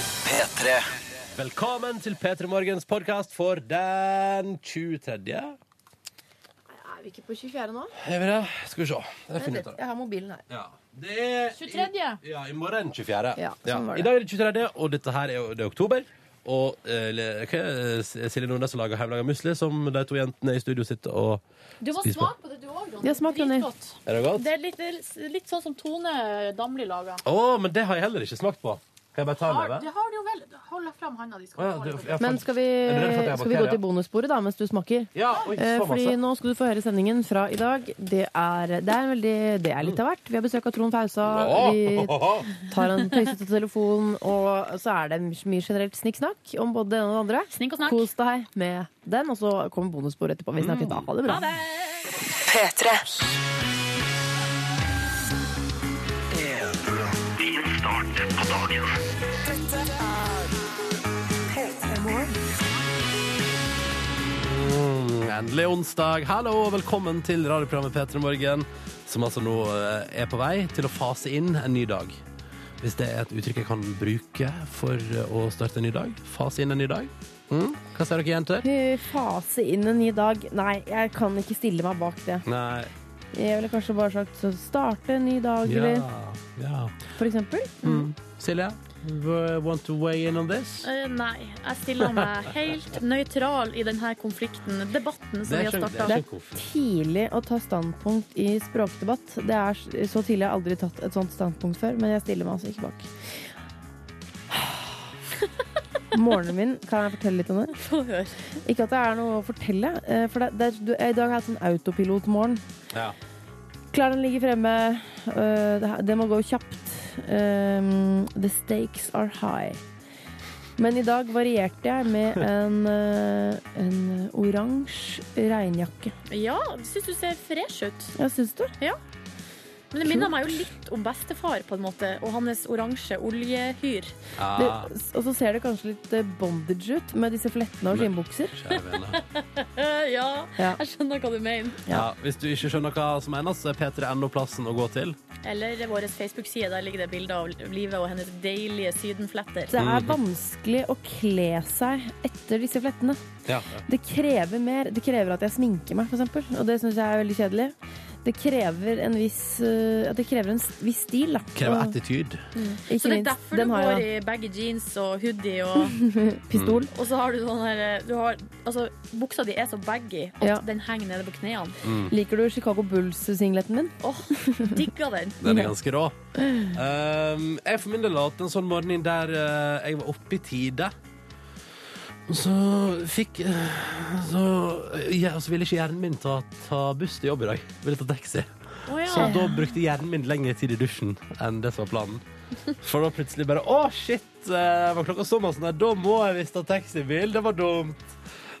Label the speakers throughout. Speaker 1: P3.
Speaker 2: Velkommen til P3 Morgens podkast for den 23.
Speaker 3: Er vi ikke på 24 nå?
Speaker 2: Er vi det? Skal vi se. Jeg
Speaker 3: Vent
Speaker 2: finner
Speaker 3: litt,
Speaker 2: ut av det.
Speaker 3: jeg har mobilen her.
Speaker 2: Ja, det er
Speaker 4: 23..
Speaker 2: I, ja, i morgen 24.
Speaker 3: Ja, sånn var det.
Speaker 2: I dag er det 23., og dette her er, jo- det er oktober. Og eh, le- hva er det? Silje Nordnes har laga hjemmelaga musli, som de to jentene i studio sitter og
Speaker 4: Du må
Speaker 2: Spis på.
Speaker 4: smake på det, du òg, Ronny.
Speaker 3: Ja, smak, Ronny.
Speaker 4: Dritgodt.
Speaker 2: Er det godt?
Speaker 4: Det er litt, det er litt sånn som Tone Damli lager.
Speaker 2: Å, men det har jeg heller ikke smakt på. Kan jeg bare ta en
Speaker 4: Har,
Speaker 2: leve?
Speaker 4: det har du jo vel. Hold fram handa di.
Speaker 2: Å, ja,
Speaker 4: Skal du
Speaker 2: du-
Speaker 4: få det.
Speaker 2: jeg fant-
Speaker 3: Men skal vi,
Speaker 2: Er det redd for at jeg
Speaker 3: skal vi gå
Speaker 2: bakterier?
Speaker 3: til bonussporet da, mens du smaker?
Speaker 2: Ja, oi,
Speaker 3: Eh,
Speaker 2: så
Speaker 3: Fordi
Speaker 2: masse.
Speaker 3: nå skal du få høre sendingen fra i dag. Det er, det er, veldig, det er litt av hvert. Vi har besøk av Trond Fausa. Vi
Speaker 2: Åh,
Speaker 3: tar en tøysete telefon, og så er det mye generelt snikksnakk om både det ene og det andre.
Speaker 4: Snikk og snakk.
Speaker 3: Kos deg med den, og så kommer bonussporet etterpå. Vi
Speaker 2: Mm.
Speaker 3: snakkes da. Ha det bra.
Speaker 2: Mm, Endelig onsdag. Hallo og velkommen til radioprogrammet P3 Morgen, som altså nå eh, er på vei til å fase inn en ny dag. Hvis det er et uttrykk jeg kan bruke for eh, å starte en ny dag. Fase inn en ny dag. Mm. Hva sier dere, jenter?
Speaker 5: Eh, Fase inn en ny dag. Nei, jeg kan ikke stille meg bak det.
Speaker 2: Nei,
Speaker 5: Jeg ville kanskje bare sagt så starte en ny dag,
Speaker 2: ja,
Speaker 5: eller
Speaker 2: ja.
Speaker 5: for eksempel.
Speaker 2: Silje, w- want to weigh in on this?
Speaker 4: Eh, Nei, jeg stiller meg helt nøytral i denne konflikten, debatten som vi har
Speaker 2: ikke-
Speaker 4: starta.
Speaker 2: ikke en konflikt.
Speaker 5: Tidlig å ta standpunkt i språkdebatt. Det er s- Så tidlig har jeg aldri tatt et sånt standpunkt før, men jeg stiller meg altså ikke bak. Morgenen min, kan jeg fortelle litt om det?
Speaker 4: Få høre.
Speaker 5: Ikke at det er noe å fortelle, eh, for det, det, er- du, i dag har jeg hatt sånn autopilotmorgen.
Speaker 2: Ja.
Speaker 5: Klærne ligger fremme. øh, det her- Det må gå kjapt. Um, The stakes are high. Men i dag varierte jeg med en, øh, en oransje regnjakke.
Speaker 4: Ja, jeg syns du ser fresh ut.
Speaker 5: Ja, syns du?
Speaker 4: Men det minner meg jo litt om bestefar, på en måte, og hans oransje oljehyr.
Speaker 2: Ja,
Speaker 5: Det, og så ser det kanskje litt eh, bondage ut med disse flettene
Speaker 2: Men-
Speaker 5: og skinnbukser.
Speaker 2: kjære vene.
Speaker 4: Eh, Ja,
Speaker 5: Ja.
Speaker 4: jeg skjønner hva du mener.
Speaker 2: Ja, hvis du ikke skjønner hva som menes, så er p3.no plassen å gå til.
Speaker 4: Eller vår Facebook-side, der ligger det bilder av livet og hennes deilige sydenfletter.
Speaker 5: Det
Speaker 2: Mm.
Speaker 5: er vanskelig å kle seg etter disse flettene.
Speaker 2: Ja.
Speaker 5: Det krever mer. Det krever at jeg sminker meg, f.eks. Og det syns jeg er veldig kjedelig. Det krever en viss, øh, at det krever en s- viss stil. Da.
Speaker 2: Krever
Speaker 5: Og-
Speaker 2: attityd.
Speaker 5: Ikke
Speaker 4: Så det er
Speaker 5: minst.
Speaker 4: derfor du
Speaker 5: Den har
Speaker 4: går
Speaker 5: jeg
Speaker 4: i baggy jeans og hoodie, og,
Speaker 5: da. pistol.
Speaker 2: Mm,
Speaker 4: og så har du sånn her du har, altså, Buksa di er så baggy at
Speaker 5: Ja. Mm.
Speaker 4: den henger nede på knærne.
Speaker 2: mm.
Speaker 5: Liker du Chicago Bulls-singleten min?
Speaker 4: Åh, digga den!
Speaker 2: Den er ganske rå. Um, jeg for min del har hatt en sånn morgen inn der eh, jeg var oppe i tide. Og så fikk eh, Så, ja, og så ville ikke hjernen min ta, ta buss til jobb i dag. Ville ta taxi.
Speaker 4: Å
Speaker 2: Så
Speaker 4: ja.
Speaker 2: da brukte hjernen min lengre tid i dusjen enn det som var planen. For da plutselig bare Å, shit! eh, var klokka sånn, altså. Nei, da må jeg visst ta taxibil. Det var dumt.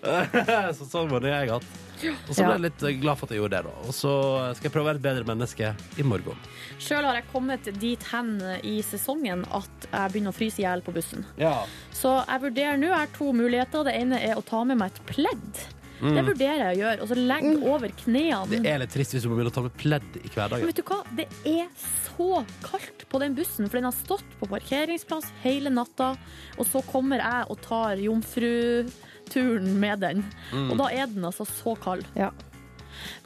Speaker 2: så sånn var det jeg hatt. Og så ble
Speaker 5: Ja.
Speaker 2: jeg litt eh, glad for at jeg gjorde det, da. Og så eh, skal jeg prøve å være et bedre menneske i morgen.
Speaker 4: Sjøl har jeg kommet dit hen eh, i sesongen at jeg begynner å fryse i hjel på bussen.
Speaker 2: Ja.
Speaker 4: Så jeg vurderer nå, jeg har to muligheter. Det ene er å ta med meg et pledd.
Speaker 5: Mm.
Speaker 4: Det vurderer jeg å gjøre. Og så legge over
Speaker 2: Det
Speaker 4: knærne.
Speaker 2: er litt trist hvis du må begynne å ta med pledd i
Speaker 4: Men
Speaker 2: hverdagen.
Speaker 4: vet du hva? Det er så kaldt på den bussen, for den har stått på parkeringsplass hele natta. Og så kommer jeg og tar jomfruturen med den.
Speaker 2: Mm.
Speaker 4: Og da er den altså så kald.
Speaker 5: Ja.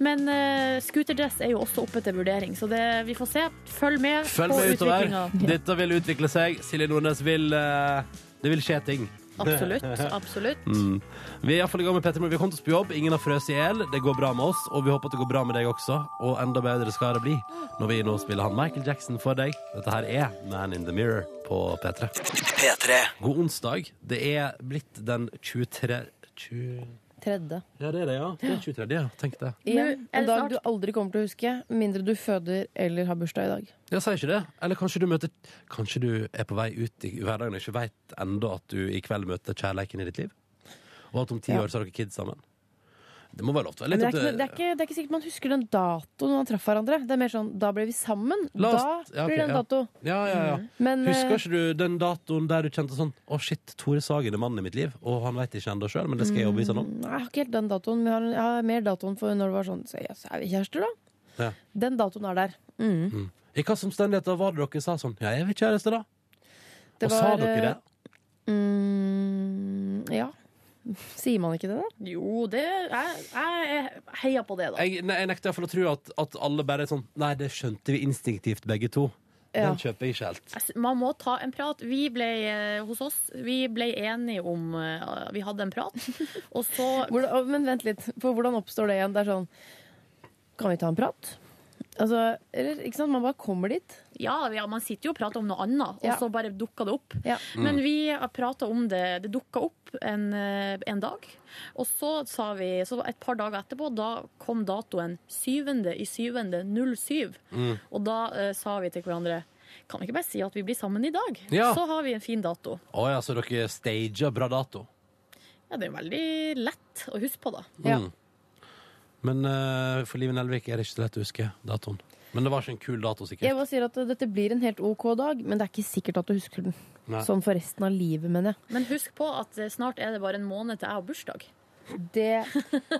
Speaker 4: Men eh, scooterdress er jo også oppe til vurdering, så det, vi får se. Følg med
Speaker 2: Følg
Speaker 4: på
Speaker 2: med utover.
Speaker 4: utviklinga.
Speaker 2: Dette vil utvikle seg. Silje Nordnes vil eh, Det vil skje ting.
Speaker 4: Absolutt. absolutt.
Speaker 2: Mm. Vi er iallfall i gang med Petter Moe. Vi har kommet oss på jobb. Ingen har frøst i hjel. Det går bra med oss, og vi håper at det går bra med deg også. Og enda bedre skal det bli når vi nå spiller han Michael Jackson for deg. Dette her er Man in the Mirror på P3.
Speaker 1: P3.
Speaker 2: God onsdag. Det er blitt den 23... 20...
Speaker 5: Tredje.
Speaker 2: Ja, det er det, ja. Det er 23, ja. Tenk det.
Speaker 5: Igjen,
Speaker 4: er det
Speaker 5: en dag
Speaker 4: snart-
Speaker 5: du aldri kommer til å huske, med mindre du føder eller har bursdag i dag.
Speaker 2: Ja, sier ikke det. Eller kanskje du møter Kanskje du er på vei ut i hverdagen og ikke veit ennå at du i kveld møter kjærleiken i ditt liv? Og at om ti
Speaker 5: Ja.
Speaker 2: år så har dere kids sammen? Det må være lov til. Litt
Speaker 5: Men det, er
Speaker 2: opp
Speaker 5: ikke,
Speaker 2: til-
Speaker 5: det, er ikke, det er ikke sikkert man husker den datoen man traff hverandre. Det er mer sånn da ble vi sammen.
Speaker 2: La oss-
Speaker 5: da
Speaker 2: ja, ok,
Speaker 5: blir det en
Speaker 2: ja.
Speaker 5: dato.
Speaker 2: Ja, ja, ja.
Speaker 5: Men
Speaker 2: Husker
Speaker 5: eh,
Speaker 2: ikke du den datoen der du kjente sånn Å, shit, Tore Sagen er mannen i mitt liv, og han veit ikke ennå sjøl, men det
Speaker 5: Mm.
Speaker 2: skal jeg overbevise han om.
Speaker 5: nei, jeg har ikke helt den datoen, men jeg har, jeg har mer datoen for når det var sånn så, ja, så Er vi kjærester, da?
Speaker 2: Ja.
Speaker 5: Den datoen er der. Mm.
Speaker 2: I hvilke omstendigheter var det dere sa sånn Ja, jeg vil kjæreste, da?
Speaker 5: Det
Speaker 2: og sa
Speaker 5: var, eh,
Speaker 2: dere det?
Speaker 6: Mm, ja. Sier man ikke det, da?
Speaker 4: Jo, det Jeg, jeg heier på det, da.
Speaker 2: Jeg, nei, jeg nekter iallfall å tro at, at alle bare er sånn Nei, det skjønte vi instinktivt, begge to. Den kjøper jeg ikke helt.
Speaker 4: Jeg s- Man må ta en prat. Vi ble, eh, hos oss, vi ble enige om eh, Vi hadde en prat, og så
Speaker 6: Hvordan, å, men vent litt, for hvordan oppstår det igjen? Det er sånn Kan vi ta en prat? Altså, eller, ikke sant? Man bare kommer dit.
Speaker 4: Ja, ja man sitter jo og prater om noe annet, og
Speaker 6: Ja.
Speaker 4: så bare dukka det opp.
Speaker 6: Ja.
Speaker 4: Men vi prata om det. Det dukka opp en, eh, en dag. Og så sa vi så Et par dager etterpå da kom datoen 7. i 7. 07. Og da eh, sa vi til hverandre Kan vi ikke bare si at vi blir sammen i dag?
Speaker 2: Ja.
Speaker 4: Så har vi en fin dato.
Speaker 2: Å ja, så dere stager bra dato.
Speaker 4: Ja, Det er veldig lett å huske på, da.
Speaker 6: Ja.
Speaker 2: Mm. Men eh, for Liven Elvik er det ikke så lett å huske datoen. Men det var ikke en kul dato,
Speaker 6: Jeg
Speaker 2: sikkert.
Speaker 6: bare sier at dette blir en helt OK dag, men det er ikke sikkert at du husker den.
Speaker 2: Nei.
Speaker 6: Sånn for resten av livet, mener jeg.
Speaker 4: Men husk på at eh, snart er det bare en måned til jeg har bursdag.
Speaker 6: Det,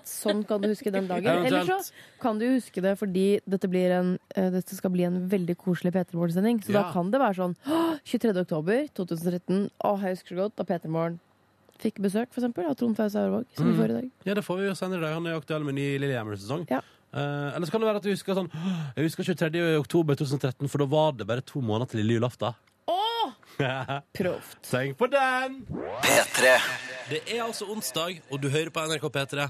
Speaker 6: sånn kan du huske den dagen. Eller så
Speaker 2: Eventuelt.
Speaker 6: kan du huske det fordi dette, blir en, eh, dette skal bli en veldig koselig P3 Morgen-sending. Så da
Speaker 2: Ja.
Speaker 6: kan det være sånn «Åh, 23. oktober 2013. Å, jeg husker så godt da P3 Morgen fikk besøk, for eksempel, av Trond Fause Aurvåg, som
Speaker 2: Mm.
Speaker 6: vi får i dag.
Speaker 2: Ja, det får vi jo senere i dag. Han er jo aktuell med ny Lillehammer-sesong.
Speaker 6: Ja.
Speaker 2: Eh, eller så kan det være at du husker sånn Jeg husker 23. oktober 2013, for da var det bare to måneder til lille julaften.
Speaker 6: Proft.
Speaker 2: Tenk på den! Det er altså onsdag, og du hører på NRK P3.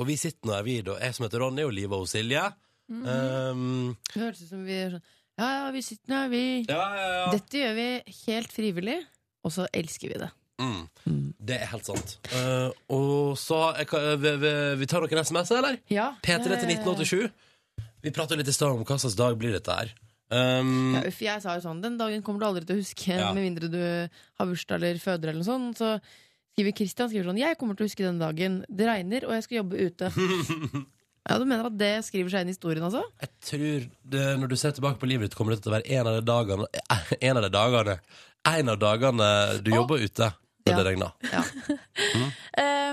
Speaker 2: Og vi sitter nå her, vi, da. Jeg som heter Ronny, og Live og Silje.
Speaker 6: Mhm.
Speaker 2: um,
Speaker 5: Det hørtes ut som vi er sånn Ja, ja, vi sitter her, vi
Speaker 2: ja, ja, ja.
Speaker 5: Dette gjør vi helt frivillig, og så elsker vi det.
Speaker 2: Mm. Det er helt sant. Eh, og så jeg kan- vi, vi, vi tar noen SMS, eller?
Speaker 5: Ja.
Speaker 2: P3 til 1987. Vi prater litt i stad om hva slags dag blir dette her. Um,
Speaker 5: Ja, uff, jeg sa jo sånn Den dagen kommer du aldri til å huske,
Speaker 2: Ja.
Speaker 5: med mindre du har bursdag eller føder eller noe sånt. Så skriver Christian skriver sånn Jeg kommer til å huske den dagen. Det regner, og jeg skal jobbe ute. ja, Du mener at det skriver seg inn i historien, altså?
Speaker 2: jeg tror det, Når du ser tilbake på livet ditt, kommer det til å være en av de dagene eh, En av de dagene, en av dagene du jobber ute når
Speaker 5: Ja.
Speaker 2: det regner.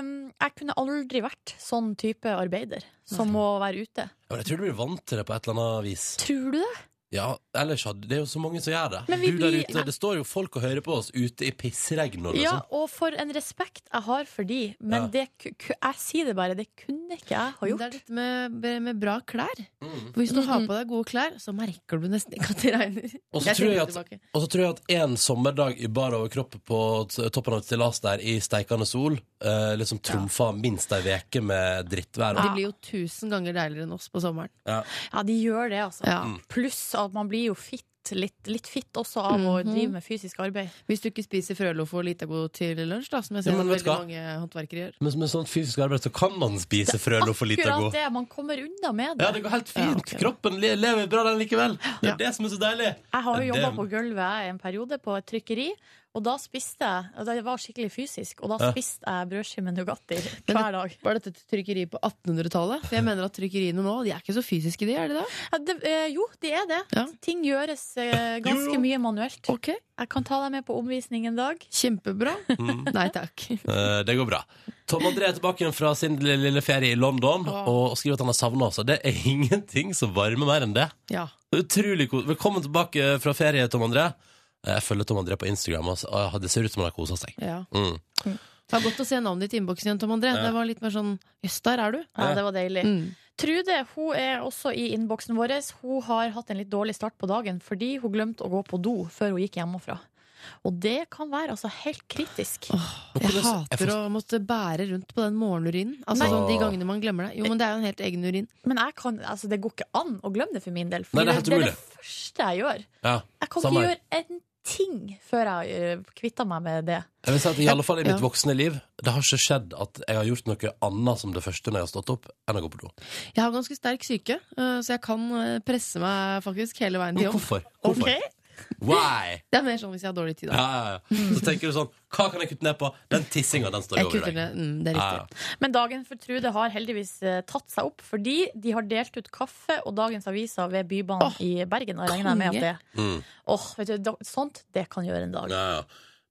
Speaker 4: Um, jeg kunne aldri vært sånn type arbeider som må være ute.
Speaker 2: Ja, men Jeg tror du blir vant til det på et eller annet vis.
Speaker 4: Tror du det?
Speaker 2: Ja, ellers hadde Det er jo så mange som gjør det.
Speaker 4: Men vi
Speaker 2: Du der
Speaker 4: blir-
Speaker 2: ute, det står jo folk og hører på oss ute i pissregn. Og sånn.
Speaker 4: Ja,
Speaker 2: ja.
Speaker 4: og for en respekt jeg har for de, men
Speaker 2: Ja.
Speaker 4: det, ku- ku- jeg sier det bare, det kunne ikke jeg ha
Speaker 5: Det er
Speaker 4: gjort.
Speaker 5: dette med, med bra klær.
Speaker 2: Mm.
Speaker 5: For hvis du har på deg gode klær, så merker du nesten ikke at det regner.
Speaker 2: Og så tror jeg at
Speaker 5: tilbake.
Speaker 2: Og så tror jeg at en sommerdag i bar overkropp på t- toppen av et stillas der i steikende sol, eh, liksom trumfa minst ei veke med drittvær.
Speaker 5: De
Speaker 2: Og,
Speaker 5: blir jo tusen ganger deiligere enn oss på sommeren.
Speaker 4: Ja, de gjør det, altså.
Speaker 2: Mm.
Speaker 5: Ja.
Speaker 4: Pluss at man blir jo fitt, litt, litt fitt også av å drive med fysisk arbeid.
Speaker 5: Hvis du ikke spiser frøloff og litago til lunsj, da, som jeg ser
Speaker 2: Ja, men vet
Speaker 5: veldig
Speaker 2: du hva?
Speaker 5: mange håndverkere gjør.
Speaker 2: Men med sånt fysisk arbeid så kan man spise frøloff og litago.
Speaker 4: Akkurat det, man kommer unna med det.
Speaker 2: Ja, det går helt fint.
Speaker 5: Ja, ok.
Speaker 2: Kroppen le- lever bra den likevel. Det er
Speaker 5: Ja.
Speaker 2: det som er så deilig.
Speaker 4: Jeg har jo
Speaker 2: Det-
Speaker 4: jobba på gulvet jeg, en periode på et trykkeri, og da spiste jeg og Det var skikkelig fysisk, og da
Speaker 2: Ja.
Speaker 4: spiste jeg brødskive med Nugatti hver dag.
Speaker 5: Var dette et trykkeri på 1800-tallet? For jeg mener at trykkeriene nå, de er ikke så fysiske, de, er de det?
Speaker 4: Ja, det, eh, jo, det er det.
Speaker 5: Ja.
Speaker 4: Ting gjøres eh, ganske
Speaker 2: Jo, jo.
Speaker 4: mye manuelt.
Speaker 5: Ok,
Speaker 4: Jeg kan ta deg med på omvisning en dag.
Speaker 5: Kjempebra.
Speaker 2: Mm.
Speaker 5: Nei takk.
Speaker 2: Eh, det går bra. Tom André er tilbake igjen fra sin lille, lille ferie i London og skriver at han har savna oss. Og det er ingenting som varmer mer enn det.
Speaker 5: Ja.
Speaker 2: Det er Utrolig kos. Velkommen tilbake fra ferie, Tom André. Jeg følger Tom André på Instagram. altså. Ah, Det ser ut som han har kosa seg.
Speaker 5: ja.
Speaker 2: Mm.
Speaker 5: Det var godt å se navnet ditt i innboksen igjen, Tom André. Det var litt mer sånn Jøss, der er du.
Speaker 4: Ja,
Speaker 2: Ja.
Speaker 4: det var deilig.
Speaker 5: Mm.
Speaker 4: Trude hun er også i innboksen vår. Hun har hatt en litt dårlig start på dagen fordi hun glemte å gå på do før hun gikk hjemmefra. Og det kan være altså helt kritisk.
Speaker 5: Jeg
Speaker 2: hvordan- jeg
Speaker 5: hater å måtte bære rundt på den morgenurinen. Altså
Speaker 2: Nei.
Speaker 5: sånn de gangene man glemmer det. Jo, men det er jo en helt egen urin.
Speaker 4: Men jeg kan, altså, det går ikke an å glemme det for min del.
Speaker 2: Nei,
Speaker 4: For
Speaker 2: det er helt
Speaker 4: det første jeg gjør.
Speaker 2: Ja.
Speaker 4: Jeg kan
Speaker 2: Samme
Speaker 4: ikke
Speaker 2: her.
Speaker 4: gjøre en ting før jeg eh, kvitter meg med det.
Speaker 2: Jeg vil si at i alle fall i mitt
Speaker 5: Ja.
Speaker 2: voksne liv Det har ikke skjedd at jeg har gjort noe annet som det første når jeg har stått opp, enn å gå på do.
Speaker 5: Jeg har ganske sterk syke, eh, så jeg kan eh, presse meg faktisk hele veien til
Speaker 2: Men
Speaker 5: jobb.
Speaker 2: hvorfor? hvorfor?
Speaker 4: Ok.
Speaker 2: Why?
Speaker 5: Det er mer sånn hvis jeg har dårlig tid.
Speaker 2: Ja,
Speaker 5: Da.
Speaker 2: ja, ja. Så tenker du sånn Hva kan jeg kutte ned på? Den tissinga, den står
Speaker 5: Jeg
Speaker 2: jo over
Speaker 5: kutter
Speaker 2: deg.
Speaker 5: ned. Mm, det er
Speaker 2: Ja,
Speaker 5: riktig.
Speaker 2: ja.
Speaker 4: Men dagen for Trude har heldigvis eh, tatt seg opp, fordi de har delt ut kaffe og dagens aviser ved Bybanen i Bergen. Og jeg regner med at det
Speaker 2: Mm.
Speaker 4: Åh, vet du, da- Sånt det kan gjøre en dag.
Speaker 2: Ja, ja.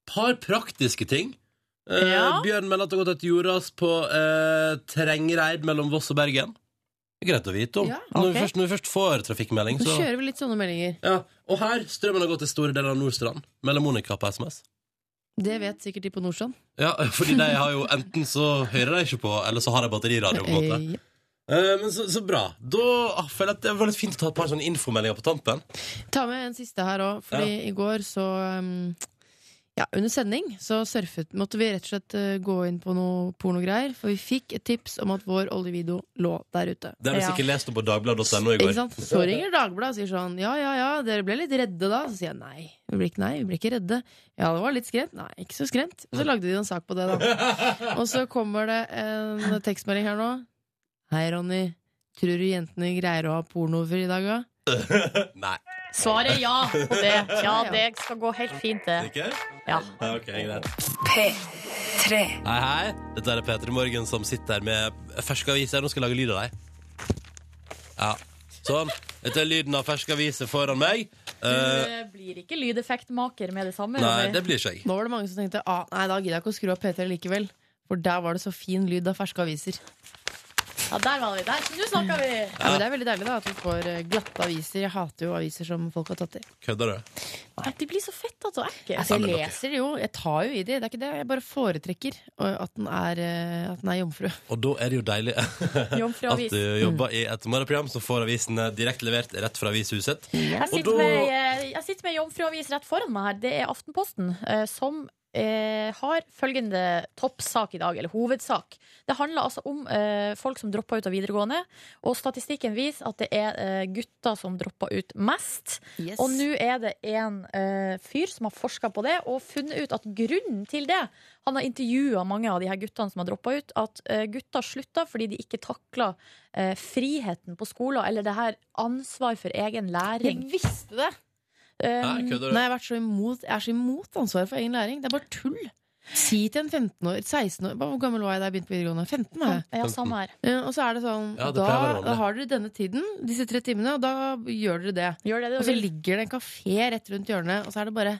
Speaker 2: Par praktiske ting. Eh,
Speaker 4: Ja.
Speaker 2: Bjørn melder at det har gått et jordras på eh, terrengreid mellom Voss og Bergen. Det er greit å vite om.
Speaker 5: Ja,
Speaker 2: når,
Speaker 4: ok.
Speaker 2: vi først, når vi først får trafikkmelding,
Speaker 5: Nå
Speaker 2: så
Speaker 5: kjører vi litt sånne meldinger.
Speaker 2: ja. Og her strømmen har gått til store deler av Nordstrand. Mellom Monica på SMS.
Speaker 5: Det vet sikkert de på Nordstrand.
Speaker 2: Ja, fordi de har jo enten så hører de ikke på, eller så har de batteriradio. på en måte
Speaker 5: Eh, ja.
Speaker 2: Eh, Men så, så bra. Da ah, føler jeg at det var litt fint å ta et par sånne infomeldinger på tampen.
Speaker 5: Ta med en siste her òg, fordi i går så um, ja, Under sending så surfet måtte vi rett og slett eh, gå inn på noe pornogreier, for vi fikk et tips om at vår oljevideo lå der ute.
Speaker 2: Det har du
Speaker 4: Ja.
Speaker 2: sikkert lest om på dagbladet.no i
Speaker 5: Ikke
Speaker 2: går.
Speaker 5: sant? Så ringer Dagbladet og sier sånn Ja, ja, ja, dere ble litt redde da? Så sier jeg nei, vi ble ikke, nei, vi ble ikke redde. Ja, det var litt skremt. Nei, ikke så skremt. Og så lagde de en sak på det, da. Og så kommer det en tekstmelding her nå. Hei, Ronny. Tror du jentene greier å ha pornofri i dag, da?
Speaker 2: Nei.
Speaker 4: Svaret er ja på det. Ja, det skal gå helt fint, det.
Speaker 2: Ikke?
Speaker 4: Ja.
Speaker 2: Ja, ok, greit. Hei, hei. Dette er Peter Morgen som sitter her med ferske aviser. Nå skal jeg lage lyd av deg. Ja. Sånn. Dette er lyden av ferske aviser foran meg. Eh,
Speaker 4: Du blir ikke lydeffektmaker med det samme.
Speaker 2: nei,
Speaker 4: Ronny.
Speaker 2: det blir ikke jeg.
Speaker 5: Nå var det mange som tenkte ah, Nei, da gidder jeg ikke å skru av P3 likevel. For der var det så fin lyd av ferske aviser.
Speaker 4: Ja, der var vi. Der. Nå snakka vi!
Speaker 5: Ja. men det er veldig deilig da at vi får eh, glatte aviser. Jeg hater jo aviser som folk har tatt i.
Speaker 2: Kødder du?
Speaker 4: Nei, De blir så fette og ekle.
Speaker 5: Altså,
Speaker 2: Ja,
Speaker 5: jeg
Speaker 2: men dere-
Speaker 5: leser det jo. Jeg tar jo i det. Det er ikke det. Jeg bare foretrekker eh, at den er, eh, at den er jomfru.
Speaker 2: Og da er det jo deilig at
Speaker 4: Jomfruavis.
Speaker 2: du jobber i et morgenprogram som får avisene direkte levert rett fra avishuset.
Speaker 4: Jeg
Speaker 2: Og da-
Speaker 4: sitter med, eh, jeg sitter med jomfruavis rett foran meg her. Det er Aftenposten eh, som eh, har følgende toppsak i dag, eller hovedsak. Det handler altså om eh, folk som dropper ut av videregående, og statistikken viser at det er eh, gutter som dropper ut mest. Og nå er det en eh, fyr som har forska på det og funnet ut at grunnen til det Han har intervjua mange av de her guttene som har droppa ut. At eh, gutta slutta fordi de ikke takla eh, friheten på skolen eller det her ansvar for egen læring.
Speaker 5: Jeg visste det!
Speaker 2: Nei,
Speaker 4: Um,
Speaker 2: kødder
Speaker 5: Nei,
Speaker 2: du?
Speaker 5: jeg, har vært så imot, jeg er så imot ansvaret for egen læring. Det er bare tull. Si til en 15-år 16-år Hvor gammel var jeg da jeg begynte på videregående? 15 var jeg.
Speaker 4: Eh, ja, samme her.
Speaker 5: Ja, og så er det sånn
Speaker 2: Ja, det
Speaker 5: da,
Speaker 2: pleier å være vanlig.
Speaker 5: da har dere denne tiden, disse tre timene, og da gjør dere det.
Speaker 4: Gjør det
Speaker 5: Og
Speaker 4: du
Speaker 5: så
Speaker 4: vil.
Speaker 5: ligger det en kafé rett rundt hjørnet, og så er det bare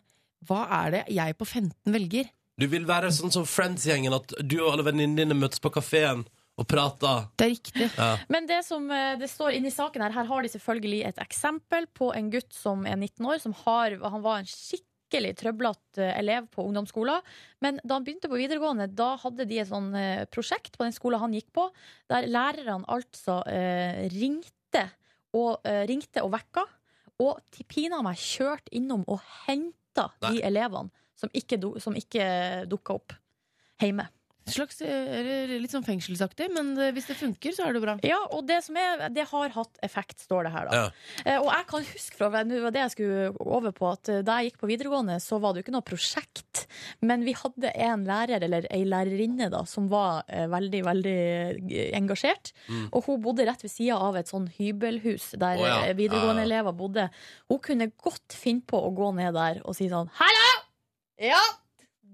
Speaker 5: Hva er det jeg på 15 velger?
Speaker 2: Du vil være sånn som Friends-gjengen, at du og alle venninnene dine møtes på kafeen og prater.
Speaker 5: Det er riktig.
Speaker 4: Men det som eh, det står inne i saken her, her har de selvfølgelig et eksempel på en gutt som er 19 år, som har, han var en skikkelig trøblete elev på ungdomsskolen. Men da han begynte på videregående, da hadde de et sånn eh, prosjekt på den skolen han gikk på, der lærerne altså eh, ringte, og, eh, ringte og vekka, og til pina meg kjørte innom og henta de elevene som ikke, do- som ikke dukka opp hjemme.
Speaker 5: Slags, eh, litt sånn fengselsaktig, men eh, hvis det funker, så er det jo bra.
Speaker 4: Ja, og det som er, det har hatt effekt, står det her da. Eh, og jeg kan huske fra, nå var det jeg skulle over på, at eh, da jeg gikk på videregående, så var det jo ikke noe prosjekt, men vi hadde en lærer, eller ei lærerinne da, som var eh, veldig, veldig eh, engasjert, og hun bodde rett ved siden av et sånn hybelhus, der
Speaker 2: Mm. Å, ja.
Speaker 4: eh,
Speaker 2: Ja,
Speaker 4: videregående elever bodde. Hun kunne godt finne på å gå ned der og si sånn, «Hallo! Ja!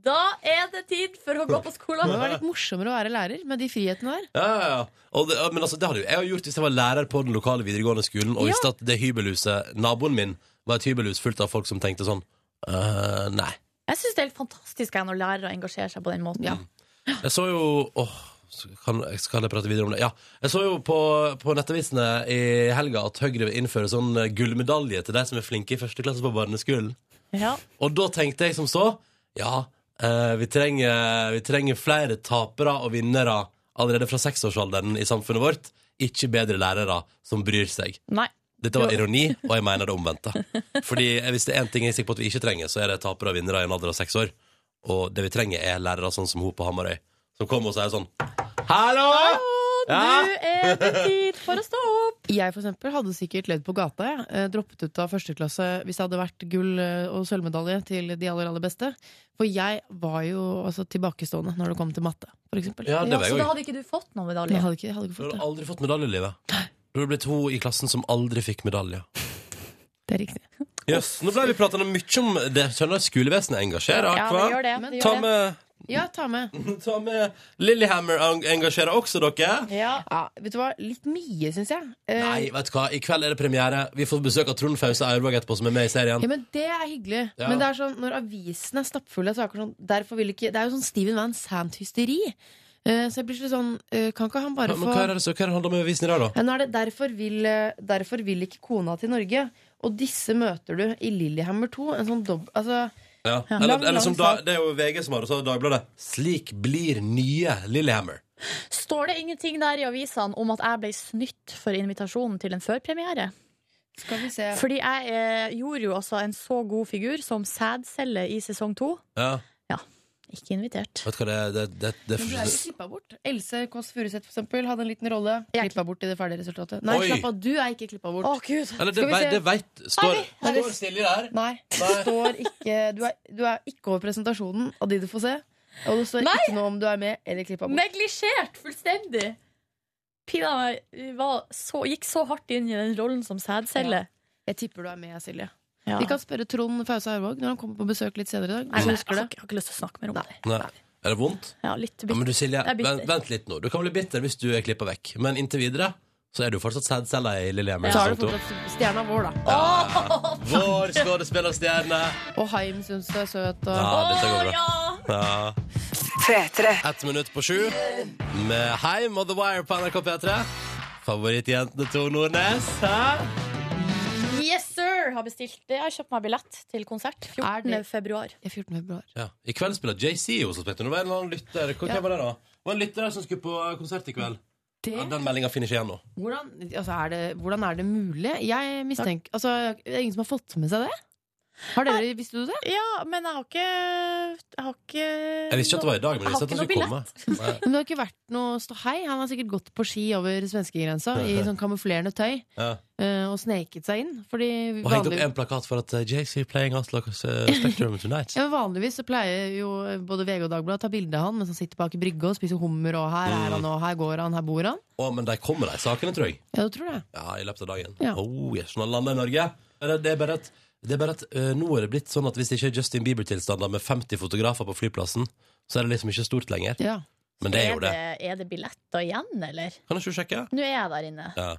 Speaker 4: Da er det tid for å gå på skolen!»
Speaker 5: Det var litt morsommere å være lærer med de frihetene der.
Speaker 2: Ja, ja, ja. Og det, ja, men altså, det hadde jo jeg gjort hvis jeg var lærer på den lokale videregående skolen og
Speaker 4: Ja.
Speaker 2: visste at det hybelhuset, naboen min, var et hybelhus fullt av folk som tenkte sånn «Øh, Nei.
Speaker 4: Jeg synes det er helt fantastisk jeg, når lærere engasjerer seg på den måten.
Speaker 2: Jeg så jo åh, kan, Skal jeg prate videre om det? Ja. Jeg så jo på, på nettavisene i helga at Høyre vil innføre sånn gullmedalje til de som er flinke i første klasse på barneskolen.
Speaker 4: Ja.
Speaker 2: Og da tenkte jeg som så Ja, eh, vi, trenger, vi trenger flere tapere og vinnere allerede fra seksårsalderen i samfunnet vårt. Ikke bedre lærere som bryr seg.
Speaker 4: Nei.
Speaker 2: Dette var ironi, og jeg mener det omvendte. Fordi eh, hvis det er én ting jeg er sikker på at vi ikke trenger, så er det tapere og vinnere i en alder av seks år. Og det vi trenger, er lærere sånn som hun på Hamarøy, som kommer og sier sånn Hallo!
Speaker 4: Og
Speaker 2: Ja.
Speaker 4: nå er det tid for å stå opp!
Speaker 5: Jeg for eksempel, hadde sikkert levd på gata, jeg. Eh, Droppet ut av første klasse hvis det hadde vært gull- eh, og sølvmedalje til de aller, aller beste. For jeg var jo altså, tilbakestående når det kom til matte, for eksempel.
Speaker 2: Ja, det
Speaker 4: Ja,
Speaker 2: var
Speaker 4: så
Speaker 2: jeg
Speaker 4: da
Speaker 2: òg.
Speaker 4: hadde ikke du fått noen
Speaker 5: Jeg
Speaker 4: medalje.
Speaker 5: hadde ikke, jeg hadde ikke
Speaker 2: Du
Speaker 5: fått
Speaker 2: hadde
Speaker 5: det.
Speaker 2: aldri fått medalje i livet. Du hadde blitt hun i klassen som aldri fikk medalje.
Speaker 5: Det er riktig.
Speaker 2: Jøss, Nå ble vi pratende mye om det. Skjønner jeg skolevesenet engasjerer.
Speaker 4: Ja, det
Speaker 2: hva?
Speaker 4: gjør det.
Speaker 5: Men
Speaker 4: det,
Speaker 2: Ta
Speaker 4: gjør det.
Speaker 2: med
Speaker 5: Ja, ta med.
Speaker 2: Ta med Lillehammer engasjerer også dere.
Speaker 4: Ja.
Speaker 5: Ja, vet du hva? Litt mye, syns jeg. Eh,
Speaker 2: Nei, vet du hva, i kveld er det premiere. Vi får besøk av Trond Fause Aurvåg etterpå, som er med i serien.
Speaker 5: Ja, men Det er hyggelig.
Speaker 2: Ja.
Speaker 5: Men det er sånn, når avisene er stappfulle av saker sånn, derfor vil ikke, Det er jo sånn Steven Van Sant-hysteri. Eh, så jeg blir så sånn eh, Kan ikke han
Speaker 2: Ja,
Speaker 5: bare
Speaker 2: Men
Speaker 5: få
Speaker 2: hva er det, så, hva er det handler om i avisen i dag, da?
Speaker 5: ja, nå er det, derfor, vil, eh, derfor vil ikke kona til Norge. Og disse møter du i Lillehammer 2. En sånn dobb... Altså,
Speaker 2: Ja.
Speaker 4: Ja.
Speaker 2: Eller,
Speaker 4: Lang,
Speaker 2: eller
Speaker 4: lang
Speaker 2: som da,
Speaker 4: sak.
Speaker 2: det er jo VG som har det, og så har Dagbladet 'Slik blir nye Lillehammer'.
Speaker 4: Står det ingenting der i avisene om at jeg ble snytt for invitasjonen til en førpremiere?
Speaker 5: Skal vi se.
Speaker 4: Fordi jeg eh, gjorde jo altså en så god figur som sædcelle i sesong to.
Speaker 2: Ja.
Speaker 4: Ikke invitert.
Speaker 2: Vet du hva, det, det, det, det,
Speaker 5: Men du er jo klippa bort. Else Kåss Furuseth for eksempel, hadde en liten rolle.
Speaker 4: Jeg er
Speaker 5: Klippa bort i det ferdige resultatet. Nei,
Speaker 2: Oi.
Speaker 5: slapp av, du er ikke klippa bort.
Speaker 4: Å, gud!
Speaker 2: Eller det,
Speaker 5: Skal vi
Speaker 2: vei-
Speaker 5: se.
Speaker 2: det veit Står,
Speaker 5: Her er-
Speaker 2: står Silje der?
Speaker 5: Nei, det står ikke du er, du er ikke over presentasjonen av de du får se. Og det står ikke noe om du er med eller klippa bort.
Speaker 4: Neglisjert fullstendig! Pina meg var så, gikk så hardt inn i den rollen som sædcelle.
Speaker 5: Jeg tipper du er med, Silje.
Speaker 4: Ja.
Speaker 5: Vi kan spørre Trond Fause Hervåg når han kommer på besøk litt senere i dag.
Speaker 4: Nei,
Speaker 5: Hvis du
Speaker 4: men jeg,
Speaker 5: husker
Speaker 4: har,
Speaker 5: det.
Speaker 4: ikke- jeg har ikke lyst til å snakke mer om det.
Speaker 2: Nei. Er det vondt?
Speaker 4: Ja, litt
Speaker 2: Ja, men
Speaker 4: bitter.
Speaker 2: du Silje,
Speaker 4: Jeg er bitter.
Speaker 2: vent, vent litt nå. Du kan bli bitter hvis du er klippa vekk. Men inntil videre så er du fortsatt sædcella i Lillehammer.
Speaker 5: Så har du
Speaker 2: sesong to.
Speaker 5: fortsatt stjerna vår, da.
Speaker 2: Vår skuespillerstjerne.
Speaker 5: Og Heim syns du er søt. Og...
Speaker 2: Ja, dette går
Speaker 4: Å,
Speaker 2: bra.
Speaker 4: ja!
Speaker 2: Ja. Ett minutt på sju med Heim og The Wire på NRK P3. Favorittjentene to Nordnes. Hæ?
Speaker 4: Yes, sir! Har bestilt. Jeg har kjøpt meg billett til konsert
Speaker 5: Er
Speaker 4: 14.
Speaker 5: det-
Speaker 4: februar.
Speaker 5: Det er 14. februar.
Speaker 2: Ja. I kveld spiller JC hos oss. vet du. Det var en eller annen lytter Hvor
Speaker 5: Ja.
Speaker 2: hvem var det, da? Det var en lytter som skulle på eh, konsert i kveld.
Speaker 5: Det?
Speaker 2: Ja, den meldinga finner ikke igjen nå.
Speaker 5: Hvordan, altså er det, hvordan er det mulig? Jeg mistenker altså, Det er ingen som har fått med seg det? Har dere, Visste du det?
Speaker 4: Ja, men jeg har ikke Jeg har ikke
Speaker 2: Jeg visste ikke at det var i dag, men jeg visste at den skulle komme. Nei.
Speaker 5: Men det har ikke vært noe ståhei. Han har sikkert gått på ski over svenskegrensa i sånn kamuflerende tøy
Speaker 2: Ja.
Speaker 5: eh, og sneket seg inn. Fordi
Speaker 2: Og hengt opp
Speaker 5: vanlig-
Speaker 2: en plakat for at eh, JC playing Aslaks eh, Spectrum tonight.
Speaker 5: ja, men vanligvis så pleier jo eh, både VG og Dagbladet å ta bilde av han mens han sitter bak i brygga og spiser hummer, og her er han, og her går han, her bor han.
Speaker 2: Å, men de kommer, de sakene, tror jeg.
Speaker 5: Ja, du tror det?
Speaker 2: Ja, i løpet av dagen.
Speaker 5: Ja.
Speaker 2: Oh, yes, når han lander i Norge. Men Det det er bare at, det er bare at eh, nå er det blitt sånn at hvis det ikke er Justin Bieber-tilstander med 50 fotografer på flyplassen, så er det liksom ikke stort lenger.
Speaker 5: Ja.
Speaker 2: Men det er jo det.
Speaker 4: Er det billetter igjen, eller?
Speaker 2: Kan ikke du sjekke?
Speaker 4: Nå er jeg der inne.
Speaker 2: Ja.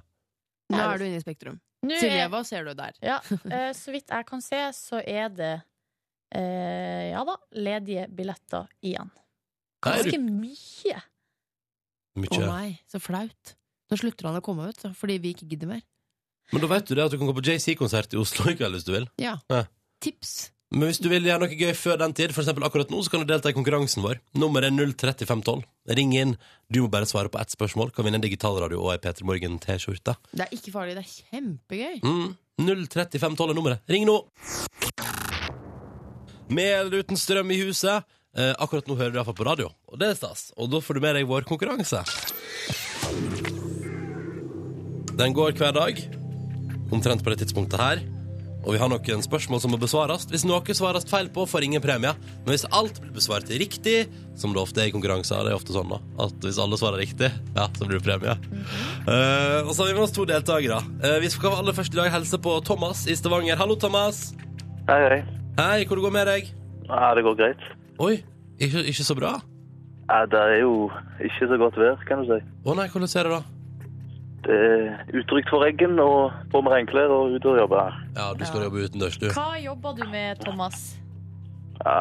Speaker 5: Nå
Speaker 4: Ja,
Speaker 5: er du inne i Spektrum.
Speaker 4: Nå er-
Speaker 5: Silje, hva ser du der?
Speaker 4: Ja, eh, så vidt jeg kan se, så er det eh, Ja da, ledige billetter igjen.
Speaker 2: Nei, du,
Speaker 4: Ganske mye.
Speaker 5: Å
Speaker 2: mye.
Speaker 5: nei, så flaut. Nå slutter han å komme ut, så, fordi vi ikke gidder mer.
Speaker 2: Men da vet du det at du kan gå på JC-konsert i Oslo i kveld hvis du vil.
Speaker 5: Ja.
Speaker 2: Ja.
Speaker 5: Tips.
Speaker 2: Men hvis du vil gjøre noe gøy før den tid, for eksempel akkurat nå, så kan du delta i konkurransen vår. Nummeret er 03512. Ring inn. Du må bare svare på ett spørsmål. Kan vinne en digitalradio og ei P3 Morgen-T-skjorte.
Speaker 5: Det er ikke farlig, det er kjempegøy.
Speaker 2: Mm. 03512 er nummeret. Ring nå! Med eller uten strøm i huset. Eh, akkurat nå hører du iallfall på radio, og det er stas. Og da får du med deg vår konkurranse. Den går hver dag, omtrent på det tidspunktet her. Og vi har noen spørsmål som må besvares. Hvis noe svares feil på, får ingen premie. Men hvis alt blir besvart riktig, som det ofte er i konkurranser, det er ofte sånn da, at hvis alle svarer riktig, ja, så blir det premie. Eh, og så har vi med oss to deltakere. Eh, vi skal aller først i dag helse på Thomas i Stavanger. Hallo, Thomas.
Speaker 7: Hei, hei.
Speaker 2: Hei, hvor det går med deg?
Speaker 7: Ja, det går greit.
Speaker 2: Oi, ikke, ikke så bra.
Speaker 7: Ja, det er jo ikke så godt vær, kan du si.
Speaker 2: Å nei, hvordan ser det da?
Speaker 7: Det er utrygt for regn og på med regnklær og ut og jobbe.
Speaker 2: Ja, du skal jobbe utendørs, du.
Speaker 4: Hva jobber du med, Thomas?
Speaker 7: Ja,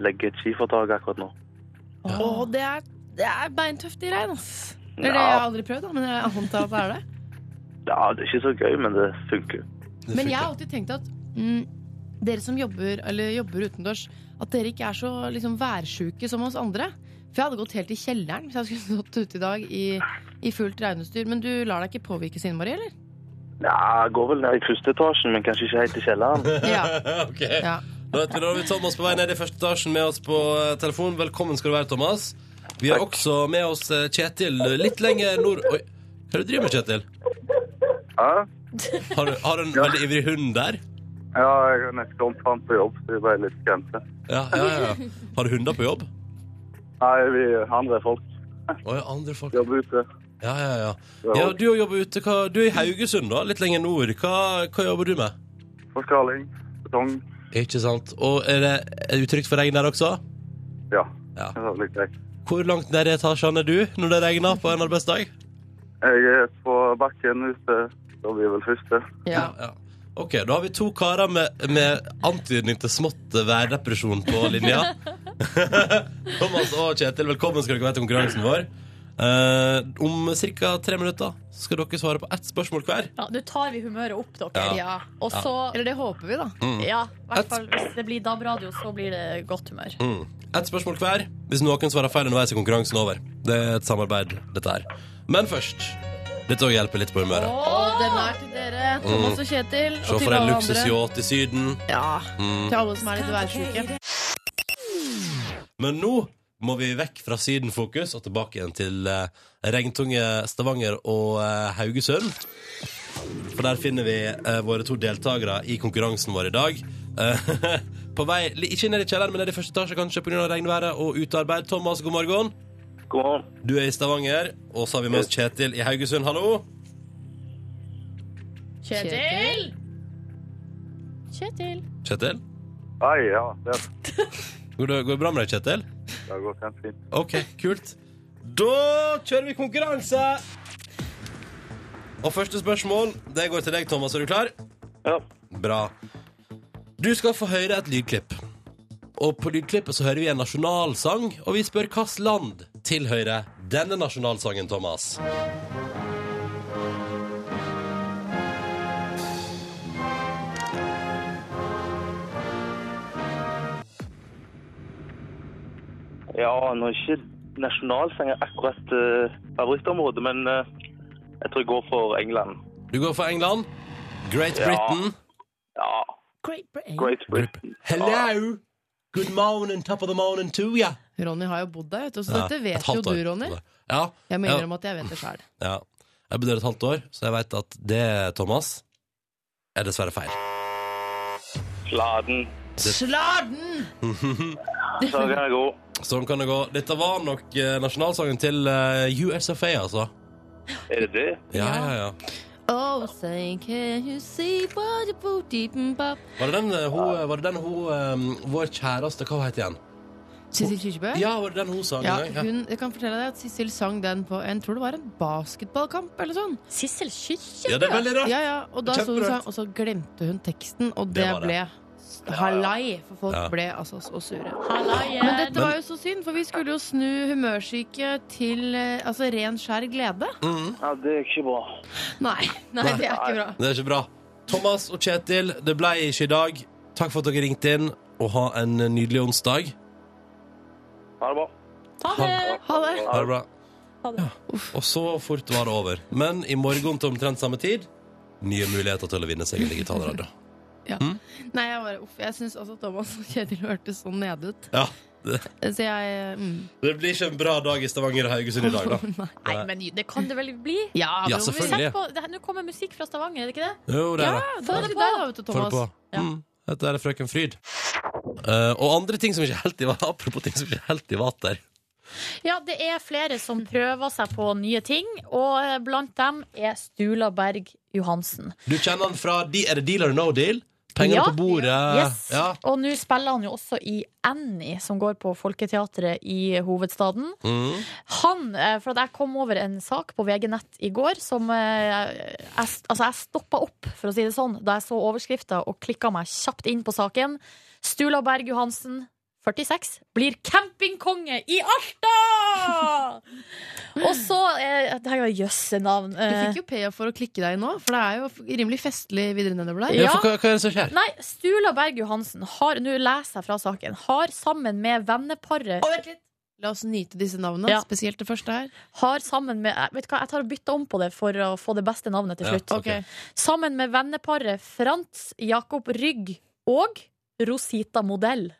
Speaker 7: legge et skifertak akkurat nå.
Speaker 5: Å, det er, det er beintøft i regn, ass. Det er det jeg har
Speaker 7: Ja,
Speaker 5: aldri prøvd, da, men jeg antar at det er det.
Speaker 7: ja, det er ikke så gøy, men det funker.
Speaker 2: Det
Speaker 5: Men jeg har
Speaker 2: funker.
Speaker 5: alltid tenkt at mm, dere som jobber, eller jobber utendørs, at dere ikke er så liksom, værsjuke som oss andre. For jeg hadde gått helt i kjelleren hvis jeg skulle stått ute i dag i, i fullt regnestyr. Men du lar deg ikke påvirke, Sine Marie, eller?
Speaker 7: Ja, går vel ned i første etasjen, men kanskje ikke helt i kjelleren.
Speaker 5: Ja.
Speaker 2: Ok.
Speaker 5: ja.
Speaker 2: Da vet vi, da har vi Thomas på vei ned i første etasjen med oss på eh, telefon. Velkommen skal du være, Thomas. Vi har også med oss eh, Kjetil litt lenger nord... Oi, hva er det du driver med, Kjetil?
Speaker 7: Ja,
Speaker 2: Har du, har du en veldig ivrig hund der?
Speaker 7: ja jeg er nettopp fram på jobb, så jeg ble litt skremt.
Speaker 2: Ja, ja, ja. ja. Har du hunder på jobb?
Speaker 7: Nei, vi andre folk
Speaker 2: Å ja, andre folk. Ja,
Speaker 7: jobber ute.
Speaker 2: ja, ja. ja du jobber ute. Hva, du er i Haugesund, da, litt lenger nord. Hva, hva jobber du med?
Speaker 7: Forskaling, betong,
Speaker 2: Ikke sant. Og er det er det utrygt for regn der også?
Speaker 7: ja.
Speaker 2: Ja.
Speaker 7: Det var litt greit.
Speaker 2: Hvor langt ned i etasjene er du når det regner på en arbeidsdag?
Speaker 7: Jeg er på bakken ute, da blir jeg vel første.
Speaker 5: ja.
Speaker 2: Ja. Ok, da har vi to karer med, med antydning til smått værdepresjon på linja. Thomas og Kjetil, velkommen skal dere være til konkurransen vår. Eh, om ca. tre minutter så skal dere svare på ett spørsmål hver.
Speaker 4: Ja, Nå tar vi humøret opp, dere.
Speaker 2: Ja.
Speaker 5: Ja.
Speaker 4: Og så
Speaker 5: Eller det håper vi, da.
Speaker 4: Ja, i
Speaker 2: Et-
Speaker 4: hvert fall hvis det blir DAB-radio, så blir det godt humør.
Speaker 2: Mm. Ett spørsmål hver. Hvis noen svarer feil underveis, er konkurransen over. Det er et samarbeid, dette her. Men først Dette òg hjelper litt på humøret.
Speaker 5: Og den er til dere, Thomas og Kjetil.
Speaker 2: Mm. Se
Speaker 5: Og
Speaker 2: for
Speaker 5: til
Speaker 2: en
Speaker 5: alle andre.
Speaker 2: luksusyacht i Syden.
Speaker 5: Ja,
Speaker 2: Mm.
Speaker 5: til alle som er litt værsjuke.
Speaker 2: Men nå må vi vekk fra Syden-fokus og tilbake igjen til eh, regntunge Stavanger og eh, Haugesund. For der finner vi eh, våre to deltakere i konkurransen vår i dag. Eh, på vei li- ikke ned i kjelleren, men ned i første etasje kanskje pga. regnværet og utearbeid. Thomas, god morgen.
Speaker 7: God morgen.
Speaker 2: Du er i Stavanger, og så har vi med oss Kjetil i Haugesund. Hallo.
Speaker 4: Kjetil! Kjetil.
Speaker 2: Kjetil?
Speaker 7: Hei, ja. Det,
Speaker 2: Går det, går det bra med deg, Kjetil?
Speaker 7: det har gått helt fint.
Speaker 2: Ok, kult. Da kjører vi konkurranse! Og første spørsmål det går til deg, Thomas. Er du klar?
Speaker 7: Ja.
Speaker 2: Bra. Du skal få høre et lydklipp. Og på lydklippet så hører vi en nasjonalsang, og vi spør hvilket land tilhører denne nasjonalsangen, Thomas.
Speaker 7: Ja, nå er ikke nasjonalsanger akkurat eh, favorittområdet, men eh, jeg tror jeg går for England.
Speaker 2: Du går for England. Great
Speaker 7: Ja.
Speaker 2: Britain.
Speaker 7: Ja. Great Britain.
Speaker 2: Hello! Good morning, top of the morning to ya.
Speaker 5: Ronny har jo bodd der, vet du, så
Speaker 2: Ja,
Speaker 5: dette
Speaker 2: et
Speaker 5: vet jo
Speaker 2: halvt
Speaker 5: du,
Speaker 2: år.
Speaker 5: Ronny.
Speaker 2: Ja,
Speaker 5: Jeg må
Speaker 2: Ja.
Speaker 5: innrømme at jeg vet det sjøl.
Speaker 2: Ja. Jeg har bodd der et halvt år, så jeg veit at det, Thomas, er dessverre feil.
Speaker 7: Sladen.
Speaker 5: Slarden!
Speaker 7: Så kan jeg gå.
Speaker 2: Sånn kan det gå. Dette var nok eh, nasjonalsangen til eh, USFA, altså.
Speaker 7: Er det det?
Speaker 2: Ja, ja, ja.
Speaker 5: Oh, say, can you see what the boot deep and bop?
Speaker 2: Var det den eh, hun, var det den, hun eh, vår kjæreste Hva het igjen?
Speaker 5: Sissel Kyrkjebø?
Speaker 2: Ja, var det den hun sang?
Speaker 5: Ja,
Speaker 2: en gang?
Speaker 5: hun, jeg kan fortelle deg at Sissel sang den på en, tror det var en basketballkamp eller sånn.
Speaker 4: Sissel Kyrkje.
Speaker 2: ja. ja, det er veldig rart.
Speaker 5: Ja, ja, og da sto hun
Speaker 2: Kjemperart.
Speaker 5: sang, og så glemte hun teksten, og
Speaker 2: Det
Speaker 5: det,
Speaker 2: var det.
Speaker 5: ble s- halai, for folk
Speaker 2: Ja.
Speaker 5: ble altså så sure. Men
Speaker 4: Hallaien.
Speaker 5: dette var jo så synd, for vi skulle jo snu humørsyke til eh, altså ren skjær glede.
Speaker 7: Ja, det er ikke bra.
Speaker 5: Nei, nei, det er ikke bra.
Speaker 2: Det er ikke bra. Thomas og Kjetil, det ble ikke i dag. Takk for at dere ringte inn, og ha en nydelig onsdag.
Speaker 7: Ha det bra.
Speaker 4: Ta det.
Speaker 5: Ha det.
Speaker 2: Ha det bra.
Speaker 4: Ha det.
Speaker 2: Ja. Og så fort var det over. Men i morgen til omtrent samme tid nye muligheter til å vinne seg en digital radio.
Speaker 5: Nei, jeg bare, uff, jeg syns også Thomas og Kjetil hørtes så nede ut.
Speaker 2: Ja, det,
Speaker 5: Så jeg mm.
Speaker 2: det blir ikke en bra dag i Stavanger og Haugesund i dag, da.
Speaker 4: Nei, men det kan det vel bli?
Speaker 5: Ja,
Speaker 2: Ja,
Speaker 5: men om vi-
Speaker 2: selvfølgelig.
Speaker 4: Sett på, det her- Nå kommer musikk fra Stavanger, er det ikke det?
Speaker 2: Jo, det er det.
Speaker 5: Få det på, da, vet du,
Speaker 2: Får
Speaker 5: Thomas.
Speaker 2: du på. Mm. Dette er Frøken Fryd. Eh, og andre ting som ikke helt i var Apropos ting som ikke helt i var der.
Speaker 4: Ja, det er flere som prøver seg på nye ting, og eh, blant dem er Stula Berg Johansen.
Speaker 2: Du kjenner han fra de, Er det Deal or No Deal? Pengene
Speaker 4: Ja.
Speaker 2: på bordet.
Speaker 4: Yes.
Speaker 2: Ja.
Speaker 4: Og nå spiller han jo også i Annie, som går på Folketeatret i hovedstaden.
Speaker 2: Mm.
Speaker 4: Han, eh, for at jeg kom over en sak på VG Nett i går som eh, jeg, Altså, jeg stoppa opp, for å si det sånn, da jeg så overskrifta og klikka meg kjapt inn på saken. Stula Berg Johansen, 46, blir campingkonge i Alta! og så eh, Det her var jøsse navn.
Speaker 5: Du
Speaker 4: Eh,
Speaker 5: fikk jo PF for å klikke deg nå, for det er jo f- rimelig festlig videre nedover der.
Speaker 2: Ja,
Speaker 4: Ja.
Speaker 2: for hva, hva er det som skjer?
Speaker 4: Nei, Stula Berg Johansen har Nå leser jeg fra saken. Har sammen med venneparet
Speaker 5: La oss nyte disse navnene,
Speaker 4: Ja.
Speaker 5: spesielt det første her.
Speaker 4: Har sammen med eh, Vet du hva, jeg tar og bytter om på det for å få det beste navnet til
Speaker 2: Ja,
Speaker 4: slutt.
Speaker 2: ok.
Speaker 4: Sammen med venneparet Frans Jakob Rygg og Rosita Modell.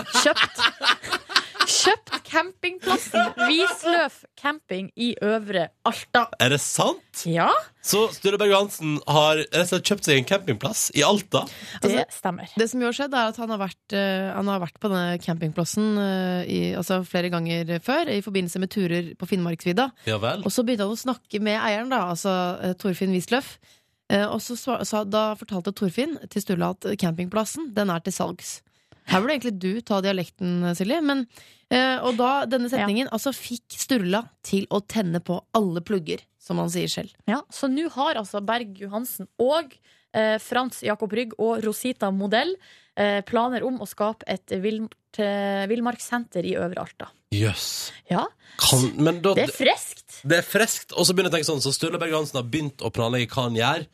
Speaker 4: Kjøpt Kjøpt campingplassen Wisløf camping i Øvre Alta.
Speaker 2: Er det sant?
Speaker 4: Ja,
Speaker 2: Så Sture Berg Johansen har rett og slett kjøpt seg en campingplass i Alta.
Speaker 4: det Altså, stemmer.
Speaker 5: Det som jo har skjedd, er at han har vært, eh, han har vært på denne campingplassen eh, i, altså flere ganger før, i forbindelse med turer på Finnmarksvidda.
Speaker 2: Ja vel.
Speaker 5: Og så begynte han å snakke med eieren, da, altså eh, Torfinn Wisløff. Eh, Og så sva- sa, da fortalte Torfinn til Sturla at campingplassen, den er til salgs. Her burde egentlig du ta dialekten, Silje. Men, eh, og da denne setningen altså fikk Sturla til å tenne på alle plugger, som han sier selv.
Speaker 4: Ja, så nå har altså Berg Johansen og eh, Frans Jakob Rygg og Rosita Modell eh, planer om å skape et vilt- eh, villmarkssenter i Øvre Alta.
Speaker 2: Jøss.
Speaker 4: Ja,
Speaker 2: Kan- Men da
Speaker 4: det er friskt!
Speaker 2: Det er freskt. Og så begynner jeg å tenke sånn, så Sturla Berg Hansen har begynt å planlegge hva han gjør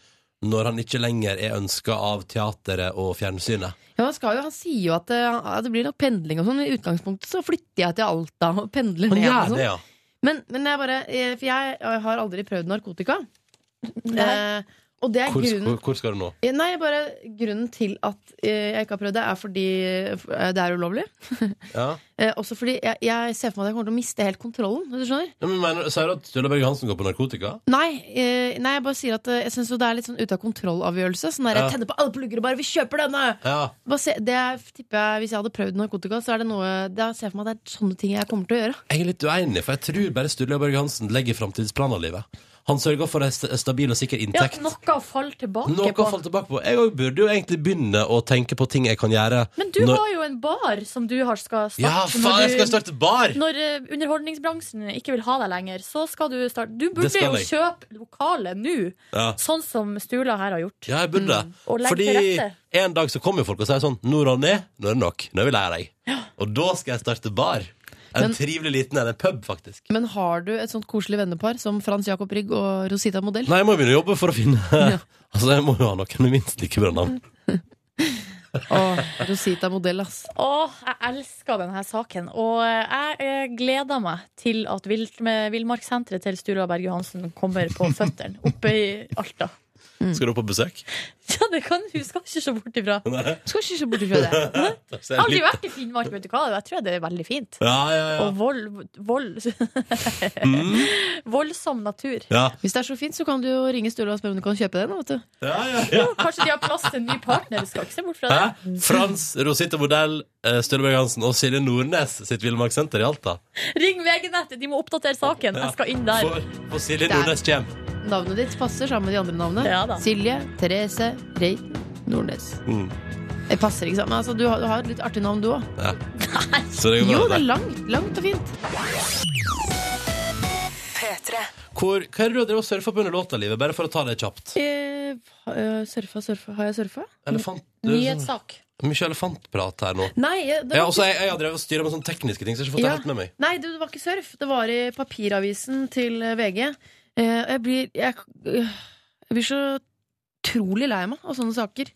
Speaker 2: når han ikke lenger er ønska av teateret og fjernsynet.
Speaker 5: Ja, man skal jo, han sier jo at det, ja, det blir nok pendling og sånn. men I utgangspunktet så flytter jeg til Alta og pendler
Speaker 2: Han
Speaker 5: ned. og
Speaker 2: gjør
Speaker 5: sånn.
Speaker 2: det, ja.
Speaker 5: Men, men jeg bare, eh, for jeg har aldri prøvd narkotika. Eh, og det er
Speaker 2: Hvor,
Speaker 5: grunnen
Speaker 2: hvor, hvor skal du nå?
Speaker 5: Eh, Nei, bare grunnen til at eh, jeg ikke har prøvd det, er fordi eh, det er ulovlig.
Speaker 2: Ja.
Speaker 5: Eh, også fordi jeg, jeg ser for meg at jeg kommer til å miste helt kontrollen. hvis Du skjønner?
Speaker 2: Ja, men mener, Sier du at Sturla Berg Hansen går på narkotika?
Speaker 5: Nei, eh, nei, jeg bare sier at eh, jeg syns det er litt sånn ute av kontroll-avgjørelse. Sånn der,
Speaker 2: Ja.
Speaker 5: jeg tenner på alle plugger og bare 'vi kjøper denne'!
Speaker 2: Ja.
Speaker 5: Bare se, det er- tipper jeg, Hvis jeg hadde prøvd narkotika, så er det noe Da ser jeg for meg at det er sånne ting jeg kommer til å gjøre.
Speaker 2: Jeg er litt uenig, for jeg tror bare Sturla Berg Hansen legger framtidsplaner i livet. Han sørger for en st- stabil og sikker
Speaker 4: Ja,
Speaker 2: inntekt.
Speaker 4: noe å falle tilbake
Speaker 2: Noe
Speaker 4: på.
Speaker 2: å falle tilbake på. Jeg også burde jo egentlig begynne å tenke på ting jeg kan gjøre.
Speaker 4: Men du
Speaker 2: når-
Speaker 4: har jo en bar som du har skal starte.
Speaker 2: Ja, faen, jeg skal
Speaker 4: når, du,
Speaker 2: starte bar!
Speaker 4: når eh, underholdningsbransjen ikke vil ha deg lenger, så skal du starte. Du burde
Speaker 2: skal
Speaker 4: jo
Speaker 2: jeg.
Speaker 4: kjøpe lokale nå,
Speaker 2: Ja.
Speaker 4: sånn som Stula her har gjort.
Speaker 2: Ja, jeg burde det.
Speaker 4: Mm, Og legg
Speaker 2: Fordi
Speaker 4: til rette.
Speaker 2: en dag så kommer jo folk og sier sånn Nå, Ronny, nå er det nok. Nå er vi lei deg. Og da skal jeg starte bar. En
Speaker 5: Men-
Speaker 2: trivelig liten en. En pub, faktisk.
Speaker 5: Men har du et sånt koselig vennepar som Frans Jacob Rygg og Rosita Modell?
Speaker 2: Nei, jeg må jo begynne å jobbe for å finne Altså, jeg må jo ha noen med minst like bra navn.
Speaker 5: Åh, Rosita Modell, ass.
Speaker 4: Åh, jeg elsker denne saken, og eh, jeg eh, gleder meg til at vilt- med Villmarkssenteret til Sturla Berg Johansen kommer på føttene oppe i Alta. Mm.
Speaker 2: Skal du på besøk?
Speaker 4: Ja, det kan du, skal ikke se bort ifra.
Speaker 5: Skal ikke se bort ifra det.
Speaker 4: Jeg har aldri vært i Finnmark, vet du hva. Jeg tror det er veldig fint.
Speaker 2: Ja, ja, Mm. ja.
Speaker 4: Og vold, vold Voldsom natur.
Speaker 2: Ja,
Speaker 5: Hvis det er så fint, så kan du jo ringe Sturla og spørre om du kan kjøpe den. da, Vet du.
Speaker 2: ja, ja, ja.
Speaker 4: Kanskje de har plass til en ny partner. Du skal ikke se bort fra
Speaker 2: Hæ?
Speaker 4: det.
Speaker 2: Frans, Rosita Modell, eh, Sturle Berg Hansen og Silje Nordnes sitt Villmarkssenter i Alta.
Speaker 4: Ring VG-nettet, de må oppdatere saken. Jeg skal inn der.
Speaker 2: For, for Silje
Speaker 5: Der.
Speaker 2: Nordnes kommer.
Speaker 5: Navnet ditt passer sammen med de andre navnene.
Speaker 4: Ja da.
Speaker 5: Silje Therese Reiten Nordnes.
Speaker 2: Mm.
Speaker 5: Det passer ikke sammen. Altså, du, har, du har et litt artig navn, du òg.
Speaker 2: Ja. Så det går bra.
Speaker 5: Jo,
Speaker 2: det.
Speaker 5: det er langt, langt og fint.
Speaker 2: Hvor, hva er det du har drevet og surfa på under låta, Livet? Bare for å ta det kjapt.
Speaker 8: Eh, eh, surfa, surfa. Har jeg surfa?
Speaker 2: Elefant, det er sånn,
Speaker 4: Nyhetssak.
Speaker 2: mye elefantprat her nå.
Speaker 8: Nei, eh, det
Speaker 2: Ja,
Speaker 8: var,
Speaker 5: altså,
Speaker 2: også, jeg, jeg har drevet og styra med sånne tekniske ting, så jeg har ikke fått det
Speaker 8: Ja.
Speaker 2: helt med meg.
Speaker 8: nei, du, det var ikke surf. Det var i papiravisen til eh, VG. Eh, og jeg blir jeg, øh, jeg blir så utrolig lei meg av sånne saker.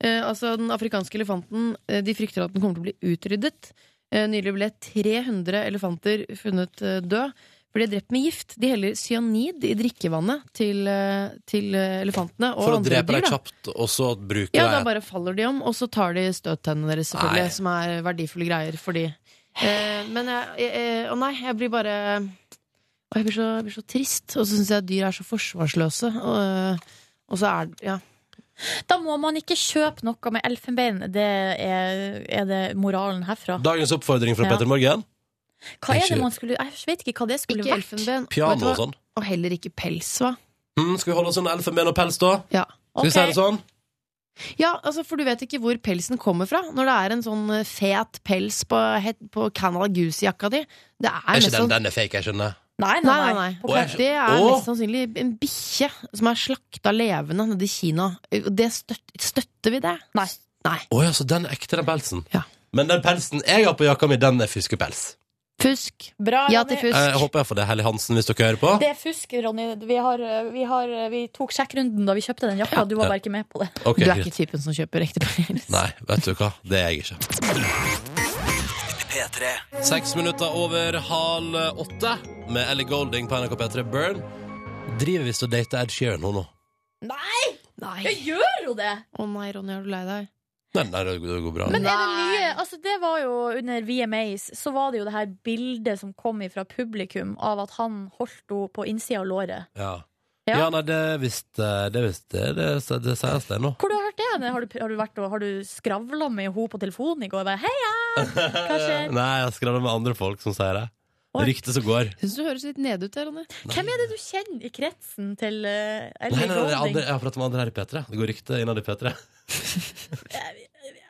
Speaker 8: Eh, altså, den afrikanske elefanten eh, De frykter at den kommer til å bli utryddet. Eh, nylig ble 300 elefanter funnet eh, død. Ble drept med gift. De heller cyanid i drikkevannet til, eh, til eh, elefantene og
Speaker 2: For å
Speaker 8: andre
Speaker 2: drepe
Speaker 8: dyr.
Speaker 2: deg
Speaker 8: da.
Speaker 2: kjapt, og så bruke
Speaker 8: Ja, da
Speaker 2: deg
Speaker 8: bare faller de om, og så tar de støttennene deres, selvfølgelig,
Speaker 2: Nei.
Speaker 8: som er verdifulle greier for de. Eh, men jeg, jeg, jeg Å nei, jeg blir bare Å, jeg blir så, jeg blir så trist, og så syns jeg at dyr er så forsvarsløse. Og, eh, og så er Ja.
Speaker 4: Da må man ikke kjøpe noe med elfenbein. Det er, er det moralen herfra.
Speaker 2: Dagens oppfordring fra
Speaker 4: Ja.
Speaker 2: Petter Morgen.
Speaker 4: Hva er det man skulle Jeg vet ikke hva det skulle
Speaker 8: Ikke
Speaker 4: vært.
Speaker 8: elfenben. vet du
Speaker 2: Piano
Speaker 8: hva?
Speaker 2: og sånn.
Speaker 8: Og heller ikke pels, hva?
Speaker 2: Mm, skal vi holde oss under elfenben og pels, da?
Speaker 8: Ja.
Speaker 2: Skal vi si det sånn?
Speaker 8: ja, altså, for du vet ikke hvor pelsen kommer fra. Når det er en sånn eh, fet pels på, het- på Canada Goose-jakka di, det er,
Speaker 2: Er
Speaker 8: mest
Speaker 2: ikke den,
Speaker 8: sånn
Speaker 2: den er fake, jeg skjønner.
Speaker 4: Nei, nei,
Speaker 8: Nei, nei,
Speaker 4: nei.
Speaker 8: nei.
Speaker 2: Å, jeg
Speaker 8: Det er
Speaker 2: Åh!
Speaker 8: mest sannsynlig en bikkje som er slakta levende nede i Kina. Det støt, støtter vi det?
Speaker 4: Nei.
Speaker 2: Å ja, så den er ekte, den pelsen.
Speaker 8: Ja.
Speaker 2: Men den pelsen jeg har på jakka mi, den er fiskepels.
Speaker 8: Fusk.
Speaker 4: Bra,
Speaker 8: Ja
Speaker 4: Ronny.
Speaker 8: til
Speaker 2: Eh, Jeg
Speaker 8: fusk.
Speaker 2: håper jeg får det, Hellig Hansen, hvis dere hører på.
Speaker 4: Det er fusk, Ronny. Vi, har, vi, har, vi tok sjekkrunden da vi kjøpte den jakka. Du var bare ikke med på det.
Speaker 2: Ok,
Speaker 8: Du er
Speaker 2: greit.
Speaker 8: ikke typen som kjøper ekte pels.
Speaker 2: Nei, vet du hva? Det er jeg ikke. Seks minutter over halv åtte med Ellie Golding på NRK P3 Burn. Driver visst og dater Ed Sheeran, hun nå.
Speaker 4: Nei,
Speaker 8: Nei.
Speaker 4: jeg gjør jo det!
Speaker 8: Å nei, Ronny, er du lei deg?
Speaker 2: Nei, nei, det går- det går bra.
Speaker 4: Men er det nye Altså, det var jo under VMAs, så var det jo det her bildet som kom fra publikum av at han holdt henne på innsida av låret.
Speaker 2: ja.
Speaker 4: Ja.
Speaker 2: Ja. nei, det er visst eh, Det er visst det, det, det, det sies det nå.
Speaker 4: Hvor har du hørt det? Anne? Har du, har du, vært og- har du skravla med henne på telefonen i går? Bare, Heia! Hva skjer?
Speaker 2: Nei, jeg skravler med andre folk som sier det.
Speaker 4: Oi.
Speaker 2: Ryktet som går.
Speaker 5: Syns du høres litt nede ut, der, Ronny.
Speaker 4: Hvem er det du kjenner i kretsen til uh,
Speaker 2: Nei, nei,
Speaker 4: Ellie
Speaker 2: nei, det er andre,
Speaker 4: Golding?
Speaker 2: jeg har pratet med andre her i P3. Det går rykte innad i P3.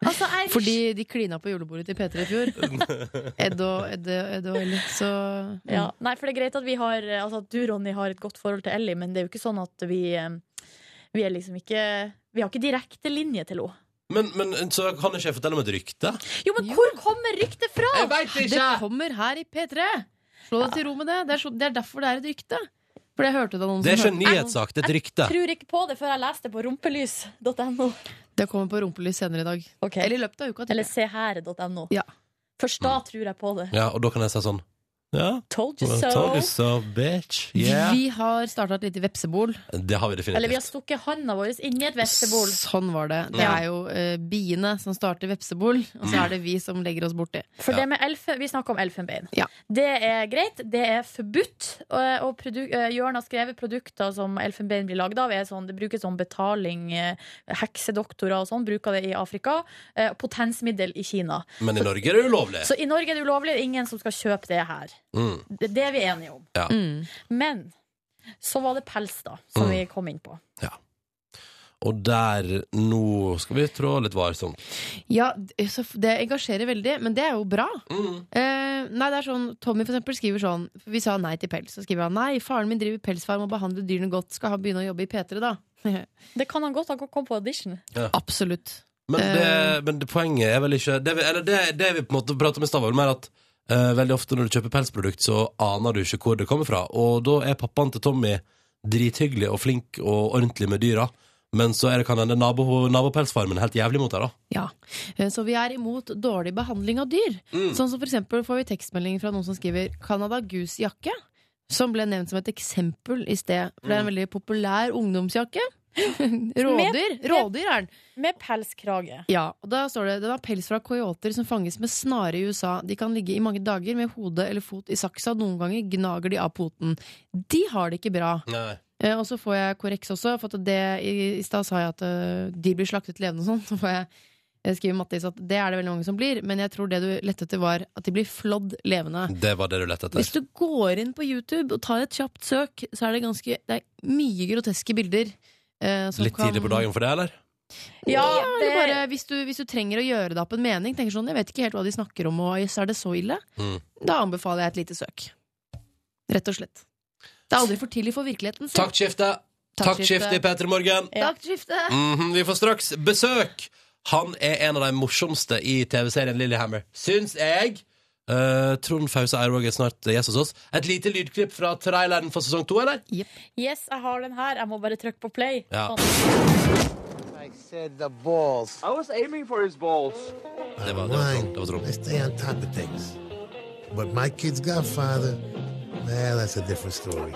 Speaker 4: Altså, jeg,
Speaker 5: Fordi de klina på julebordet til P3 i fjor. Ed og Ed, Ed og Ellie. Så
Speaker 4: Ja. Nei, for det er greit at vi har Altså at du, Ronny, har et godt forhold til Ellie, men det er jo ikke sånn at vi eh, Vi er liksom ikke Vi har ikke direkte linje til henne.
Speaker 2: Men, men så kan ikke jeg fortelle om et rykte?
Speaker 4: Jo, men hvor kommer ryktet fra?!
Speaker 2: veit
Speaker 5: Det kommer her i P3! Slå deg til ro med det. Det er, så, det er derfor det er et rykte. For jeg hørte det av noen
Speaker 2: Det er ikke
Speaker 5: som
Speaker 2: en
Speaker 5: hørte-
Speaker 2: nyhetssak, det er et rykte.
Speaker 4: Tror ikke på det før jeg leste det på rumpelys.no.
Speaker 5: Det kommer på rumpelys senere i dag.
Speaker 4: Ok.
Speaker 5: Eller i løpet av uka. tror
Speaker 4: Eller
Speaker 5: jeg.
Speaker 4: seher.no.
Speaker 5: Ja.
Speaker 4: Først da tror jeg på det.
Speaker 2: Ja, og da kan jeg si sånn Ja,
Speaker 4: Told you
Speaker 2: well,
Speaker 4: so.
Speaker 2: told you so, bitch. Yeah.
Speaker 5: Vi har starta et lite vepsebol.
Speaker 2: Det har vi
Speaker 4: Eller vi har
Speaker 2: definitivt.
Speaker 4: stukket handa vår inn i et vepsebol.
Speaker 5: Sånn var det. Det
Speaker 4: Ja.
Speaker 5: er jo eh, biene som starter vepsebol, og
Speaker 2: Mm.
Speaker 5: så er det vi som legger oss borti.
Speaker 4: For
Speaker 2: Ja.
Speaker 4: det med elfe, Vi snakker om elfenbein.
Speaker 5: Ja.
Speaker 4: Det er greit, det er forbudt. øh, Og produ- øh, Jørn har skrevet produkter som elfenbein blir lagd av. Er sånn, det brukes som betaling. eh, Heksedoktorer og sånn bruker det i Afrika. eh, Potensmiddel i Kina.
Speaker 2: Men i Norge er det ulovlig.
Speaker 4: Så i Norge er det ulovlig. det er Ingen som skal kjøpe det her.
Speaker 2: Mm.
Speaker 4: Det det er vi enige om.
Speaker 2: Ja.
Speaker 4: Men så var det pels, da, som
Speaker 2: Mm.
Speaker 4: vi kom inn på.
Speaker 2: Og der Nå skal vi trå litt varsomt.
Speaker 5: Ja, d- så f- det engasjerer veldig, men det er jo bra.
Speaker 2: Mm.
Speaker 5: Eh, nei, det er sånn, Tommy for eksempel skriver sånn for Vi sa nei til pels. Så skriver han nei, faren min driver pelsfarm og behandler dyrene godt. Skal han begynne å jobbe i P3, da?
Speaker 4: Det kan han godt. Han kan komme på audition.
Speaker 5: Absolutt.
Speaker 2: Men,
Speaker 5: Eh.
Speaker 2: det, men det poenget er vel ikke det, vi- Eller det, det vi på en måte prater om i stad, var vel mer at eh, veldig ofte når du kjøper pelsprodukt, så aner du ikke hvor det kommer fra. Og da er pappaen til Tommy drithyggelig og flink og ordentlig med dyra, men så er det kan hende nabo, nabopelsfarmen er helt jævlig mot deg, da.
Speaker 5: Ja. Eh, Så vi er imot dårlig behandling av dyr. Sånn som for eksempel får vi tekstmeldinger fra noen som skriver Canada Goose jakke. Som ble nevnt som et eksempel i sted. For det er en veldig populær ungdomsjakke. Rådyr. Rådyr er den.
Speaker 4: Med pelskrage.
Speaker 5: Ja, og da står det Den har pels fra coyoter som fanges med snare i USA. De kan ligge i mange dager med hode eller fot i saksa. Noen ganger gnager de av poten. De har det ikke bra.
Speaker 2: Nei.
Speaker 5: Eh, og så får jeg korreks også. For at det, I i stad sa jeg at eh, de blir slaktet levende og sånn. Så får jeg eh, skrive Mattis at det er det veldig mange som blir. Men jeg tror det du lette etter, var at de blir flådd levende.
Speaker 2: Det var det du lette etter.
Speaker 5: Hvis du går inn på YouTube og tar et kjapt søk, så er det ganske Det er mye groteske bilder. eh, som
Speaker 2: Litt
Speaker 5: kan-
Speaker 2: tidlig på dagen for det, eller?
Speaker 4: Ja,
Speaker 5: Eller bare, hvis, du, hvis du trenger å gjøre deg opp en mening, tenker sånn, jeg vet ikke helt hva de snakker om, og jøss, er det så ille?
Speaker 2: Mm.
Speaker 5: Da anbefaler jeg et lite søk. Rett og slett. Det er aldri for tidlig for virkeligheten. selv.
Speaker 2: Taktskifte!
Speaker 5: Taktskifte.
Speaker 2: Taktskifte i P3 Morgen!
Speaker 4: Ja.
Speaker 5: Taktskifte!
Speaker 2: Mhm, vi får straks besøk. Han er en av de morsomste i TV-serien Lillehammer, syns jeg. Eh, Trond Fause Eirvåg er snart gjest hos oss. Et lite lydklipp fra traileren for sesong to, eller?
Speaker 4: Yes, jeg har den her. Jeg må bare trykke på play.
Speaker 2: Ja.
Speaker 4: Sånn.
Speaker 9: I said the balls.
Speaker 7: I was aiming for his balls.
Speaker 2: Det var, det var Trond. Det var Trond.
Speaker 10: I stay on top of things. But my kid's godfather, nah, that's a different story.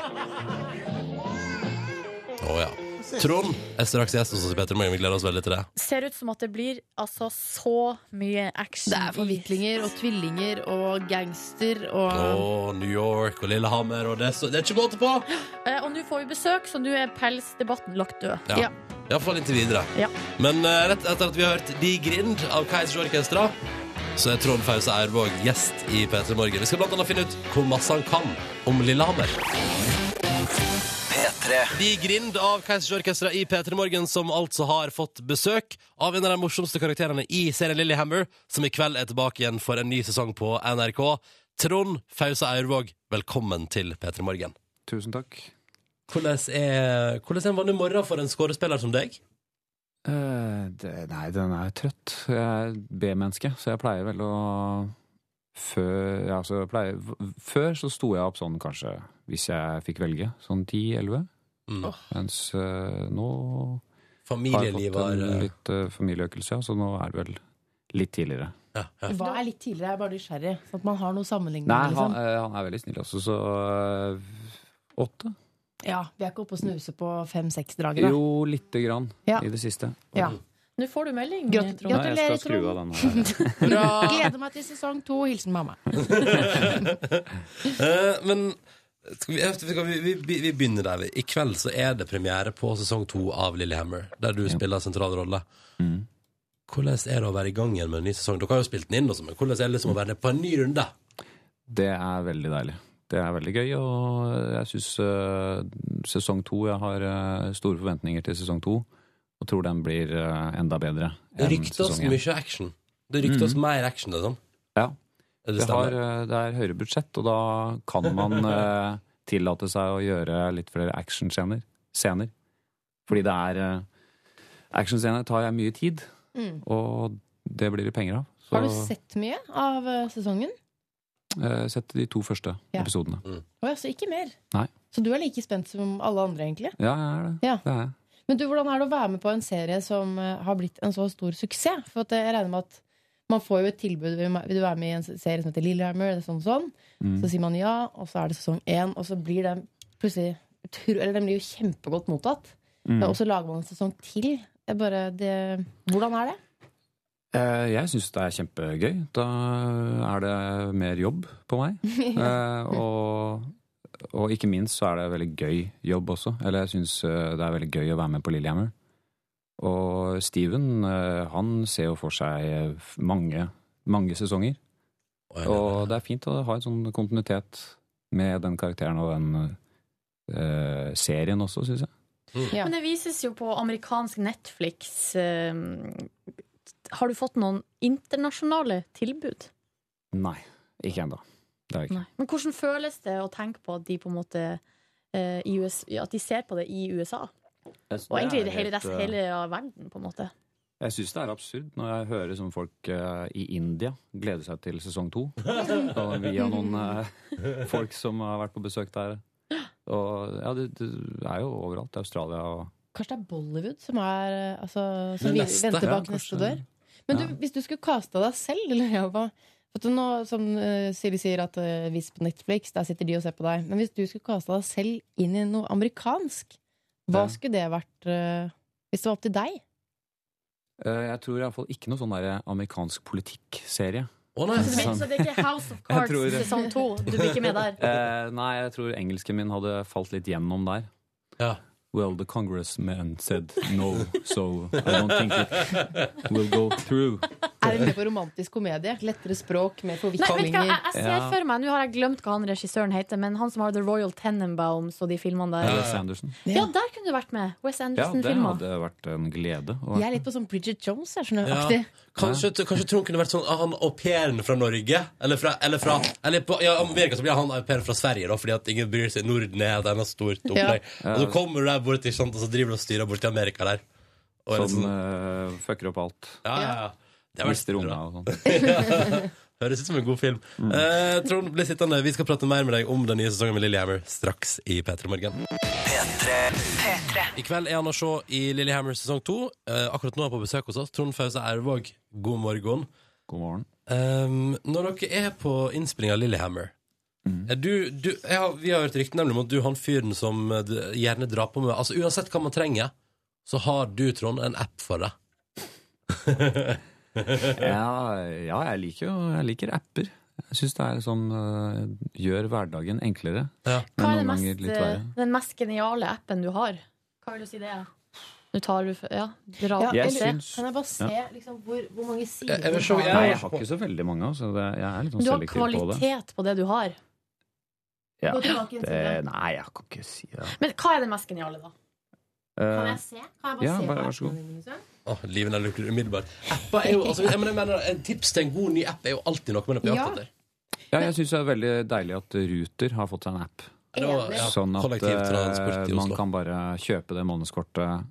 Speaker 2: Å, ja. Trond er straks gjest hos oss i P3 Morgen. Vi gleder oss veldig til det.
Speaker 4: Ser ut som at det blir altså så mye action.
Speaker 5: Det er forviklinger og tvillinger og gangster og
Speaker 2: Å, New York og Lillehammer og det, er så, det er ikke måte på!
Speaker 4: i- Eh, Og nå får vi besøk, så nå er pelsdebatten lagt død.
Speaker 2: Ja. Iallfall inntil videre.
Speaker 4: Ja.
Speaker 2: Men eh, rett etter at vi har hørt De Grind av Keisers Orkestra, så er Trond Fause Eirvåg gjest i P3 Morgen. Vi skal blant annet finne ut hvor masse han kan om Lillehammer. De Grind av Keisers Orkestra i P3 Morgen, som altså har fått besøk av en av de morsomste karakterene i serien Lillehammer, som i kveld er tilbake igjen for en ny sesong på NRK. Trond Fause Eirvåg, velkommen til P3 Morgen.
Speaker 11: Tusen takk.
Speaker 2: Hvordan er, hvordan er en vanlig morgen for en skårespiller som deg?
Speaker 11: Eh, det, nei, den er trøtt. Jeg er B-menneske, så jeg pleier vel å før, ja, så jeg pleier, v- før så sto jeg opp sånn kanskje, hvis jeg fikk velge, sånn 10-11.
Speaker 2: Mm.
Speaker 11: Mens eh, nå har jeg
Speaker 2: Familielivet
Speaker 11: fått
Speaker 2: har
Speaker 11: en
Speaker 2: eh,
Speaker 11: litt eh, familieøkelse, ja, så nå er det vel litt tidligere.
Speaker 2: ja, ja.
Speaker 5: Hva er litt tidligere? Jeg er bare nysgjerrig. Sånn at man har noe sammenligning.
Speaker 11: Nei,
Speaker 5: liksom.
Speaker 11: han, eh, han er veldig snill også, så eh, åtte?
Speaker 5: Ja, Vi er ikke oppe og snuser på fem-seks-draget, da.
Speaker 11: Jo, lite grann
Speaker 5: Ja.
Speaker 11: i det siste.
Speaker 5: Ja.
Speaker 4: Nå får du melding.
Speaker 5: Grat-
Speaker 4: Trond.
Speaker 11: Nei, jeg skal skru av den her.
Speaker 5: Gleder meg til sesong to. Hilsen mamma.
Speaker 2: Eh, Men skal vi, eh, skal vi, vi- vi, vi begynner der. vi. I kveld så er det premiere på sesong to av Lillehammer, der du spiller sentral rolle.
Speaker 11: Mm.
Speaker 2: Hvordan er det å være i gang igjen med en ny sesong? Dere har jo spilt den inn, også, men hvordan er det liksom å være på en ny runde?
Speaker 11: Det er veldig deilig. Det er veldig gøy, og jeg syns sesong to Jeg har eh, store forventninger til sesong to, og tror den blir eh, enda bedre
Speaker 2: Det
Speaker 11: enn
Speaker 2: ryktes
Speaker 11: sesong én.
Speaker 2: mye action. Det ryktes mer action, liksom.
Speaker 11: Mm. Ja.
Speaker 2: Er det
Speaker 11: Det, har,
Speaker 2: stemmer?
Speaker 11: eh, det er høyere budsjett, og da kan man eh, tillate seg å gjøre litt flere actionscener. scener. Fordi det er eh, Actionscener tar jeg mye tid,
Speaker 5: Mm.
Speaker 11: og det blir det penger av. Så
Speaker 5: Har du sett mye av eh, sesongen?
Speaker 11: Eh, Sett de to første
Speaker 5: Ja.
Speaker 11: episodene.
Speaker 5: Å ja, så ikke mer.
Speaker 11: Nei.
Speaker 5: Så du er like spent som alle andre, egentlig?
Speaker 11: Ja, jeg er det.
Speaker 5: Ja.
Speaker 11: Det er jeg.
Speaker 5: Men du, hvordan er det å være med på en serie som eh, har blitt en så stor suksess? For at eh, jeg regner med at man får jo et tilbud Vil ma- vil du være med i en serie som heter Lillehammer? Eller sånn, og sånn.
Speaker 11: Mm.
Speaker 5: Så sier man ja, og så er det sesong én, og så blir den plutselig utro- Eller den blir jo kjempegodt mottatt.
Speaker 11: Mm.
Speaker 5: Og så lager man en sesong til. Det er bare det Hvordan er det?
Speaker 11: Eh, Jeg syns det er kjempegøy. Da er det mer jobb på meg. Eh, og, og ikke minst så er det veldig gøy jobb også. Eller jeg syns det er veldig gøy å være med på Lillehammer. Og Steven, eh, han ser jo for seg eh, mange, mange sesonger. Og det er fint å ha en sånn kontinuitet med den karakteren og den eh, serien også, syns jeg.
Speaker 2: Mm.
Speaker 4: Men det vises jo på amerikansk Netflix. eh, Har du fått noen internasjonale tilbud?
Speaker 11: Nei, ikke ennå. Det er jeg ikke.
Speaker 4: Nei. Men hvordan føles det å tenke på at de på en måte eh, i US, ja, At de ser på det i USA? Og egentlig i det hele,
Speaker 11: eh,
Speaker 4: resten, hele verden, på en måte.
Speaker 11: Jeg syns det er absurd når jeg hører som folk eh, i India gleder seg til sesong to. Og via noen eh, folk som har vært på besøk der. Og ja, det, det er jo overalt. Australia og
Speaker 5: Kanskje det er Bollywood som, er, eh, altså, som
Speaker 11: Det
Speaker 5: vi
Speaker 11: neste.
Speaker 5: venter bak
Speaker 11: Ja,
Speaker 5: neste
Speaker 11: kanskje.
Speaker 5: dør? Men du,
Speaker 11: Ja.
Speaker 5: hvis du skulle kasta deg selv, eller jeg hva Vet du, nå, Som eh, Siri sier, at eh, hvis på Netflix, der sitter de og ser på deg. Men hvis du skulle kasta deg selv inn i noe amerikansk, hva
Speaker 11: Ja.
Speaker 5: skulle det vært eh, hvis det var opp til deg?
Speaker 11: eh, Jeg tror iallfall ikke noe sånn der amerikansk politikkserie.
Speaker 4: Så det, så det er ikke House of Cards
Speaker 11: Jeg tror-
Speaker 4: sesong to? Du blir ikke med der?
Speaker 11: Eh, nei, jeg tror engelsken min hadde falt litt gjennom der. Well, the congressman said no, so I don't think it will go through.
Speaker 5: Er det mye på romantisk komedie? Lettere språk, mer
Speaker 4: Nei, vet du hva,
Speaker 5: forviklinger?
Speaker 4: jeg, jeg ser
Speaker 11: Ja.
Speaker 4: for meg, Nå har jeg glemt hva han regissøren heter, men han som har The Royal Tenenbaums og de filmene der.
Speaker 11: Wes Anderson.
Speaker 4: Ja, der kunne du vært med! Wes
Speaker 11: Ja, det
Speaker 4: Anderson-filmer.
Speaker 11: hadde vært en glede. å
Speaker 5: Jeg er litt på sånn Bridget Jones, jeg skjønner.
Speaker 2: Ja.
Speaker 5: aktig.
Speaker 2: Kanskje, kanskje Trond kunne vært sånn ah, Han au pairen fra Norge Eller fra, eller fra eller på, ja, Amerika så blir han au pairen fra Sverige da, Fordi at ingen bryr seg Norden er den stort opplegg Og så kommer du der bort ikke sant, Og så driver du og styrer bort til Amerika der og er litt
Speaker 11: Som
Speaker 2: sånn,
Speaker 11: eh, fucker opp alt.
Speaker 2: ja, ja, ja. Det har vært
Speaker 11: Mister unga og sånn.
Speaker 2: Ja. Høres ut som en god film eh, Trond, bli sittende Vi skal prate mer med deg om den nye sesongen med Lillehammer Straks i P3 Morgen I kveld er han å se i Lillehammer sesong 2 eh, Akkurat nå er han på besøk hos oss Trond Fausa Ervåg, god morgen
Speaker 11: God morgen.
Speaker 2: Um, når dere er på innspilling av Lillehammer
Speaker 11: Mm.
Speaker 2: er du, du, jeg har, Vi har hørt rykten nemlig om at du er han fyren som eh, d- gjerne drar på med Altså Uansett hva man trenger, så har du, Trond, en app for det.
Speaker 11: Ja, ja jeg, liker jo, jeg liker apper. Jeg syns det er sånn eh, gjør hverdagen enklere.
Speaker 4: Hva er
Speaker 11: Men
Speaker 4: den mest, eh,
Speaker 11: noen ganger litt verre.
Speaker 4: den mest geniale appen du har? Hva vil du si det er? Nå tar du f- Ja, dra
Speaker 5: Ja,
Speaker 11: Jeg
Speaker 5: eller,
Speaker 11: syns-
Speaker 5: Kan jeg bare se
Speaker 11: Ja.
Speaker 5: liksom, hvor, hvor mange sider
Speaker 2: Jeg- jeg vil se-
Speaker 5: du
Speaker 2: jeg-
Speaker 11: Nei,
Speaker 5: har?
Speaker 11: jeg har ikke så veldig mange, så det, jeg er litt sånn
Speaker 4: Du har
Speaker 11: selektiv på det.
Speaker 4: kvalitet på det du har.
Speaker 11: Ja.
Speaker 5: Gå tilbake i en
Speaker 11: det.
Speaker 5: side.
Speaker 11: Nei, jeg kan ikke si det.
Speaker 4: Men hva er det mest geniale, da? Kan
Speaker 11: Eh,
Speaker 4: jeg se? Kan jeg bare
Speaker 11: ja,
Speaker 4: se?
Speaker 11: bare, vær så god.
Speaker 2: Åh, livet er lykkelig umiddelbart. Appa er jo, altså, jeg mener, jeg mener, en tips til en god ny app er jo alltid noe man blir
Speaker 5: Ja.
Speaker 2: opptatt av.
Speaker 11: Ja, jeg syns det er veldig deilig at Ruter har fått seg en app.
Speaker 2: Det var- ja,
Speaker 11: Sånn at
Speaker 2: kollektivtransport
Speaker 11: eh,
Speaker 2: i
Speaker 11: man
Speaker 2: Oslo.
Speaker 11: kan bare kjøpe det månedskortet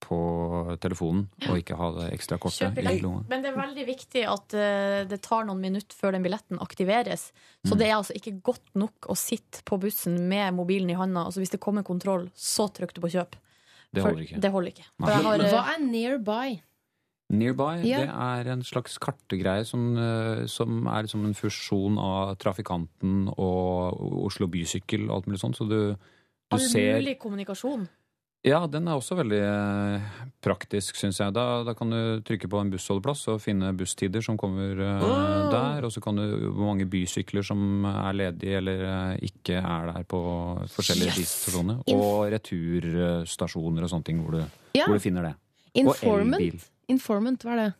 Speaker 11: på telefonen, og ikke ha det ekstra kortet i
Speaker 4: Kjøpebillett.
Speaker 11: lomma.
Speaker 4: Men det er veldig viktig at eh, det tar noen minutter før den billetten aktiveres.
Speaker 11: Mm.
Speaker 4: Så det er altså ikke godt nok å sitte på bussen med mobilen i handa. Altså hvis det kommer kontroll, så trykk du på kjøp.
Speaker 11: Det holder ikke.
Speaker 4: For, det holder ikke.
Speaker 11: Nei.
Speaker 4: For jeg har,
Speaker 5: Hva
Speaker 4: eh,
Speaker 5: er nearby?
Speaker 11: Nearby
Speaker 5: Ja.
Speaker 11: det er en slags kartegreie som, eh, som er liksom en fusjon av Trafikanten og Oslo Bysykkel og alt mulig sånt. Så du, du
Speaker 4: all
Speaker 11: ser
Speaker 4: mulig kommunikasjon.
Speaker 11: Ja, den er også veldig eh, praktisk, syns jeg. Da, da kan du trykke på en bussholdeplass og finne busstider som kommer eh, der. Og så kan du hvor mange bysykler som er ledige eller eh, ikke er der på forskjellige stasjoner. Og returstasjoner og sånne ting hvor du,
Speaker 5: Ja.
Speaker 11: hvor du finner det.
Speaker 5: Informant?
Speaker 11: elbil.
Speaker 5: Informant, hva er det?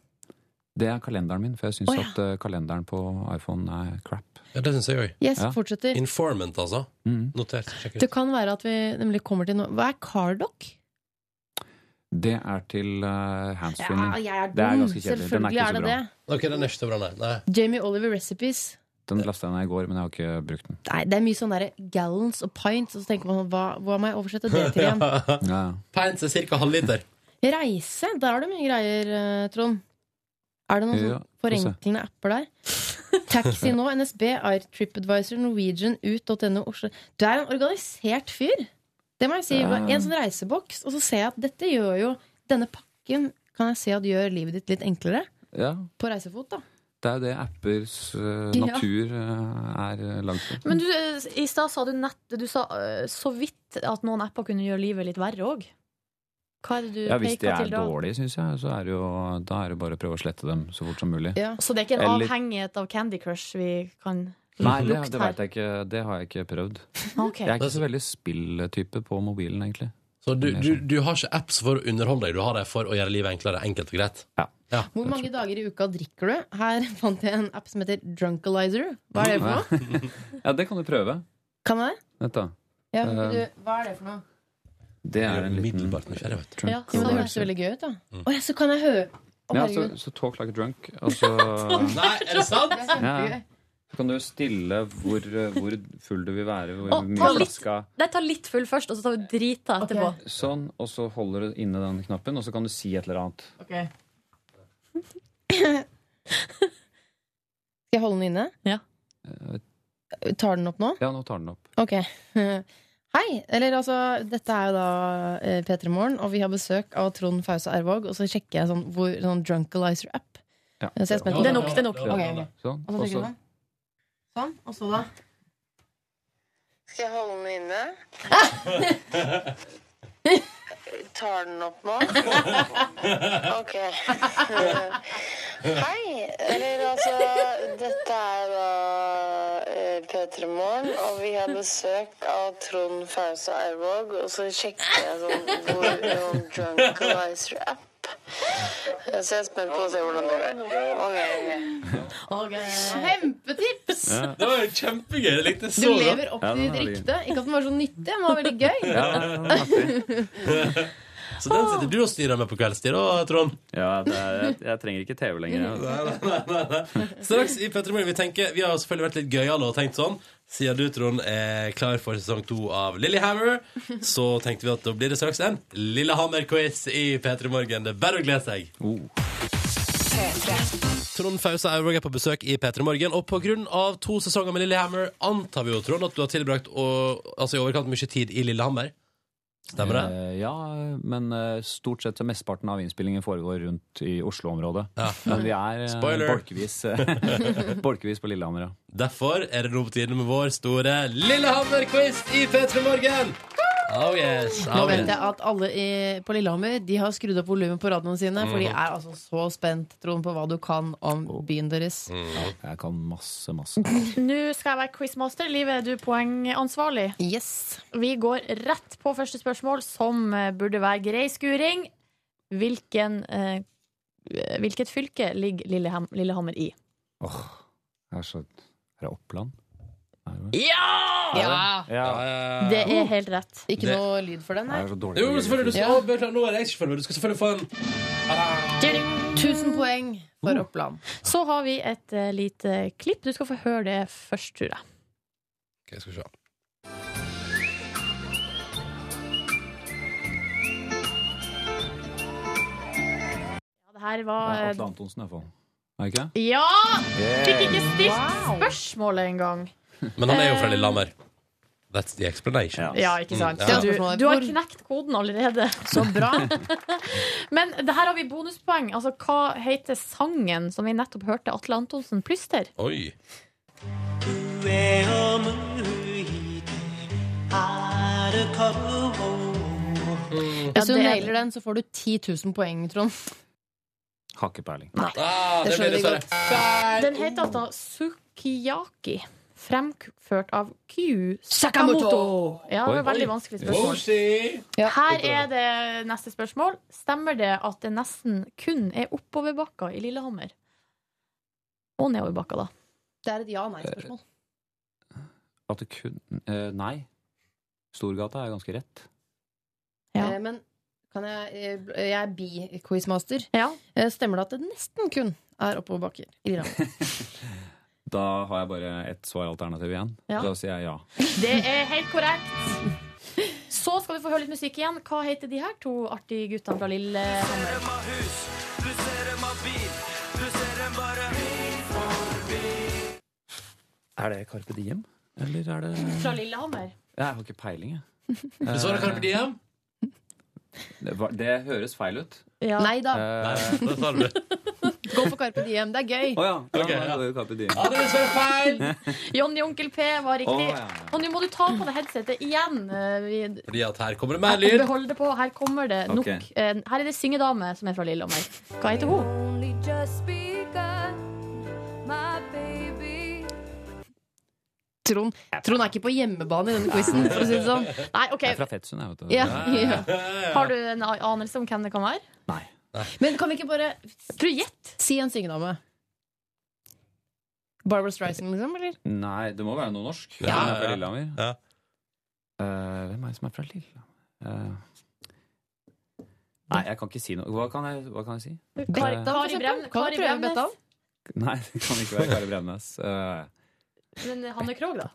Speaker 11: Det er kalenderen min, for jeg syns
Speaker 5: Å, ja.
Speaker 11: at eh, kalenderen på iPhone er crap.
Speaker 2: Ja, det syns jeg òg.
Speaker 5: Yes,
Speaker 11: Ja.
Speaker 5: fortsetter.
Speaker 2: Informant, altså.
Speaker 11: Mm.
Speaker 2: Notert. Sjekk ut.
Speaker 5: Det kan være at vi nemlig kommer til noe Hva er Cardock?
Speaker 11: Det er til uh, handsfree min.
Speaker 5: jeg er
Speaker 11: Det er ganske kjedelig. Den
Speaker 5: Selvfølgelig
Speaker 11: er ikke
Speaker 5: er
Speaker 11: så
Speaker 5: det
Speaker 11: bra.
Speaker 5: det.
Speaker 2: Ok, den er ikke så bra, nei. nei.
Speaker 5: Jamie Oliver Recipes.
Speaker 11: Den lasta jeg ned i går, men jeg har ikke brukt den.
Speaker 5: Nei, det er mye sånn derre gallons og pints, og så tenker man sånn, hva, hva må jeg oversette det til igjen?
Speaker 11: Ja.
Speaker 2: Pints er ca. halvliter.
Speaker 5: Reise, der har du mye greier, eh, Trond. Er det noen
Speaker 11: Ja,
Speaker 5: sånne
Speaker 11: få se.
Speaker 5: forenklende apper der? Taxi nå, NSB, Air TripAdvisor, Norwegian, ut.no, Oslo Du er en organisert fyr! Det må jeg si.
Speaker 12: Ja.
Speaker 5: En sånn reiseboks. Og så ser jeg at dette gjør jo Denne pakken kan jeg se at gjør livet ditt litt enklere.
Speaker 11: Ja.
Speaker 5: På reisefot, da.
Speaker 11: Det er jo det appers eh,
Speaker 4: Ja.
Speaker 11: natur eh, er langt fra.
Speaker 4: Men du, eh, i stad sa du nett Du sa eh, så vidt at noen apper kunne gjøre livet litt verre òg. Hva er det du
Speaker 11: Ja, hvis de
Speaker 4: peker
Speaker 11: er
Speaker 4: til da?
Speaker 11: dårlige, syns jeg, så er det jo, da er det bare å prøve å slette dem så fort som mulig.
Speaker 4: Så det er ikke en
Speaker 11: Eller-
Speaker 4: avhengighet av Candy Crush vi kan
Speaker 11: Nei, det,
Speaker 4: lukte
Speaker 11: det
Speaker 4: her?
Speaker 11: veit jeg ikke. Det har jeg ikke prøvd.
Speaker 4: Ok.
Speaker 11: Jeg er ikke så veldig spilltype på mobilen, egentlig.
Speaker 2: Så du, du, du har ikke apps for å underholde deg, du har det for å gjøre livet enklere, enkelt og greit. Ja.
Speaker 5: Hvor mange dager i uka drikker du? Her fant jeg en app som heter Drunkalizer. Hva er det for noe?
Speaker 11: noe? ja, det kan du prøve.
Speaker 5: Kan jeg?
Speaker 11: Vent, da.
Speaker 5: Ja,
Speaker 11: Eh,
Speaker 5: du, hva er det for noe?
Speaker 11: det er en liten
Speaker 5: Ja, sånn det høres jo veldig gøy ut, da. Å ja, så kan jeg høre Å,
Speaker 11: Mm. Ja, altså, så,
Speaker 5: herregud.
Speaker 11: så talk like a drunk. Og så
Speaker 2: Nei, er det sant?
Speaker 5: Det er kjempegøy.
Speaker 11: Ja. Så kan du stille hvor, eh, hvor full du vil være, hvor
Speaker 4: Å,
Speaker 11: mye
Speaker 4: ta litt.
Speaker 11: flaska
Speaker 4: Nei, ta litt full først, og så tar vi drita etterpå.
Speaker 11: Sånn, og så holder du inne den knappen, og så kan du si et eller annet.
Speaker 5: Skal jeg holde den inne? Eh, Tar den opp nå?
Speaker 11: Ja, nå tar den opp.
Speaker 5: Ok. Hei! Eller altså, dette er jo da eh, P3 Morgen, og vi har besøk av Trond Fause Ervåg, og så sjekker jeg sånn, hvor, sånn Drunkalizer-app.
Speaker 11: Ja.
Speaker 5: Så jeg er spent på
Speaker 4: Det er nok, det er nok.
Speaker 5: Ok, ok.
Speaker 11: Sånn.
Speaker 5: Og så trykker du
Speaker 11: og
Speaker 5: den. Sånn. Og så, da? Skal jeg holde den inne? Tar den opp nå? Ok. Hei! Eller altså, dette er da P3 Morgen, og vi har besøk av Trond Fause Eirvåg, og så sjekker jeg sånn hvor um, Drunkalizer-app. Så jeg er spent på å se hvordan det går. Kjempetips!
Speaker 11: Ja.
Speaker 2: Det var jo kjempegøy. Det likte jeg
Speaker 5: Du
Speaker 2: så godt.
Speaker 5: lever opp til ditt rykte. Ikke at den var så nyttig, men den var veldig gøy.
Speaker 2: Så den sitter du og styrer med på kveldstid, da, Trond.
Speaker 11: Ja, det er, jeg, jeg trenger ikke TV lenger. jeg.
Speaker 2: Straks i Petter Morgen. Vi, tenker, vi har selvfølgelig vært litt gøyale og tenkt sånn. Siden du, Trond, er klar for sesong to av Lillehammer, så tenkte vi at da blir det straks en Lillehammer-quiz i P3 Morgen. Det er bare å glede seg. Trond Fausa Aurvåg er på besøk i P3 Morgen, og pga. to sesonger med Lillehammer antar vi jo, Trond, at du har tilbrakt å- altså, i overkant mye tid i Lillehammer. Stemmer det?
Speaker 11: Eh, Ja, men eh, stort sett så mesteparten av innspillingen foregår rundt i Oslo-området.
Speaker 2: Ja.
Speaker 11: Men vi er eh,
Speaker 2: Spoiler.
Speaker 11: bolkevis, bolkevis på Lillehammer, ja.
Speaker 2: Derfor er det nå på tide med vår store Lillehammer-quiz i P3 Morgen! Oh yes,
Speaker 5: Nå
Speaker 2: oh
Speaker 5: vet
Speaker 2: yes.
Speaker 5: jeg at alle i, på Lillehammer De har skrudd opp volumet på radioene sine, for de
Speaker 2: Mhm.
Speaker 5: er altså så spent, Trond, på hva du kan om byen deres.
Speaker 11: Mm. Jeg kan masse, masse.
Speaker 4: Nå skal jeg være quizmaster. Live, er du poengansvarlig?
Speaker 5: Yes.
Speaker 4: Vi går rett på første spørsmål, som eh, burde være grei skuring. Hvilken, eh, hvilket fylke ligger Lilleham, Lillehammer i?
Speaker 11: Åh, jeg er så Er det Oppland?
Speaker 4: Ja!
Speaker 5: Ja!
Speaker 11: Ja,
Speaker 4: Det er helt rett.
Speaker 5: Ikke
Speaker 2: Det-
Speaker 5: noe lyd for den, nei.
Speaker 11: jeg er så dårlig.
Speaker 2: Jo, men selvfølgelig, du skal,
Speaker 5: Ja.
Speaker 2: Å, beklager, nå er jeg ikke forberedt. Du skal selvfølgelig få en
Speaker 5: Tusen poeng for Oppland.
Speaker 4: Så har vi et eh, lite klipp. Du skal få høre det først, tror jeg.
Speaker 2: Ok, skal vi se.
Speaker 4: Ja, det her
Speaker 11: Det
Speaker 4: var
Speaker 11: er
Speaker 4: eh,
Speaker 11: Atle Antonsen, i hvert fall. Er det ikke?
Speaker 4: Ja! Fikk ikke stilt
Speaker 5: Wow.
Speaker 4: spørsmålet engang.
Speaker 2: Men han er jo fra Lillehammer. That's the explanation.
Speaker 11: Ja.
Speaker 4: Ja, ikke sant?
Speaker 2: Mm,
Speaker 4: Så
Speaker 2: ja.
Speaker 4: Du, du har knekt koden allerede. Så bra. Men det her har vi bonuspoeng. Altså, hva heter sangen som vi nettopp hørte Atle Antonsen plystre?
Speaker 2: Oi.
Speaker 5: Hvis
Speaker 4: Ja,
Speaker 5: du
Speaker 4: det er-
Speaker 5: nailer den, så får du 10 000 poeng, Trond.
Speaker 11: Har ikke peiling.
Speaker 2: Ah, det
Speaker 5: Det
Speaker 2: blir
Speaker 5: skjønner vi
Speaker 2: dessverre feil.
Speaker 4: Den heter altså Sukiyaki. Fremført av Kyu Sakamoto. Ja, det var
Speaker 11: Oi.
Speaker 4: veldig vanskelig spørsmål.
Speaker 2: Oshi.
Speaker 4: Her er det neste spørsmål. Stemmer det at det nesten kun er oppoverbakker i Lillehammer? Og nedoverbakker, da.
Speaker 5: Det er et ja-nei-spørsmål.
Speaker 11: At det kun eh, Nei. Storgata er ganske rett.
Speaker 4: Ja.
Speaker 5: Eh, Men kan jeg eh, Jeg er bi-quizmaster.
Speaker 4: Ja.
Speaker 5: Eh, Stemmer det at det nesten kun er oppoverbakker? i Lillehammer?
Speaker 11: Da har jeg bare ett svaralternativ igjen.
Speaker 4: Ja.
Speaker 11: Da sier jeg ja.
Speaker 4: Det er helt korrekt. Så skal vi få høre litt musikk igjen. Hva heter de her to artige guttene fra Lillehammer?
Speaker 11: Er det Carpe Diem? Eller er det
Speaker 4: Fra Lillehammer.
Speaker 11: Jeg har ikke peiling, jeg.
Speaker 2: Du så det Carpe Diem?
Speaker 11: Det, var, det høres feil ut.
Speaker 5: Nei da.
Speaker 11: Eh,
Speaker 2: Nei, da tar du det.
Speaker 5: Gå for Carpe Diem. Det er gøy.
Speaker 11: Å ja. ja,
Speaker 2: Ok, ja.
Speaker 11: det var jo Carpe Diem.
Speaker 2: Ja, det er dessverre feil!
Speaker 4: Jonny Onkel P var riktig.
Speaker 11: Å, ja, ja.
Speaker 4: Og nå må du ta på deg headsetet igjen. eh, Vi
Speaker 2: Fordi at her kommer det mer lyd.
Speaker 4: Behold det på. Her kommer det nok.
Speaker 11: Ok.
Speaker 4: eh, Her er det syngedame som er fra Lillehammer. Hva heter hun?
Speaker 5: Trond, Trond er ikke på hjemmebane i denne quizen, for å si det sånn.
Speaker 4: Nei, OK.
Speaker 11: Jeg er fra Fetsund, jeg, vet du.
Speaker 5: Ja, ja.
Speaker 4: Har du en a- anelse om hvem det kan være?
Speaker 11: Nei.
Speaker 5: Men kan vi ikke bare
Speaker 4: Tror jeg gjett.
Speaker 5: si en syngedame? Barbara Streisand, liksom? Eller?
Speaker 11: Nei, det må være noe norsk.
Speaker 2: Ja,
Speaker 11: Hun er
Speaker 2: ja,
Speaker 11: fra
Speaker 2: ja.
Speaker 11: Lillehammer.
Speaker 2: Ja.
Speaker 11: Eh, hvem er det som er fra Lillehammer? Eh, nei, jeg kan ikke si noe. Hva kan jeg, hva kan jeg si?
Speaker 5: Bettan, for
Speaker 4: Kari
Speaker 5: eksempel.
Speaker 4: Brem-
Speaker 5: Kan
Speaker 4: Kari
Speaker 5: vi prøve
Speaker 4: Bremnes?
Speaker 5: Bettan?
Speaker 11: Nei, det kan ikke være Kari Bremnes. Eh,
Speaker 4: Men Hanne Krogh, da?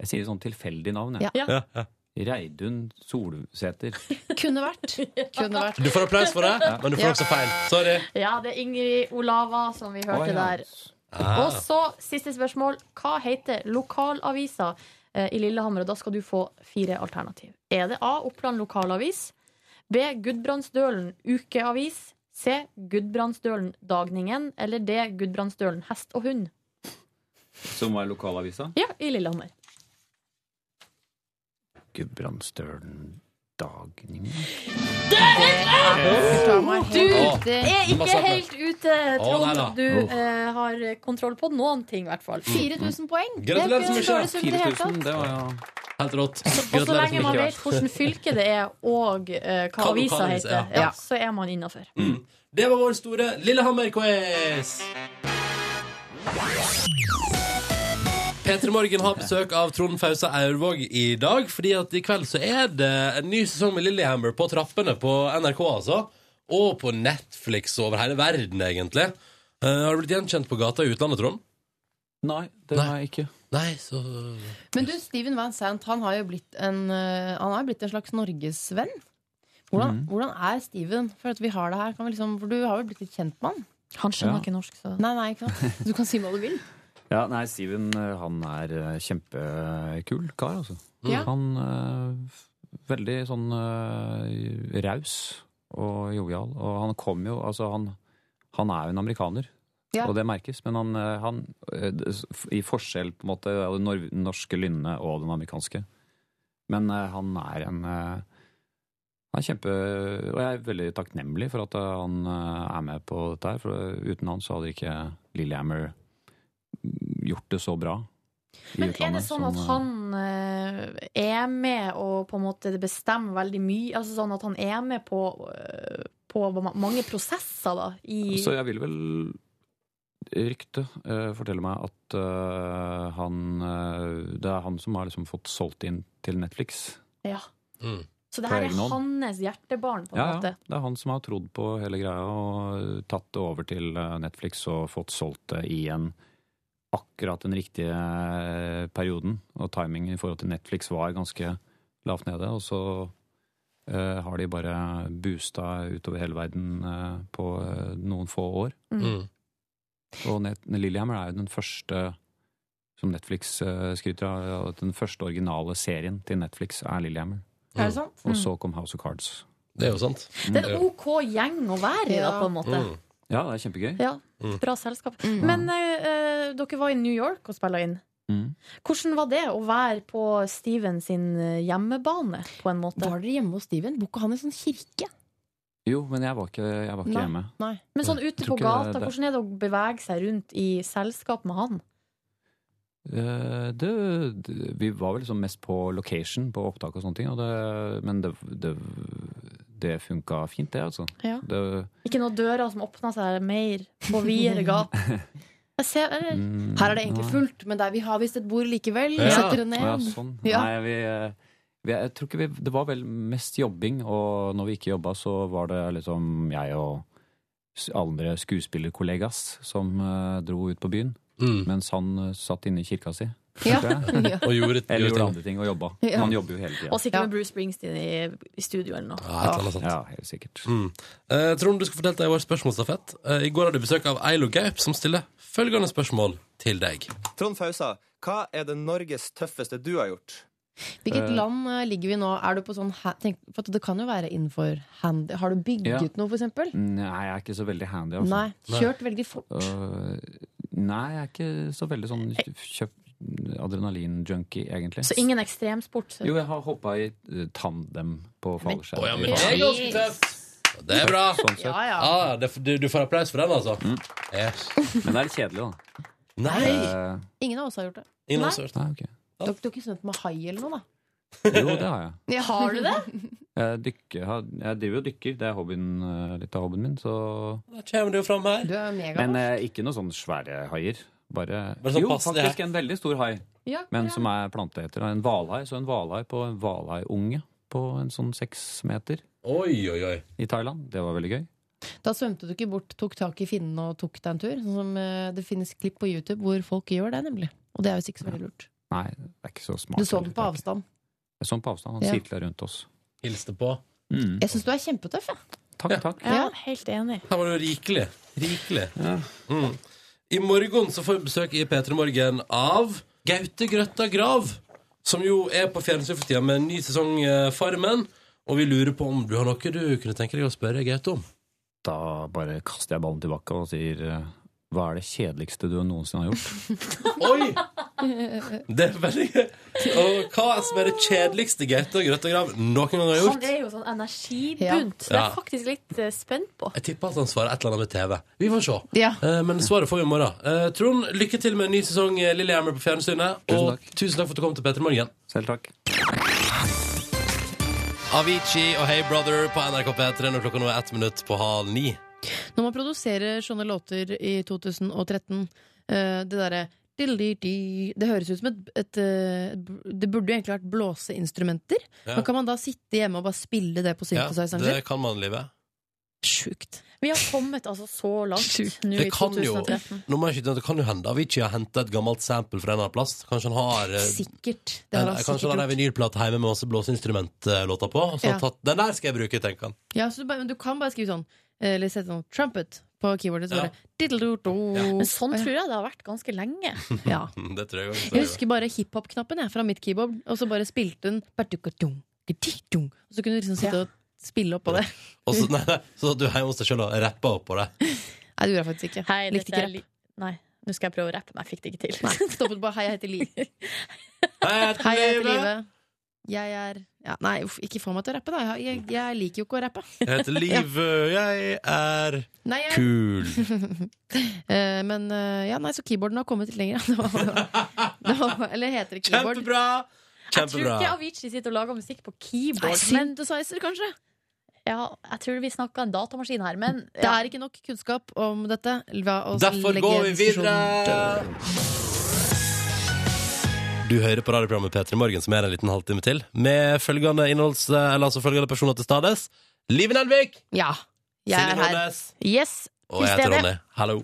Speaker 11: jeg sier sånn tilfeldig navn, jeg.
Speaker 2: Ja, ja.
Speaker 11: Reidun Solsæter.
Speaker 5: Kunne vært. Kunne vært.
Speaker 2: Du får applaus for det, men du får også feil. Sorry.
Speaker 4: Ja, det er Ingrid Olava som vi hørte
Speaker 11: Å, ja.
Speaker 4: der.
Speaker 2: Ah.
Speaker 4: Og så siste spørsmål. Hva heter lokalavisa eh, i Lillehammer? Og da skal du få fire alternativ. Er det A. Oppland lokalavis? B. Gudbrandsdølen ukeavis? C. Gudbrandsdølen Dagningen? Eller D. Gudbrandsdølen hest og hund?
Speaker 11: Som var lokalavisa.
Speaker 4: Ja, i Lillehammer.
Speaker 11: Gudbrandsdølen Dagning
Speaker 4: Du
Speaker 2: Åh,
Speaker 4: er ikke
Speaker 2: massakre.
Speaker 4: helt ute,
Speaker 2: nei da.
Speaker 4: Trond. Du
Speaker 11: Uff.
Speaker 4: eh, har kontroll på noen ting, i hvert fall.
Speaker 5: 4000 poeng!
Speaker 2: Gratulerer så mye.
Speaker 11: 4000, det var jo
Speaker 2: Helt rått.
Speaker 4: Og så
Speaker 2: Gratulerer
Speaker 4: lenge
Speaker 2: så
Speaker 4: man
Speaker 2: mye.
Speaker 4: vet hvilket fylke det er, og eh, hva
Speaker 2: Hva
Speaker 4: avisa
Speaker 2: lokalavisa
Speaker 4: heter,
Speaker 2: er.
Speaker 4: ja, så er man innafor.
Speaker 2: Det var vår store Lillehammer-quiz. P3 Morgen har besøk av Trond Fausa Aurvåg i dag, fordi at i kveld så er det en ny sesong med Lillehammer på trappene på NRK, altså. Og på Netflix over hele verden, egentlig. Eh, har du blitt gjenkjent på gata i utlandet, Trond?
Speaker 11: Nei, det
Speaker 2: Nei.
Speaker 11: var jeg ikke.
Speaker 2: Nei, så
Speaker 5: Men du, Steven Van Sant han har jo blitt en, eh, han har blitt en slags norgesvenn. Hvordan, hvordan er Steven? For at vi har det her, kan vi liksom, for du har jo blitt litt kjent med han?
Speaker 4: Han skjønner
Speaker 11: Ja.
Speaker 4: ikke norsk, så
Speaker 5: Nei, nei, ikke sant? Du kan si hva du vil.
Speaker 11: Ja, nei, Steven eh, han er eh, kjempekul kar, altså.
Speaker 5: Ja.
Speaker 11: Han eh, veldig sånn eh, raus og jovial. Og han kom jo Altså, han, han er jo en amerikaner,
Speaker 5: Ja.
Speaker 11: og det merkes. Men han, eh, han eh, det- s- I forskjell på en måte av det nor norske lynnet og den amerikanske. Men eh, han er en eh, han er kjempe, og jeg er veldig takknemlig for at eh, han eh, er med på dette her, for eh, uten han så hadde ikke Lillehammer mm, gjort det så bra. i
Speaker 4: Men er det
Speaker 11: utlandet
Speaker 4: sånn at
Speaker 11: som, eh,
Speaker 4: han eh, er med og på en måte bestemmer veldig mye? Altså sånn at han er med på, eh, på ma- mange prosesser, da? I
Speaker 11: Så jeg vil vel Ryktet eh, forteller meg at eh, han eh, Det er han som har liksom fått solgt inn til Netflix.
Speaker 4: ja.
Speaker 2: Mm.
Speaker 4: Så det her
Speaker 11: På
Speaker 4: er
Speaker 11: egen hånd.
Speaker 4: hans hjertebarn, på en
Speaker 11: Ja, ja.
Speaker 4: måte?
Speaker 11: Det er han som har trodd på hele greia og tatt det over til eh, Netflix og fått solgt det i en akkurat den riktige eh, perioden. Og timingen i forhold til Netflix var ganske lavt nede. Og så eh, har de bare boosta utover hele verden eh, på eh, noen få år.
Speaker 2: Mm.
Speaker 11: Og Net Lillehammer er jo den første som Netflix eh, skryter av, at den første originale serien til Netflix er Lillehammer.
Speaker 5: Er det sant?
Speaker 4: Mm.
Speaker 11: Og så kom House of Cards.
Speaker 2: Det er jo sant.
Speaker 11: Mm.
Speaker 4: Det er en OK gjeng å være i, da,
Speaker 5: Ja.
Speaker 4: på en måte.
Speaker 2: Mm.
Speaker 11: Ja, det er kjempegøy.
Speaker 4: Ja, Bra selskap.
Speaker 5: Mm.
Speaker 4: Men eh, eh, dere var i New York og spilla inn.
Speaker 11: Mm.
Speaker 4: Hvordan var det å være på Steven sin eh, hjemmebane, på en måte?
Speaker 5: Var dere hjemme hos Steven? Bor ikke han i sånn kirke?
Speaker 11: Jo, men jeg var ikke, jeg var ikke
Speaker 5: Nei.
Speaker 11: hjemme.
Speaker 5: Nei.
Speaker 4: Men sånn ute
Speaker 11: Jeg
Speaker 4: på
Speaker 11: tror ikke
Speaker 4: gata,
Speaker 11: det-
Speaker 4: hvordan er det å bevege seg rundt i selskap med han?
Speaker 11: Eh, Det, det, vi var vel liksom mest på location, på opptak og sånne ting. Og det, men det, det, det funka fint, det, altså.
Speaker 4: Ja.
Speaker 11: Det,
Speaker 4: Ikke noen dører som åpna seg mer på videre gat. Jeg ser, eller,
Speaker 11: mm,
Speaker 5: Her er det egentlig
Speaker 11: nei.
Speaker 5: fullt, men der vi har visst et bord likevel.
Speaker 2: Ja.
Speaker 5: Vi setter det
Speaker 11: Å ja,
Speaker 5: ned.
Speaker 11: sånn.
Speaker 5: Ja.
Speaker 11: Nei, vi, eh, vi, jeg tror ikke vi Det var vel mest jobbing, og når vi ikke jobba, så var det liksom jeg og s- andre skuespillerkollegas som eh, dro ut på byen,
Speaker 2: Mm.
Speaker 11: mens han eh, satt inne i kirka si.
Speaker 5: Ja.
Speaker 11: tror jeg.
Speaker 5: Ja.
Speaker 2: Og gjorde, gjorde
Speaker 11: Eller gjorde
Speaker 2: ting.
Speaker 11: andre ting og jobba.
Speaker 5: Ja.
Speaker 11: Han jobber jo hele tida.
Speaker 4: og sikkert med Bruce Springsteen i, i studio eller noe.
Speaker 2: Ja, et eller annet sånt.
Speaker 11: Ja, helt sikkert.
Speaker 2: Mm. Eh, Trond, du skal fortelle deg vår spørsmålstafett. Eh, I går hadde du besøk av Eilo Gaup, som stiller følgende spørsmål til deg.
Speaker 13: Trond Fausa, hva er det Norges tøffeste du har gjort?
Speaker 5: Hvilket
Speaker 13: Eh.
Speaker 5: land eh, ligger vi nå? Er du på sånn ha- tenk, for at Det kan jo være innenfor hand... Har du bygget
Speaker 11: Ja.
Speaker 5: noe, for eksempel?
Speaker 11: Nei, jeg er ikke så veldig handy. Altså.
Speaker 5: Nei, kjørt veldig fort.
Speaker 11: Øh, nei, jeg er ikke så veldig sånn kjøp adrenalin-junkie, egentlig.
Speaker 4: Så ingen ekstremsport?
Speaker 11: Jo, jeg har hoppa i eh, tandem på fallskjerm.
Speaker 2: Å, ja, men det er ganske tøft. Det er bra.
Speaker 11: Sånn sett.
Speaker 2: Ja, Ah, det, du, du får applaus for den, altså. Yes.
Speaker 11: Men det er litt kjedelig, da.
Speaker 2: Nei!
Speaker 11: Eh,
Speaker 5: Ingen av oss har gjort det.
Speaker 11: Ingen av
Speaker 5: Nei.
Speaker 11: oss har gjort det. Nei, ok.
Speaker 5: Dere dere har ikke svømt med hai eller noe, da?
Speaker 11: jo, det har jeg.
Speaker 5: Ja,
Speaker 4: har du det?
Speaker 11: Jeg, dykker, har- jeg driver og dykker. Det er hobbyen, eh, litt av hobbyen min. Så.
Speaker 2: Da kommer du fram her.
Speaker 5: Du er mega
Speaker 11: Men eh, ikke noen sånne svære haier. Bare,
Speaker 2: Bare sånn
Speaker 11: jo,
Speaker 2: passe det her.
Speaker 11: faktisk en veldig stor hai.
Speaker 5: Ja,
Speaker 11: Men som er planteeter. En hvalhai. Så en hvalhai på en hvalhaiunge på en sånn seks meter
Speaker 2: Oi, oi, oi.
Speaker 11: i Thailand. Det var veldig gøy.
Speaker 5: Da svømte du ikke bort, tok tak i finnen og tok deg en tur. Sånn som eh, Det finnes klipp på YouTube hvor folk gjør det, nemlig. Og det er visst ikke så veldig lurt.
Speaker 11: Nei, det er ikke så smart.
Speaker 5: Du så den på avstand.
Speaker 11: Jeg så den på avstand. Han
Speaker 5: Ja.
Speaker 11: sirkla rundt oss.
Speaker 2: Hilste på.
Speaker 11: Mm.
Speaker 5: Jeg syns du er kjempetøff, jeg.
Speaker 11: Takk, takk.
Speaker 4: Ja, helt enig.
Speaker 2: Her var det jo rikelig. Rikelig. Mm. I morgen så får vi besøk i P3 Morgen av Gaute Grøtta Grav, som jo er på fjernsyn for tida med en ny sesong eh, Farmen. Og vi lurer på om du har noe du kunne tenke deg å spørre Gaute om.
Speaker 11: Da bare kaster jeg ballen tilbake og sier eh, hva er det kjedeligste du noensinne har gjort?
Speaker 2: Oi! Det er veldig gøy. Og hva som er det kjedeligste Gaute Grøtta Grav noen gang har
Speaker 4: Han
Speaker 2: gjort?
Speaker 4: er jo sånn energibunt. Det er
Speaker 2: Ja.
Speaker 4: faktisk litt eh, spent på.
Speaker 2: Jeg tipper at han svarer et eller annet med TV. Vi får se.
Speaker 5: Ja.
Speaker 2: Eh, Men svaret får vi i morgen. Eh, Trond, lykke til med en ny sesong eh, Lillehammer på fjernsynet. Og tusen takk for at du kom til P3 Morgen.
Speaker 11: Selv takk.
Speaker 2: Avicii og Hey Brother på NRK P3 når klokka nå er ett minutt på halv ni.
Speaker 5: Når man produserer sånne låter i 2013, eh, det derre dildi-di, det høres ut som et, et eh, b- Det burde jo egentlig vært blåseinstrumenter.
Speaker 2: Ja.
Speaker 5: Men kan man da sitte hjemme og bare spille det på synthesizeren
Speaker 2: det
Speaker 5: sin?
Speaker 2: kan man i livet.
Speaker 5: Sjukt.
Speaker 4: Vi har kommet altså så langt nå
Speaker 2: Det
Speaker 4: i
Speaker 2: kan jo,
Speaker 4: 2013.
Speaker 2: nå må jeg skyte inn at det kan jo hende Avicii har henta et gammelt sample fra en eller annen plass. Kanskje han har eh,
Speaker 5: Sikkert. Det har
Speaker 2: eller,
Speaker 5: han
Speaker 2: Kanskje han
Speaker 5: sikkert
Speaker 2: har en
Speaker 5: gjort.
Speaker 2: vinylplate hjemme med masse blåseinstrumentlåter på. og Så har han
Speaker 5: Ja.
Speaker 2: tatt, den der skal jeg bruke, tenker han.
Speaker 5: Ja, så du, bare, men du kan bare skrive sånn, eh, eller sette sånn trumpet på keyboardet. Så
Speaker 2: Ja.
Speaker 5: bare, diddle-do-do.
Speaker 4: Men sånn tror jeg det har vært ganske lenge.
Speaker 5: Ja.
Speaker 2: Hm, Det tror jeg også.
Speaker 5: Jeg husker bare hiphop-knappen jeg, fra mitt keyboard, og så bare spilte den «Badukadung, gadidung», Og så kunne du liksom sitte og spille opp på det.
Speaker 2: Og så, nei, nei, så du er hjemme hos deg sjøl og rapper opp på det.
Speaker 5: Nei, det gjorde jeg faktisk ikke.
Speaker 4: Hei,
Speaker 5: Likte
Speaker 4: dette
Speaker 5: ikke
Speaker 4: er
Speaker 5: rapp.
Speaker 4: li- Nei, nå skal jeg prøve å rappe, men jeg fikk det ikke til.
Speaker 5: Stoppet på 'Hei, jeg heter Liv'.
Speaker 2: Hei, jeg
Speaker 5: Hei, jeg heter Live. Jeg er ja, Nei, uff, ikke få meg til å rappe, da. Jeg, jeg, jeg liker jo ikke å rappe.
Speaker 2: Jeg heter Liv, jeg er
Speaker 5: Nei, jeg-
Speaker 2: kul.
Speaker 5: Eh, men eh, ja, nei, så keyboarden har kommet litt lenger. ja. Det var- det var- Eller heter det keyboard?
Speaker 2: Kjempebra!
Speaker 4: Jeg tror ikke Avicii sitter og lager musikk på
Speaker 5: Nei,
Speaker 4: keyboard. Men,
Speaker 5: synthesizer, kanskje?
Speaker 4: ja, jeg tror vi snakka en datamaskin her, men
Speaker 5: Det er ikke nok kunnskap om dette. La oss
Speaker 2: Derfor
Speaker 5: legge
Speaker 2: går vi
Speaker 5: diskusjonen
Speaker 2: videre! Du hører på radioprogrammet P3 Morgen, som er en liten halvtime til, med følgende innholds... Eller altså følgende personer til stades. Liv Nelvik!
Speaker 5: Ja, jeg
Speaker 2: Silje
Speaker 5: er her.
Speaker 2: Nordnes.
Speaker 4: Yes,
Speaker 2: Og jeg
Speaker 4: til
Speaker 2: heter
Speaker 4: stede.
Speaker 2: Ronny. Hallo.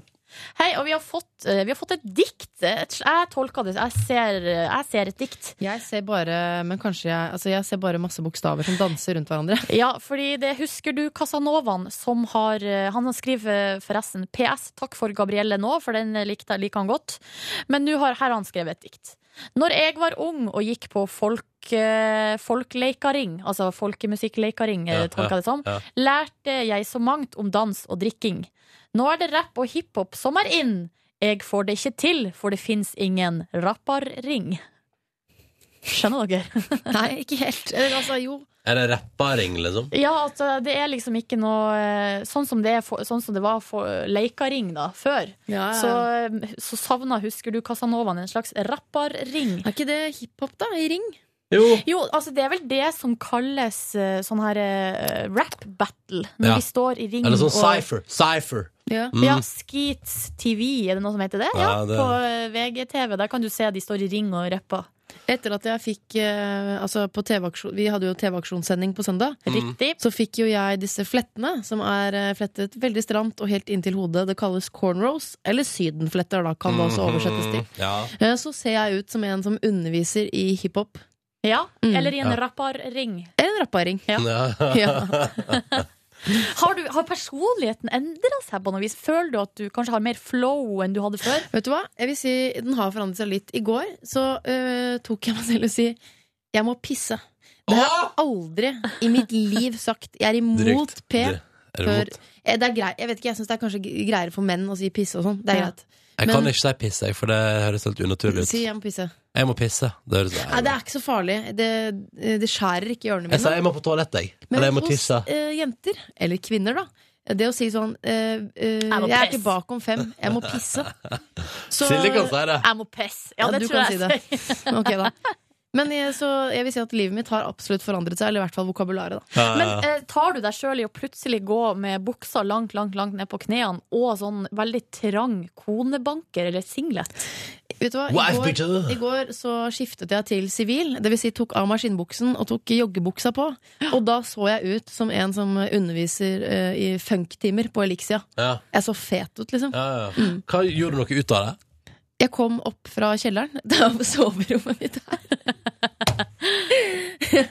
Speaker 4: Hei, og vi har fått, eh, vi har fått et dikt. Eh, Et- Jeg tolker det. Jeg ser, eh, jeg ser et dikt.
Speaker 5: Jeg ser bare Men kanskje jeg Altså, jeg ser bare masse bokstaver som danser rundt hverandre.
Speaker 4: Ja, fordi det husker du Casanovaen som har eh, Han skriver forresten PS, takk for Gabrielle nå, for den eh, likte, liker han godt. Men nå har her har han skrevet et dikt. Når jeg var ung og gikk på folk, eh, folkeleikaring, altså folkemusikkleikaring,
Speaker 14: Ja,
Speaker 4: ja, tolka
Speaker 14: ja,
Speaker 4: det som,
Speaker 14: ja.
Speaker 4: lærte jeg så mangt om dans og drikking. Nå er det rapp og hiphop som er inn. Jeg får det ikke til, for det fins ingen rapparring. Skjønner dere?
Speaker 5: Nei, ikke helt. Eller altså, jo.
Speaker 2: Er det rapparing, liksom?
Speaker 4: Ja, altså, det er liksom ikke noe eh, Sånn som det, er for, sånn som det var for leikaring da, før,
Speaker 5: ja, ja.
Speaker 4: så, eh, så savna, husker du, Casanovaen en slags rapparring.
Speaker 5: Er ikke det hiphop, da? I ring?
Speaker 2: Jo.
Speaker 4: altså det er vel det som kalles eh, sånn her eh, rap battle, når
Speaker 2: Ja.
Speaker 4: vi står i ring
Speaker 2: Eller sånn
Speaker 4: og-
Speaker 2: cypher. Cypher.
Speaker 5: Ja.
Speaker 2: Mm.
Speaker 4: ja, Skeets TV, er det noe som heter det?
Speaker 2: Ja,
Speaker 4: Ja,
Speaker 2: det-
Speaker 4: På eh, VGTV. Der kan du se de står i ring og rapper.
Speaker 5: Etter at jeg fikk eh, altså på TV-aksjon, Vi hadde jo TV-aksjonssending på søndag.
Speaker 2: Mm.
Speaker 4: Riktig.
Speaker 5: Så fikk jo jeg disse flettene, som er eh, flettet veldig stramt og helt inntil hodet. Det kalles cornrows, eller sydenfletter, da, kan
Speaker 2: Mm.
Speaker 5: det også oversettes til.
Speaker 2: Ja.
Speaker 5: Eh, Så ser jeg ut som en som underviser i hiphop.
Speaker 4: Ja,
Speaker 5: Mm.
Speaker 4: eller i en
Speaker 5: Ja.
Speaker 4: rapparring.
Speaker 5: En rapparing.
Speaker 4: Ja.
Speaker 5: Ja.
Speaker 4: Har, du, har personligheten endra seg på noe vis? Føler du at du kanskje har mer flow enn du hadde før?
Speaker 5: Vet du hva? Jeg vil si den har forandret seg litt. I går så øh, tok jeg meg selv og si jeg må pisse. Det har jeg aldri i mitt liv sagt. Jeg er imot
Speaker 2: Drygt.
Speaker 5: P.
Speaker 2: Det- er du
Speaker 5: før-
Speaker 2: imot?
Speaker 5: Eh, Det er grei, jeg vet ikke, jeg syns det er kanskje greiere for menn å si pisse og sånn. Det er greit.
Speaker 2: Jeg
Speaker 5: Men-
Speaker 2: kan ikke si piss, jeg, for det høres helt unaturlig ut.
Speaker 5: Si jeg må pisse.
Speaker 2: Jeg må pisse. Det høres
Speaker 5: Nei, det er ikke så farlig. Det, eh, det skjærer ikke i ørene mine.
Speaker 2: Jeg sa jeg må på toalettet, jeg.
Speaker 5: Men
Speaker 2: Eller jeg må
Speaker 5: hos
Speaker 2: tisse.
Speaker 5: eh, jenter, eller kvinner da Det å si sånn eh, eh,
Speaker 4: må
Speaker 5: Jeg er
Speaker 4: pisse.
Speaker 5: ikke bak om fem, jeg må pisse så-
Speaker 2: Silje kan si det.
Speaker 4: Jeg må pisse. Ja, det
Speaker 5: du
Speaker 4: tror
Speaker 5: kan
Speaker 4: jeg.
Speaker 5: si det. Ok, da. Men jeg, så jeg vil si at livet mitt har absolutt forandret seg Eller i hvert fall vokabularet da
Speaker 2: Ja, ja,
Speaker 4: Men
Speaker 2: ja.
Speaker 4: eh, tar du deg sjøl i å plutselig gå med buksa langt, langt langt ned på knærne og sånn veldig trang konebanker eller singlet?
Speaker 5: Vet du hva,
Speaker 4: Wife
Speaker 5: i går,
Speaker 4: beater.
Speaker 5: i går så skiftet jeg til sivil Det vil si tok av meg skinnbuksen og tok joggebuksa på Og da så jeg ut som en som underviser eh, i funktimer på Elixia
Speaker 2: Ja.
Speaker 5: Jeg så fet ut liksom
Speaker 2: Ja, ja. Hva gjorde du noe ut av det?
Speaker 5: Jeg kom opp fra kjelleren Det var soverommet mitt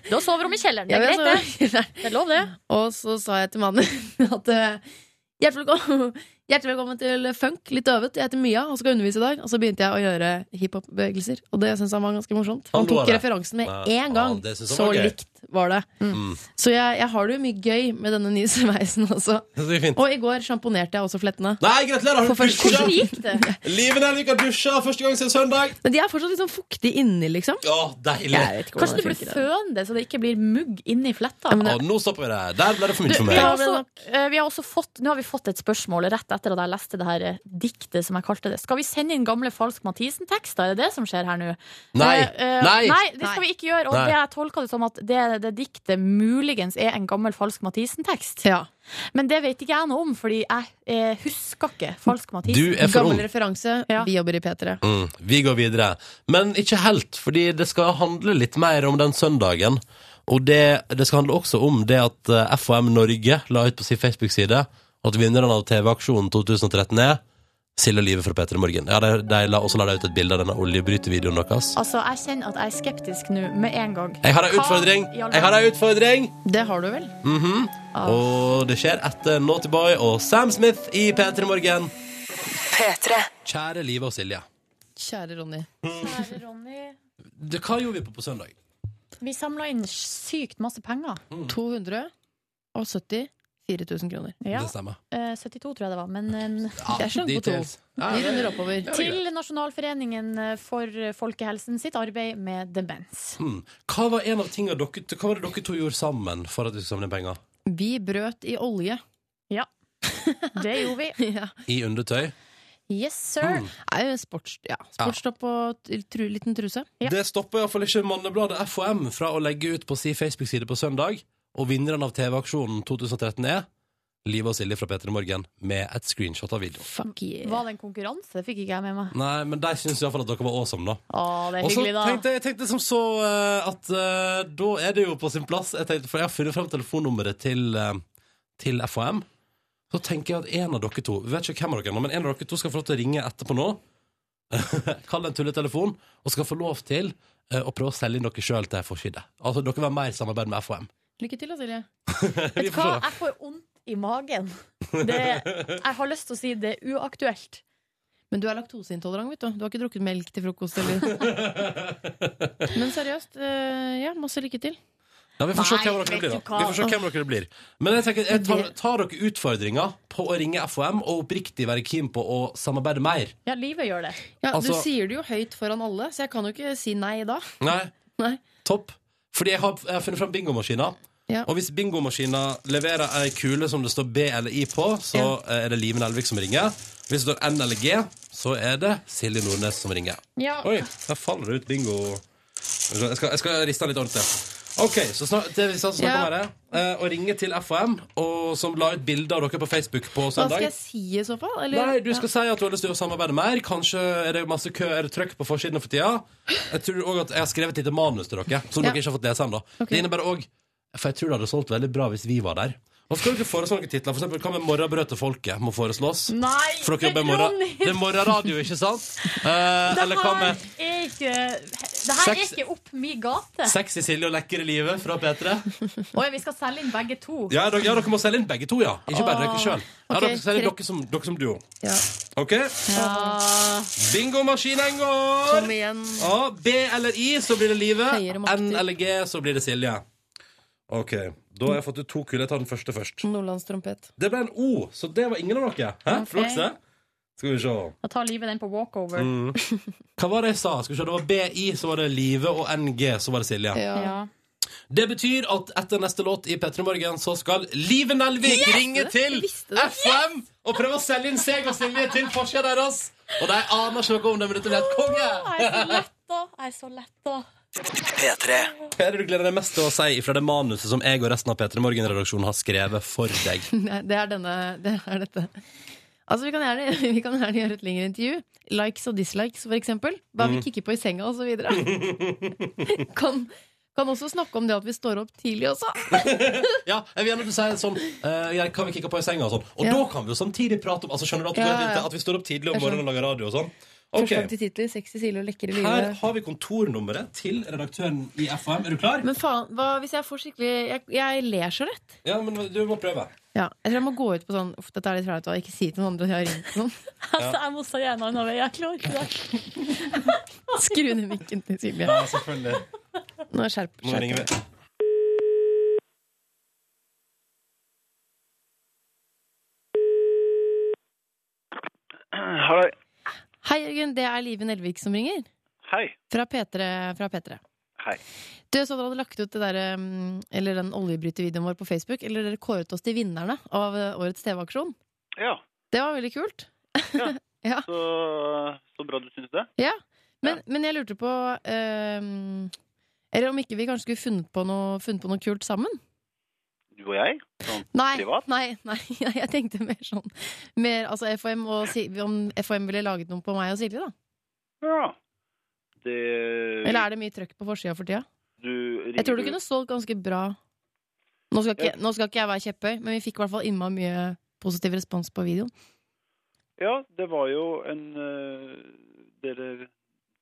Speaker 4: Du har soverom i kjelleren. Det
Speaker 5: Ja,
Speaker 4: er
Speaker 5: vi har
Speaker 4: greit, det. Det er lov, det.
Speaker 5: Og så sa jeg til mannen min at eh, hjertelig velkommen, hjertelig velkommen til funk, litt øvet. Jeg heter Mia og skal undervise i dag. Og så begynte jeg å gjøre hiphop-bevegelser, og det syntes han var ganske morsomt.
Speaker 2: Han
Speaker 5: Han
Speaker 2: lo av
Speaker 5: tok
Speaker 2: det.
Speaker 5: referansen med
Speaker 2: Ja,
Speaker 5: én gang.
Speaker 2: det synes han
Speaker 5: Så
Speaker 2: var gøy.
Speaker 5: likt var det.
Speaker 2: Mm.
Speaker 5: Så jeg, jeg har det jo mye gøy med denne nye sveisen også.
Speaker 2: Det er fint.
Speaker 5: Og i går sjamponerte jeg også flettene.
Speaker 2: Nei, gratulerer! Har du
Speaker 5: For første- Hvordan
Speaker 2: dusja?
Speaker 5: gikk det?
Speaker 2: Liven Elvik har dusja første gang siden søndag!
Speaker 5: Men de er fortsatt litt sånn fuktige inni, liksom.
Speaker 2: Å, deilig!
Speaker 5: Jeg vet ikke hvordan
Speaker 4: Kanskje du
Speaker 5: det
Speaker 4: burde
Speaker 5: funker.
Speaker 4: føne det, så det ikke blir mugg inni fletta.
Speaker 2: Å, nå stopper vi det. Der ble det for
Speaker 4: Du,
Speaker 2: mye for
Speaker 4: vi, har
Speaker 2: meg.
Speaker 4: også, eh, vi har også fått, nå har vi fått et spørsmål rett etter at jeg leste det her eh, diktet som jeg kalte det. Skal vi sende inn gamle Falsk Mathisen-tekster? Er det det som skjer her nå?
Speaker 2: Nei.
Speaker 4: Eh, eh,
Speaker 2: Nei.
Speaker 4: nei, det skal vi ikke gjøre. Og
Speaker 2: Nei.
Speaker 4: det jeg tolka det som at det, det diktet muligens er en gammel Falsk Mathisen-tekst. Men det vet ikke jeg noe om, fordi jeg eh, husker ikke Falsk Mathisen.
Speaker 2: Du er for ung.
Speaker 5: Gammel referanse. Vi jobber i P3.
Speaker 2: Mm, vi går videre. Men ikke helt, fordi det skal handle litt mer om den søndagen. Og det, det skal handle også om det at eh, FHM Norge la ut på sin Facebook-side at vinneren av TV-aksjonen 2013 er Silje Live fra P3 Morgen. Ja, de, de la også la de ut et bilde av denne oljebrytevideoen deres.
Speaker 4: Altså, jeg kjenner at jeg er skeptisk nå med en gang.
Speaker 2: Jeg har ei
Speaker 4: Hva
Speaker 2: utfordring!
Speaker 4: i all
Speaker 2: Jeg har ei utfordring!
Speaker 5: Det har du vel?
Speaker 2: Mhm. Og det skjer etter Naughty Boy og Sam Smith i P3 Morgen. Kjære Live og Silje.
Speaker 5: Kjære Ronny.
Speaker 4: Kjære Ronny.
Speaker 2: Det, hva gjorde vi på på søndag?
Speaker 4: Vi samla inn sykt masse penger.
Speaker 5: 200 og 70 4000 kroner.
Speaker 4: Ja.
Speaker 2: Det stemmer.
Speaker 4: Eh, 72 tror jeg det var, men en,
Speaker 5: Jeg slang på to.
Speaker 2: details. Ja,
Speaker 5: Vi
Speaker 2: det-
Speaker 5: runder oppover.
Speaker 4: Til Nasjonalforeningen eh, for folkehelsen sitt arbeid med demens.
Speaker 2: Hmm. Hva var en av tingene dere, hva var det dere to gjorde sammen for at vi skulle samle inn penger?
Speaker 5: Vi brøt i olje.
Speaker 4: Ja. Det gjorde vi.
Speaker 2: I undertøy?
Speaker 4: Yes, sir.
Speaker 2: Mm.
Speaker 5: Er jo en sports, ja, sportstopp og t- tru, liten truse.
Speaker 2: Det stopper iallfall ikke mannebladet FHM fra å legge ut på sin Facebook-side på søndag. Og vinneren av TV-aksjonen 2013 er Live og Silje fra P3 Morgen med et screenshot av videoen.
Speaker 4: Var det en konkurranse? Det fikk ikke jeg med meg.
Speaker 2: Nei, men de syns iallfall at dere var awesome, da.
Speaker 4: Å, det er
Speaker 2: Og så
Speaker 4: hyggelig, da.
Speaker 2: tenkte jeg tenkte som så eh, at eh, da er det jo på sin plass. Jeg tenkte, for jeg har funnet fram telefonnummeret til, eh, til FHM. Så tenker jeg at en av dere to vet ikke hvem av dere, nå, men en av dere to skal få lov til å ringe etterpå nå. Kall en tulletelefon, og skal få lov til eh, å prøve å selge inn dere sjøl til forside. Altså, dere vil ha mer samarbeid med FHM.
Speaker 5: Lykke til da, Silje.
Speaker 2: Vi
Speaker 4: Vet du
Speaker 2: får
Speaker 4: hva,
Speaker 2: se.
Speaker 4: jeg får vondt i magen. Det, jeg har lyst til å si det er uaktuelt.
Speaker 5: Men du er laktoseintolerant, vet du. Du har ikke drukket melk til frokost, eller Men seriøst, eh, ja, masse lykke til.
Speaker 2: Ja, vi får se
Speaker 5: Nei,
Speaker 2: hvem dere
Speaker 5: vet
Speaker 2: blir, da.
Speaker 5: du hva?
Speaker 2: Vi får se hvem dere blir. Men jeg tenker, jeg tar, tar dere utfordringa på å ringe FHM og oppriktig være keen på å samarbeide mer?
Speaker 4: Ja, livet gjør det.
Speaker 5: Ja,
Speaker 2: Altså-
Speaker 5: du sier det jo høyt foran alle, så jeg kan jo ikke si nei da.
Speaker 2: Nei.
Speaker 5: Nei.
Speaker 2: Topp. Fordi jeg har, jeg har funnet fram bingomaskina.
Speaker 5: Ja.
Speaker 2: Og hvis bingomaskina leverer ei kule som det står B eller I på, så eh, er det Liven Elvik som ringer. Hvis det står N eller G, så er det Silje Nordnes som ringer.
Speaker 4: Ja.
Speaker 2: Oi, der faller det ut bingo. Jeg skal, jeg skal riste den litt ordentlig. OK, så snart, det vi snart snakker om her, er eh, å ringe til FHM, og, som la ut bilde av dere på Facebook på
Speaker 5: Hva skal
Speaker 2: søndag.
Speaker 5: jeg si i så fall? Eller?
Speaker 2: Nei, du skal si at du har lyst til å samarbeide mer. Kanskje er det masse kø, er det trøkk på forsiden for tida. Jeg tror også at jeg har skrevet et lite manus til dere, som
Speaker 5: Ja.
Speaker 2: dere ikke har fått lese ennå. Det innebærer òg For jeg tror det hadde solgt veldig bra hvis vi var der. Og skal dere foreslå noen titler? For eksempel, Hva med 'Morrabrød til folket' må foreslås?
Speaker 4: Nei,
Speaker 2: For dere jobber i morgen. Det er morgenradio, ikke sant? Eh, eller hva med
Speaker 4: er ikke Det her er
Speaker 2: Sex-
Speaker 4: ikke opp mi gate.
Speaker 2: Sexy Silje og lekre livet fra P3.
Speaker 4: Å ja, vi skal selge inn begge to.
Speaker 2: Ja, dere, ja, dere må selge inn begge to, ja. Ikke bare dere
Speaker 4: Åh.
Speaker 2: sjøl. Ja,
Speaker 4: Ok,
Speaker 2: dere selger
Speaker 4: greit.
Speaker 2: dere som, dere som duo.
Speaker 5: Ja.
Speaker 2: OK? Bingomaskin en går!
Speaker 5: Kom igjen.
Speaker 2: Ja, B eller I, så blir det livet.
Speaker 5: Høyere makter.
Speaker 2: N eller G, så blir det Silje. OK. Da har jeg fått ut to kuler. Jeg tar den første først.
Speaker 5: Nordlandstrompet.
Speaker 2: Det ble en O, så det var ingen av dere. Hæ?
Speaker 4: Ok.
Speaker 2: Flakse? Skal vi se.
Speaker 4: Da tar livet den på walkover.
Speaker 2: Mm. Hva var det jeg sa? Skal vi se, Det var BI, så var det Live, og NG, så var det Silje.
Speaker 4: Ja.
Speaker 2: Det betyr at etter neste låt i P3 Morgen så skal Live Nelvik
Speaker 15: Yes!
Speaker 2: ringe til
Speaker 15: Jeg visste det.
Speaker 2: FM og prøve å selge inn seg og Silje til forsida deres. Og de aner ikke noe om det, men dette blir helt
Speaker 4: Jeg er
Speaker 2: konge.
Speaker 4: så letta. Jeg er så letta.
Speaker 2: P3. Hva er det du gleder deg mest til å si fra det manuset som jeg og resten av P3 Morgen-redaksjonen har skrevet for deg?
Speaker 5: Nei, det er denne Det er dette. Altså, vi kan, gjerne, vi kan gjerne gjøre et lengre intervju. Likes og dislikes, for eksempel. Hva vi
Speaker 2: Mm.
Speaker 5: kikker på i senga, og så videre. Kan, kan også snakke om det at vi står opp tidlig også.
Speaker 2: Ja, jeg vil gjerne at du sier sånn eh, jeg Kan vi kikke på i senga og sånn? Og
Speaker 5: Ja.
Speaker 2: da kan vi jo samtidig prate om Altså skjønner du at,
Speaker 5: Ja,
Speaker 2: vi-
Speaker 5: ja.
Speaker 2: at vi står opp tidlig om
Speaker 5: Jeg
Speaker 2: morgenen og lager radio og sånn?
Speaker 5: Forslag
Speaker 2: Ok,
Speaker 5: til titler. Sexy Silje og lekre
Speaker 2: Her
Speaker 5: livet.
Speaker 2: har vi kontornummeret til redaktøren i FM. Er du klar?
Speaker 5: Men faen, hva hvis jeg får skikkelig Jeg, jeg ler så lett.
Speaker 2: Ja, men du må prøve.
Speaker 5: Ja, jeg tror jeg må gå ut på sånn Uff, dette er litt flaut, og ikke si til noen andre at jeg har ringt noen.
Speaker 4: Altså, jeg må si en annen vei. Jeg klarer ikke det.
Speaker 5: Skru ned mikken til Silje.
Speaker 2: Ja, selvfølgelig.
Speaker 5: Nå skjerp,
Speaker 2: Nå ringer
Speaker 5: skjerp.
Speaker 2: vi.
Speaker 14: Halløy.
Speaker 5: Hei, Jørgen. Det er Live Nelvik som ringer.
Speaker 14: Hei.
Speaker 5: Fra P3. Fra P3.
Speaker 14: Hei.
Speaker 5: Du, jeg så dere hadde lagt ut det der, mm, eller den oljebrytervideoen vår på Facebook. Eller dere kåret oss til vinnerne av eh, årets TV-aksjon.
Speaker 14: Ja.
Speaker 5: Det var veldig kult.
Speaker 14: Så, så bra du syns det.
Speaker 5: Ja. Men, men jeg lurte på eh, Eller om ikke vi kanskje skulle funnet på noe, funnet på noe kult sammen?
Speaker 14: Du og jeg, sånn
Speaker 5: Nei,
Speaker 14: privat.
Speaker 5: nei, nei, nei, jeg tenkte mer sånn mer, altså FHM og, Si- Om FHM ville laget noe på meg og Silje, da?
Speaker 14: Ja. Det
Speaker 5: Eller er det mye trøkk på forsida for tida?
Speaker 14: Du ringer
Speaker 5: Jeg tror det kunne solgt ganske bra. Nå skal, ikke, nå skal ikke jeg være kjepphøy, men vi fikk i hvert fall innmari mye positiv respons på videoen.
Speaker 14: Ja, det var jo en eh, Dere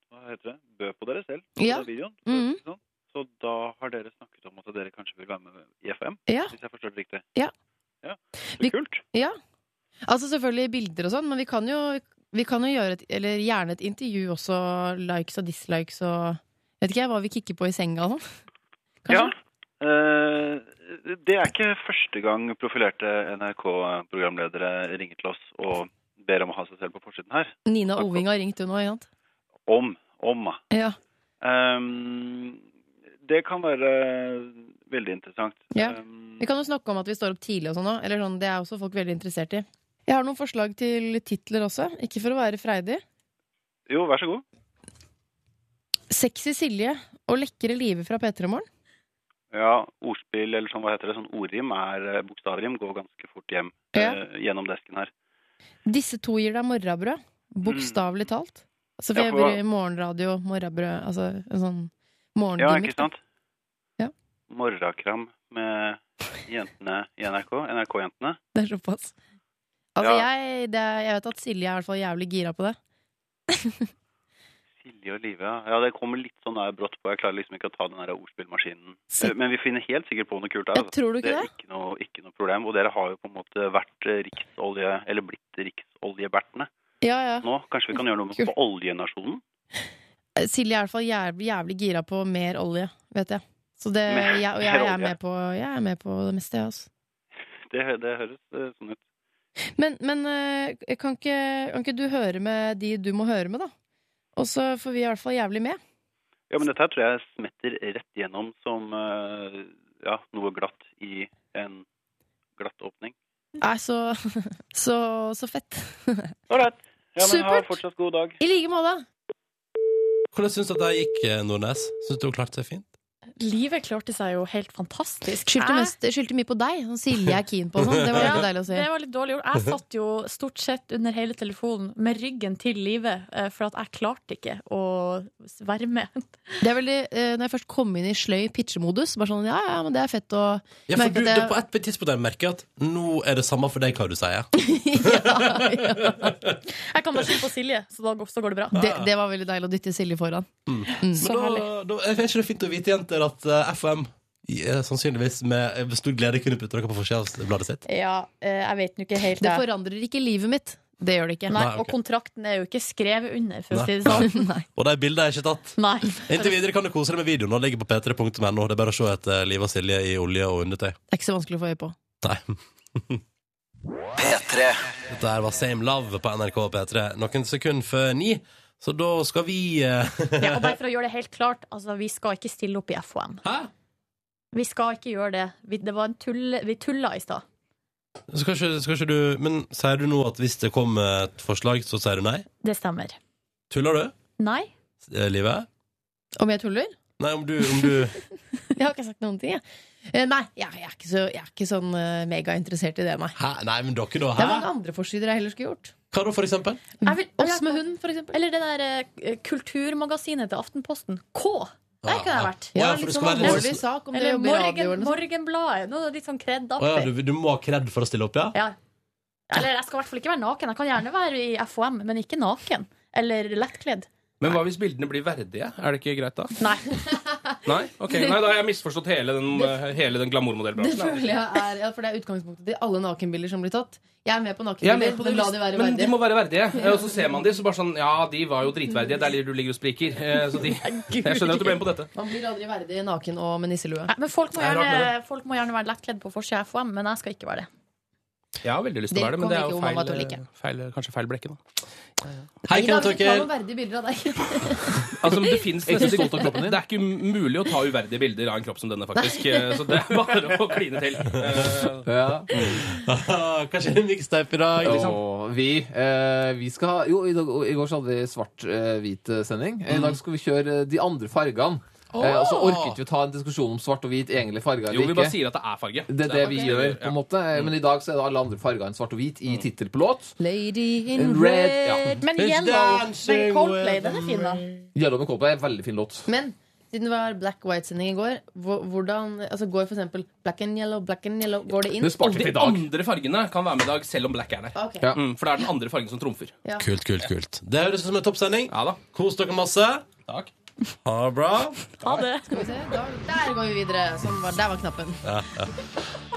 Speaker 14: Hva heter det? Bød på dere selv på
Speaker 5: Ja.
Speaker 14: den videoen.
Speaker 5: Mhm.
Speaker 14: Så da har dere snakket om at dere kanskje vil være med i FM,
Speaker 5: Ja.
Speaker 14: hvis jeg forstår det riktig.
Speaker 5: Ja.
Speaker 14: Ja.
Speaker 5: Vi, ja. Altså selvfølgelig bilder og sånn, men vi kan jo, vi kan jo gjøre et, eller gjerne et intervju også. Likes og dislikes og Vet ikke jeg hva vi kikker på i senga og sånn.
Speaker 14: Ja. Eh, det er ikke første gang profilerte NRK-programledere ringer til oss og ber om å ha seg selv på forsiden her.
Speaker 5: Nina Oving har ringt, hun òg, ikke sant?
Speaker 14: Om. Om. da.
Speaker 5: Ja.
Speaker 14: Ehm, det kan være eh, veldig interessant.
Speaker 5: Ja.
Speaker 14: Ehm,
Speaker 5: Vi kan jo snakke om at vi står opp tidlig og sånn òg. Eller sånn, det er også folk veldig interessert i. Jeg har noen forslag til titler også. Ikke for å være freidig.
Speaker 14: jo, vær så god.
Speaker 5: Sexy Silje og lekre livet fra P3 Morgen.
Speaker 14: Ja, ordspill eller sånn, hva heter det, sånn ordrim er bokstavrim, går ganske fort hjem
Speaker 5: Ja.
Speaker 14: eh, gjennom desken her.
Speaker 5: Disse to gir deg morrabrød. Bokstavelig talt. Altså, for
Speaker 14: Mm. Ja,
Speaker 5: jeg
Speaker 14: for hva-
Speaker 5: blir morgenradio, morrabrød, altså en sånn
Speaker 14: Ja, ikke
Speaker 5: morgengimmick.
Speaker 14: sant?
Speaker 5: Ja.
Speaker 14: Morrakram med jentene i NRK, NRK-jentene.
Speaker 5: det er såpass. Altså,
Speaker 14: Ja.
Speaker 5: jeg, det, er- jeg vet at Silje er i hvert fall jævlig gira på det.
Speaker 14: Silje og Live, ja. ja. Det kommer litt sånn der brått på. Jeg klarer liksom ikke å ta den der ordspillmaskinen. Eh, Men vi finner helt sikkert på noe kult der.
Speaker 5: Ja,
Speaker 14: altså.
Speaker 5: tror du ikke
Speaker 14: det? er
Speaker 5: det?
Speaker 14: Ikke noe, ikke noe problem. Og dere har jo på en måte vært eh, riksolje, eller blitt riksoljebertene
Speaker 5: Ja, ja.
Speaker 14: nå. Kanskje vi kan gjøre noe med på oljenasjonen?
Speaker 5: Silje er i hvert fall jævlig, jævlig gira på mer olje, vet jeg. Så det,
Speaker 14: Mer-
Speaker 5: jeg, og
Speaker 14: mer
Speaker 5: jeg, jeg,
Speaker 14: olje.
Speaker 5: er med på, jeg er med på det meste, jeg, altså.
Speaker 14: Det, det høres eh, sånn ut.
Speaker 5: Men, men eh, kan, ikke, kan ikke du høre med de du må høre med, da? Og så får vi i hvert fall jævlig med.
Speaker 14: Ja, men dette her tror jeg smetter rett gjennom som eh, ja, noe glatt i en glatt åpning.
Speaker 5: Nei, så, så, så fett.
Speaker 14: Ålreit. Ja, men ha
Speaker 5: Supert.
Speaker 14: fortsatt god dag.
Speaker 5: I like måte.
Speaker 2: Hvordan syns du at det gikk, eh, Nordnes? Syns du hun klarte seg fint?
Speaker 4: Livet klarte seg jo helt fantastisk.
Speaker 5: Skyldte,
Speaker 4: Jeg-
Speaker 5: mest, skyldte mye på deg. Sånn Silje er keen på og sånn. Det var
Speaker 4: Ja,
Speaker 5: veldig deilig å se.
Speaker 4: Det var litt dårlig gjort. Jeg satt jo stort sett under hele telefonen med ryggen til livet, eh, for at jeg klarte ikke å være med.
Speaker 5: Det er veldig, eh, Når jeg først kom inn i sløy pitchemodus, bare sånn ja, ja, men det er fett å
Speaker 2: Ja, for
Speaker 5: merke
Speaker 2: du,
Speaker 5: at jeg-
Speaker 2: det, på et tidspunkt har jeg merket at nå er det samme for deg hva du sier.
Speaker 4: Jeg kan bare skylde på Silje, så da går, så går det bra.
Speaker 5: det, det var veldig deilig å dytte Silje foran.
Speaker 2: Mm.
Speaker 5: Så
Speaker 2: Men da,
Speaker 5: herlig.
Speaker 2: da er det ikke det fint å vite, jenter, at eh, FM eh, sannsynligvis med eh, stor glede kunne putte dere på forsida av bladet sitt.
Speaker 4: Ja, eh, jeg vet nå ikke helt
Speaker 5: Det forandrer ikke livet mitt. Det gjør det ikke.
Speaker 4: Nei,
Speaker 2: Nei,
Speaker 4: Og
Speaker 2: ok.
Speaker 4: kontrakten er jo ikke skrevet under, for å
Speaker 2: Nei.
Speaker 4: si det sånn.
Speaker 2: Og de bildene er ikke tatt.
Speaker 4: Nei.
Speaker 2: Inntil videre kan du kose deg med videoen. Den ligger på p3.no. Det er bare å se etter eh, Liv og Silje i olje og undertøy.
Speaker 5: Det er ikke så vanskelig å få øye på.
Speaker 2: Nei. P3. Dette her var Same Love på NRK P3 noen sekunder før ni. Så da skal vi eh,
Speaker 4: Ja, og bare for å gjøre det helt klart, altså, vi skal ikke stille opp i FHM. Vi skal ikke gjøre det. Vi, det var en tull, vi tulla i stad.
Speaker 2: skal, ikke, skal ikke du Men sier du nå at hvis det kommer et forslag, så sier du nei?
Speaker 4: Det stemmer.
Speaker 2: Tuller du,
Speaker 4: Nei?
Speaker 2: eh, Livet?
Speaker 5: Om jeg tuller?
Speaker 2: Nei, om du, om du
Speaker 5: Jeg har ikke sagt noen ting, jeg. Eh, Nei, jeg, jeg, er ikke så, jeg er ikke sånn eh, megainteressert i det, nei.
Speaker 2: Hæ? Nei, men dere, da.
Speaker 5: Det er
Speaker 2: Hæ?
Speaker 5: mange andre forsider jeg heller skulle gjort.
Speaker 2: Hva da, for eksempel?
Speaker 5: Oss med hund, for eksempel.
Speaker 4: Eller det der eh, kulturmagasinet til Aftenposten. K! Der kunne jeg vært.
Speaker 2: Ja, ja, for det skal være litt
Speaker 5: alvorlig
Speaker 2: sånn-
Speaker 5: liksom sak om det
Speaker 4: Eller
Speaker 5: jobber i sånn. liksom. radio
Speaker 4: morgen,
Speaker 5: eller noe sånt.
Speaker 4: Morgenbladet. Nå er det litt sånn kred
Speaker 2: Å ja, du, du må ha kred for å stille opp, ja?
Speaker 4: Ja. Eller jeg skal i hvert fall ikke være naken. Jeg kan gjerne være i FHM, men ikke naken. Eller lettkledd.
Speaker 16: Men hva hvis bildene blir verdige? Er det ikke greit da?
Speaker 4: Nei.
Speaker 16: Nei? Ok, Nei, da har jeg misforstått hele den, eh, hele den
Speaker 5: Det
Speaker 16: glamourmodellbransjen.
Speaker 5: føler jeg er, ja, for det er utgangspunktet til alle nakenbilder som blir tatt. Jeg er med på
Speaker 16: Jeg er med
Speaker 5: nakenbilder,
Speaker 16: på det,
Speaker 5: men la de være
Speaker 16: men de
Speaker 5: verdige.
Speaker 16: må være verdige. Eh, Og så ser man de, så bare sånn Ja, de var jo dritverdige. Der ligger du ligger og spriker. Eh, Så de, jeg skjønner at du ble med på dette.
Speaker 5: Man blir aldri verdig naken og med nisselue.
Speaker 4: Men folk må
Speaker 16: Nei, rart med
Speaker 4: gjerne, folk må gjerne være lettkledd på forsida av FHM, men jeg skal ikke være det.
Speaker 16: Jeg har veldig lyst til å
Speaker 5: Det
Speaker 16: være det, men det er
Speaker 5: kommer
Speaker 16: jo
Speaker 5: ikke Obama til å
Speaker 16: feil, eh, feil, kanskje feil blekke, da.
Speaker 5: Nei, da, hvis du tar noen verdige bilder av deg.
Speaker 16: Altså, men det finnes
Speaker 5: Jeg er ikke
Speaker 16: nesten
Speaker 5: stolt av kroppen
Speaker 16: ikke Det er ikke mulig å ta uverdige bilder av en kropp som denne, faktisk. Eh, Så det er bare å kline til. Eh,
Speaker 2: Ah, Kanskje en mixtape i dag, liksom.
Speaker 17: Åh, vi, eh, vi skal ha Jo, i, dag, i går så hadde vi svart-hvit eh, sending.
Speaker 11: Mm.
Speaker 17: I dag skal vi kjøre eh, de andre fargene. Eh, og så
Speaker 16: Åh!
Speaker 17: orket vi å ta en diskusjon om svart og hvit egentlig farger
Speaker 16: Jo,
Speaker 17: eller
Speaker 16: vi
Speaker 17: ikke.
Speaker 16: bare sier at det er Mm. farge.
Speaker 17: Det er det vi gjør, på en måte. Eh, Men i dag så er det alle andre farger enn svart og hvit
Speaker 16: Mm.
Speaker 17: i tittel på låt.
Speaker 5: Lady
Speaker 17: in Red, ja. red.
Speaker 4: Men
Speaker 17: Who's
Speaker 4: yellow.
Speaker 17: dancing
Speaker 4: Men Coldplay,
Speaker 17: with
Speaker 4: den er fin, da.
Speaker 17: Yellow med Coldplay er en veldig fin låt.
Speaker 5: Men siden det var Black White-sending i går, hvor- hvordan, altså går for eksempel Black and Yellow, Black and Yellow, går det inn?
Speaker 16: De andre fargene kan være med i dag, selv om black er der.
Speaker 5: Ok.
Speaker 16: Mm, for det er den andre fargen som trumfer.
Speaker 5: Ja.
Speaker 2: Kult, kult, kult. Det høres ut som en toppsending. Kos dere masse.
Speaker 16: Takk.
Speaker 2: Ha det bra.
Speaker 4: Ha det.
Speaker 5: Skal vi se, da, der går vi videre. Sånn var, der var knappen.
Speaker 2: Ja, ja.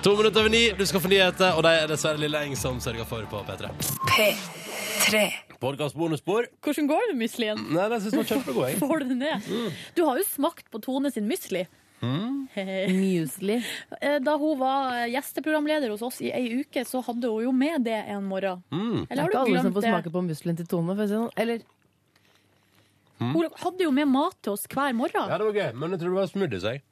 Speaker 2: To minutter over ni, du skal få nyheter, og de er dessverre Lille Eng som sørger for på P3.
Speaker 5: P3.
Speaker 2: Podcast bonusbord.
Speaker 4: Hvordan går det med müslien?
Speaker 2: Nei, den synes jeg var kjempegod, jeg.
Speaker 4: Får du det ned? Du har jo smakt på Tone sin müsli.
Speaker 5: Muesli.
Speaker 4: Da hun var gjesteprogramleder hos oss i ei uke, så hadde hun jo med det en morgen.
Speaker 5: Det
Speaker 2: Mm.
Speaker 5: er
Speaker 4: Eller har
Speaker 5: ikke
Speaker 4: du
Speaker 5: alle som
Speaker 4: glemt
Speaker 5: får smake
Speaker 4: det?
Speaker 5: på muslin til Tone. For å si det sånn. Eller
Speaker 4: Hun hadde jo med mat til oss hver morgen.
Speaker 2: Mm. Ja, det var gøy, men jeg tror det var smoothies, jeg.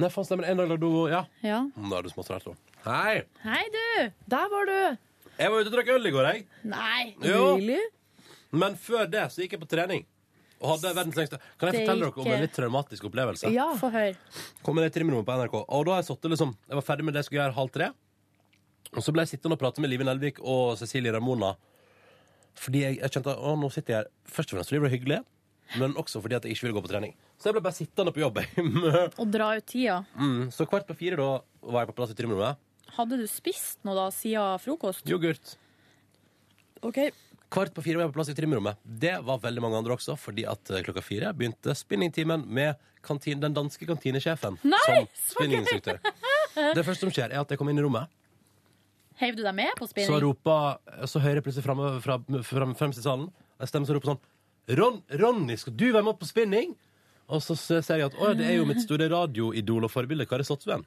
Speaker 2: Nei, faen stemmer. En dag lagde hun Ja.
Speaker 4: Ja.
Speaker 2: Da er du småtrert, da. Hei.
Speaker 4: Hei, du!
Speaker 5: Der var du!
Speaker 2: Jeg var ute og drakk øl i går, jeg.
Speaker 4: Nei.
Speaker 2: Jo. Men før det så gikk jeg på trening. Og hadde verdens lengste Kan jeg
Speaker 4: Det
Speaker 2: fortelle
Speaker 4: gikk-
Speaker 2: dere om en litt traumatisk opplevelse?
Speaker 4: Få høre.
Speaker 2: Kom ned til rommet på NRK, og da har jeg sittet liksom Jeg var ferdig med det jeg skulle gjøre halv tre. Og så ble jeg sittende og prate med Live Nelvik og Cecilie Ramona. Fordi jeg, jeg kjente at å, nå sitter jeg her først og fremst fordi det ble hyggelig, men også fordi at jeg ikke ville gå på trening. Så jeg ble bare sittende på jobb. jeg.
Speaker 4: Og dra ut tida.
Speaker 2: mm, så kvart på fire da var jeg på plass i trimrommet.
Speaker 4: Hadde du spist noe da siden frokost?
Speaker 2: Yoghurt.
Speaker 4: OK.
Speaker 2: Kvart på fire var jeg på plass i trimrommet. Det var veldig mange andre også, fordi at eh, klokka fire begynte spinningtimen med kantin, den danske kantinesjefen
Speaker 4: Nei, så
Speaker 2: som spinninginstruktør. Det første som skjer, er at jeg kommer inn i rommet.
Speaker 4: Heiv du deg med på
Speaker 2: Så
Speaker 4: spinning?
Speaker 2: ropa Så hører jeg plutselig fremme, fra, frem, fremst i salen En stemme som roper sånn Ron, Ronny, skal du være med på spinning? Og så ser jeg at Åja, det er jo mitt store radioidol og forbilde Kari Slottsvenn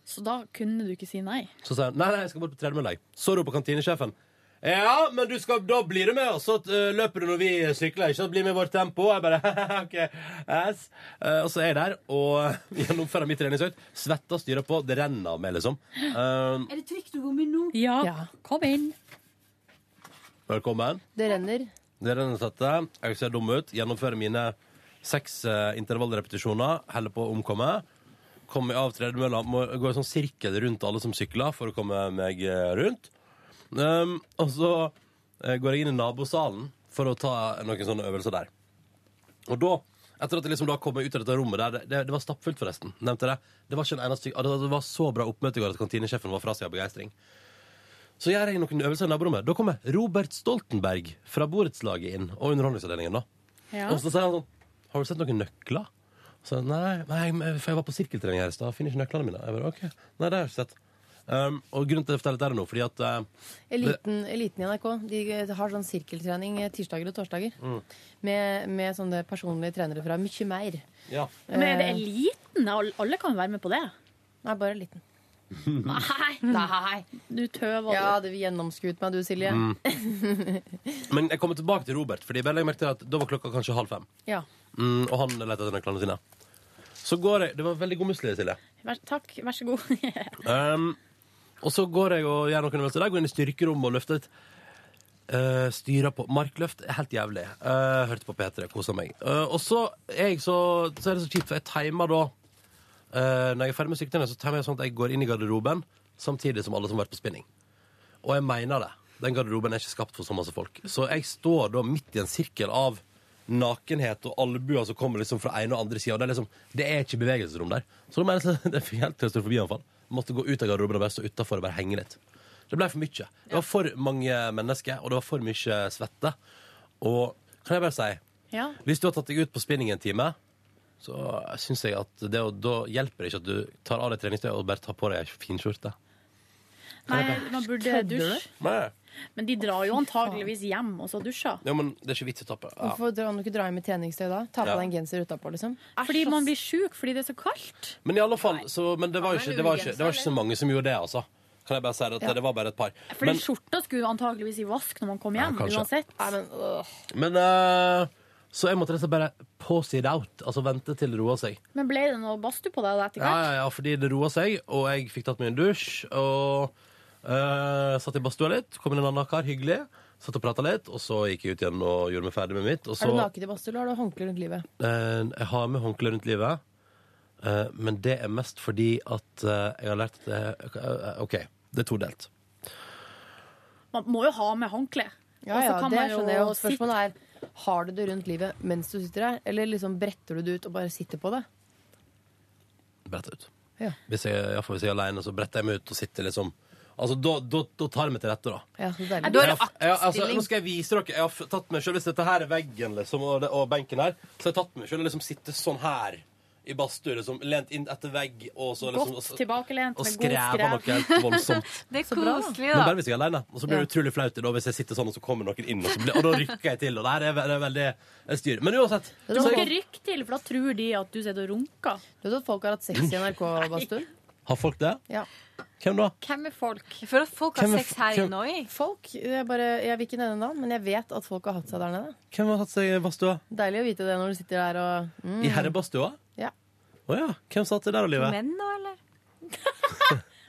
Speaker 4: Så da kunne du ikke si nei.
Speaker 2: Så sier han Nei, nei, jeg skal bare på tredje med deg Så roper kantinesjefen ja, men du skal, da blir du med, og så eh, løper du når vi sykler, ikke sant? Blir med i vårt tempo, og jeg bare, ok, ass. Eh, og så er jeg der, og gjennomfører mitt treningsøyt, svetter styrer på, det renner av meg, liksom. Eh,
Speaker 18: Er det trygt å komme inn nå?
Speaker 4: Ja. Kom inn.
Speaker 2: velkommen.
Speaker 5: det renner.
Speaker 2: Det er den jeg setter. Jeg ser dum ut. Gjennomfører mine Seks eh, intervallrepetisjoner, holder på å omkomme. Kommer av tredemølla, må gå i sånn sirkel rundt alle som sykler for å komme meg eh, rundt. Um, og så eh, går jeg inn i nabosalen for å ta noen sånne øvelser der. Og da, etter at jeg liksom da kom meg ut av dette rommet der, det, det, det var stappfullt forresten, nevnte jeg det. Det var ikke en eneste, ah, det, det var så bra oppmøte i går at kantinesjefen var fra seg av begeistring. Så gjør jeg noen øvelser i naborommet. Da kommer Robert Stoltenberg fra borettslaget inn, og underholdningsavdelingen da.
Speaker 19: Ja.
Speaker 2: Og så sier han sånn, har du sett noen nøkler? Så jeg, nei, nei, for jeg var på sirkeltrening her i stad, finner ikke nøklene mine. Jeg bare, ok, nei, det har jeg ikke sett. Um, og grunnen til at jeg forteller dette er nå, fordi at... eh, det-
Speaker 5: Eliten, eliten i NRK de har sånn sirkeltrening tirsdager og torsdager.
Speaker 2: Mm.
Speaker 5: Med, med sånne personlige trenere fra mye mer. Eh,
Speaker 2: Ja.
Speaker 4: Men er det eliten? Al- Alle kan være med på det?
Speaker 5: Nei, bare eliten.
Speaker 2: Mm.
Speaker 4: Nei! Du tøver.
Speaker 5: Ja, det vil gjennomskuet meg, du, Silje.
Speaker 2: Men jeg kommer tilbake til Robert, fordi jeg merket at da var klokka kanskje halv fem.
Speaker 5: ja.
Speaker 2: Mm, og han lette etter nøklene sine. Så går jeg Det var veldig god musli, Silje.
Speaker 4: Vær, takk, vær så god.
Speaker 2: Um, og så går jeg og gjør noen øvelser der. Går inn i styrkerommet og løfter et eh, Styrer på markløft. Helt jævlig. Eh, hørte på P3, kosa meg. Eh, og så er, jeg så, så er det så kjipt, for jeg timer da eh, Når jeg er ferdig med sykdommen, så timer jeg sånn at jeg går inn i garderoben samtidig som alle som har vært på spinning. Og jeg mener det. Den garderoben er ikke skapt for så masse folk. Så jeg står da midt i en sirkel av nakenhet og albuer som kommer liksom fra ene og andre sida. Det, er liksom, det er ikke bevegelsesrom der. Så da mener jeg at det fikk helt til å stå forbi anfall. Måtte gå ut av garderoben og bare stå utafor og bare henge litt. Det ble for mye. Det var for mange mennesker, og det var for mye svette. Og kan jeg bare si
Speaker 4: Ja.
Speaker 2: hvis du har tatt deg ut på spinning en time, så syns jeg at det, å- da hjelper det ikke at du tar av deg treningstøyet og bare tar på deg ei fin skjorte.
Speaker 4: Nei, man burde dusje.
Speaker 2: Nei.
Speaker 4: Men de drar jo antageligvis hjem og så dusjer.
Speaker 2: Ja, men det er ikke vits å tappe. Ja.
Speaker 5: Hvorfor kan du ikke dra hjem i treningstøy da? Ta
Speaker 2: Ja.
Speaker 5: på deg en genser utapå, liksom.
Speaker 4: Fordi man blir sjuk fordi det er så kaldt.
Speaker 2: Men i alle fall, så, men det var jo ikke, det var ikke, det var ikke så mange som gjorde det, altså. Kan jeg bare si at
Speaker 4: Ja.
Speaker 2: det var bare et par.
Speaker 4: Fordi
Speaker 2: Men,
Speaker 4: skjorta skulle antageligvis i vask når man kom hjem.
Speaker 2: kanskje.
Speaker 4: uansett.
Speaker 2: men eh, så jeg måtte rett og slett bare pause it out. Altså vente til det roa seg.
Speaker 4: Men ble det noe badstue på deg da etter
Speaker 2: Ja,
Speaker 4: hvert?
Speaker 2: ja, ja, fordi det roa seg, og jeg fikk tatt meg en dusj. Og eh, satt i badstua litt, kom inn en annen kar, hyggelig. Satt og prata litt, og så gikk jeg ut igjen og gjorde meg ferdig med mitt. Og så
Speaker 5: Er du naken i badstue, eller har du håndkle rundt livet?
Speaker 2: Eh, jeg har med håndkle rundt livet, eh, men det er mest fordi at eh, jeg har lært at det, eh, OK, det er todelt.
Speaker 4: Man må jo ha med håndkle.
Speaker 5: Ja,
Speaker 4: Og så
Speaker 5: ja,
Speaker 4: kan
Speaker 5: det
Speaker 4: man jo
Speaker 5: skjønner jeg jo.
Speaker 4: sitte-
Speaker 5: Spørsmålet er har du det rundt livet mens du sitter her, eller liksom bretter du det ut og bare sitter på det?
Speaker 2: Brett ut.
Speaker 5: Ja.
Speaker 2: Hvis jeg, i hvert fall hvis jeg er alene, så bretter jeg meg ut og sitter liksom Altså, da, da, da tar jeg meg til rette, da.
Speaker 5: Ja, så deilig.
Speaker 2: Jeg har- jeg har- altså, nå skal jeg vise dere. Jeg har f- tatt meg selv, Hvis dette her er veggen liksom, og, det, og benken her, så har jeg tatt meg selv og liksom sitter sånn her i badstue, liksom, lent inn etter vegg og så liksom
Speaker 4: Godt
Speaker 2: og-
Speaker 4: tilbakelent
Speaker 2: og
Speaker 4: med god
Speaker 2: skrever
Speaker 4: skrev.
Speaker 2: noe helt voldsomt.
Speaker 8: Det er
Speaker 4: Så bra, da.
Speaker 8: koselig,
Speaker 2: Men
Speaker 8: da.
Speaker 2: bare hvis jeg er alene. Og så blir det
Speaker 8: Ja.
Speaker 2: utrolig flaut da, hvis jeg sitter sånn, og så kommer noen inn, og, så blir, og da rykker jeg til. Og det her er, ve- det er veldig et styr. Men uansett.
Speaker 4: Du må
Speaker 2: så
Speaker 4: ikke
Speaker 2: jeg,
Speaker 4: rykke til, for da tror de at du sitter og runker.
Speaker 5: Du vet at folk har hatt sex i NRK-badstuen?
Speaker 2: har folk det?
Speaker 5: Ja.
Speaker 2: Hvem da?
Speaker 8: Hvem er folk? For at folk
Speaker 2: Hvem
Speaker 8: har
Speaker 2: er
Speaker 8: sex
Speaker 2: f-
Speaker 8: her
Speaker 2: hvem-
Speaker 8: inne òg?
Speaker 5: Folk, jeg, bare, jeg vil ikke nevne navn, men jeg vet at folk har hatt seg der nede.
Speaker 2: Hvem har hatt seg i badstua?
Speaker 5: Deilig å vite det når du sitter der og mm.
Speaker 2: I herrebadstua?
Speaker 5: Ja.
Speaker 2: Å ja. Hvem satt det der, Olive?
Speaker 5: nå, eller?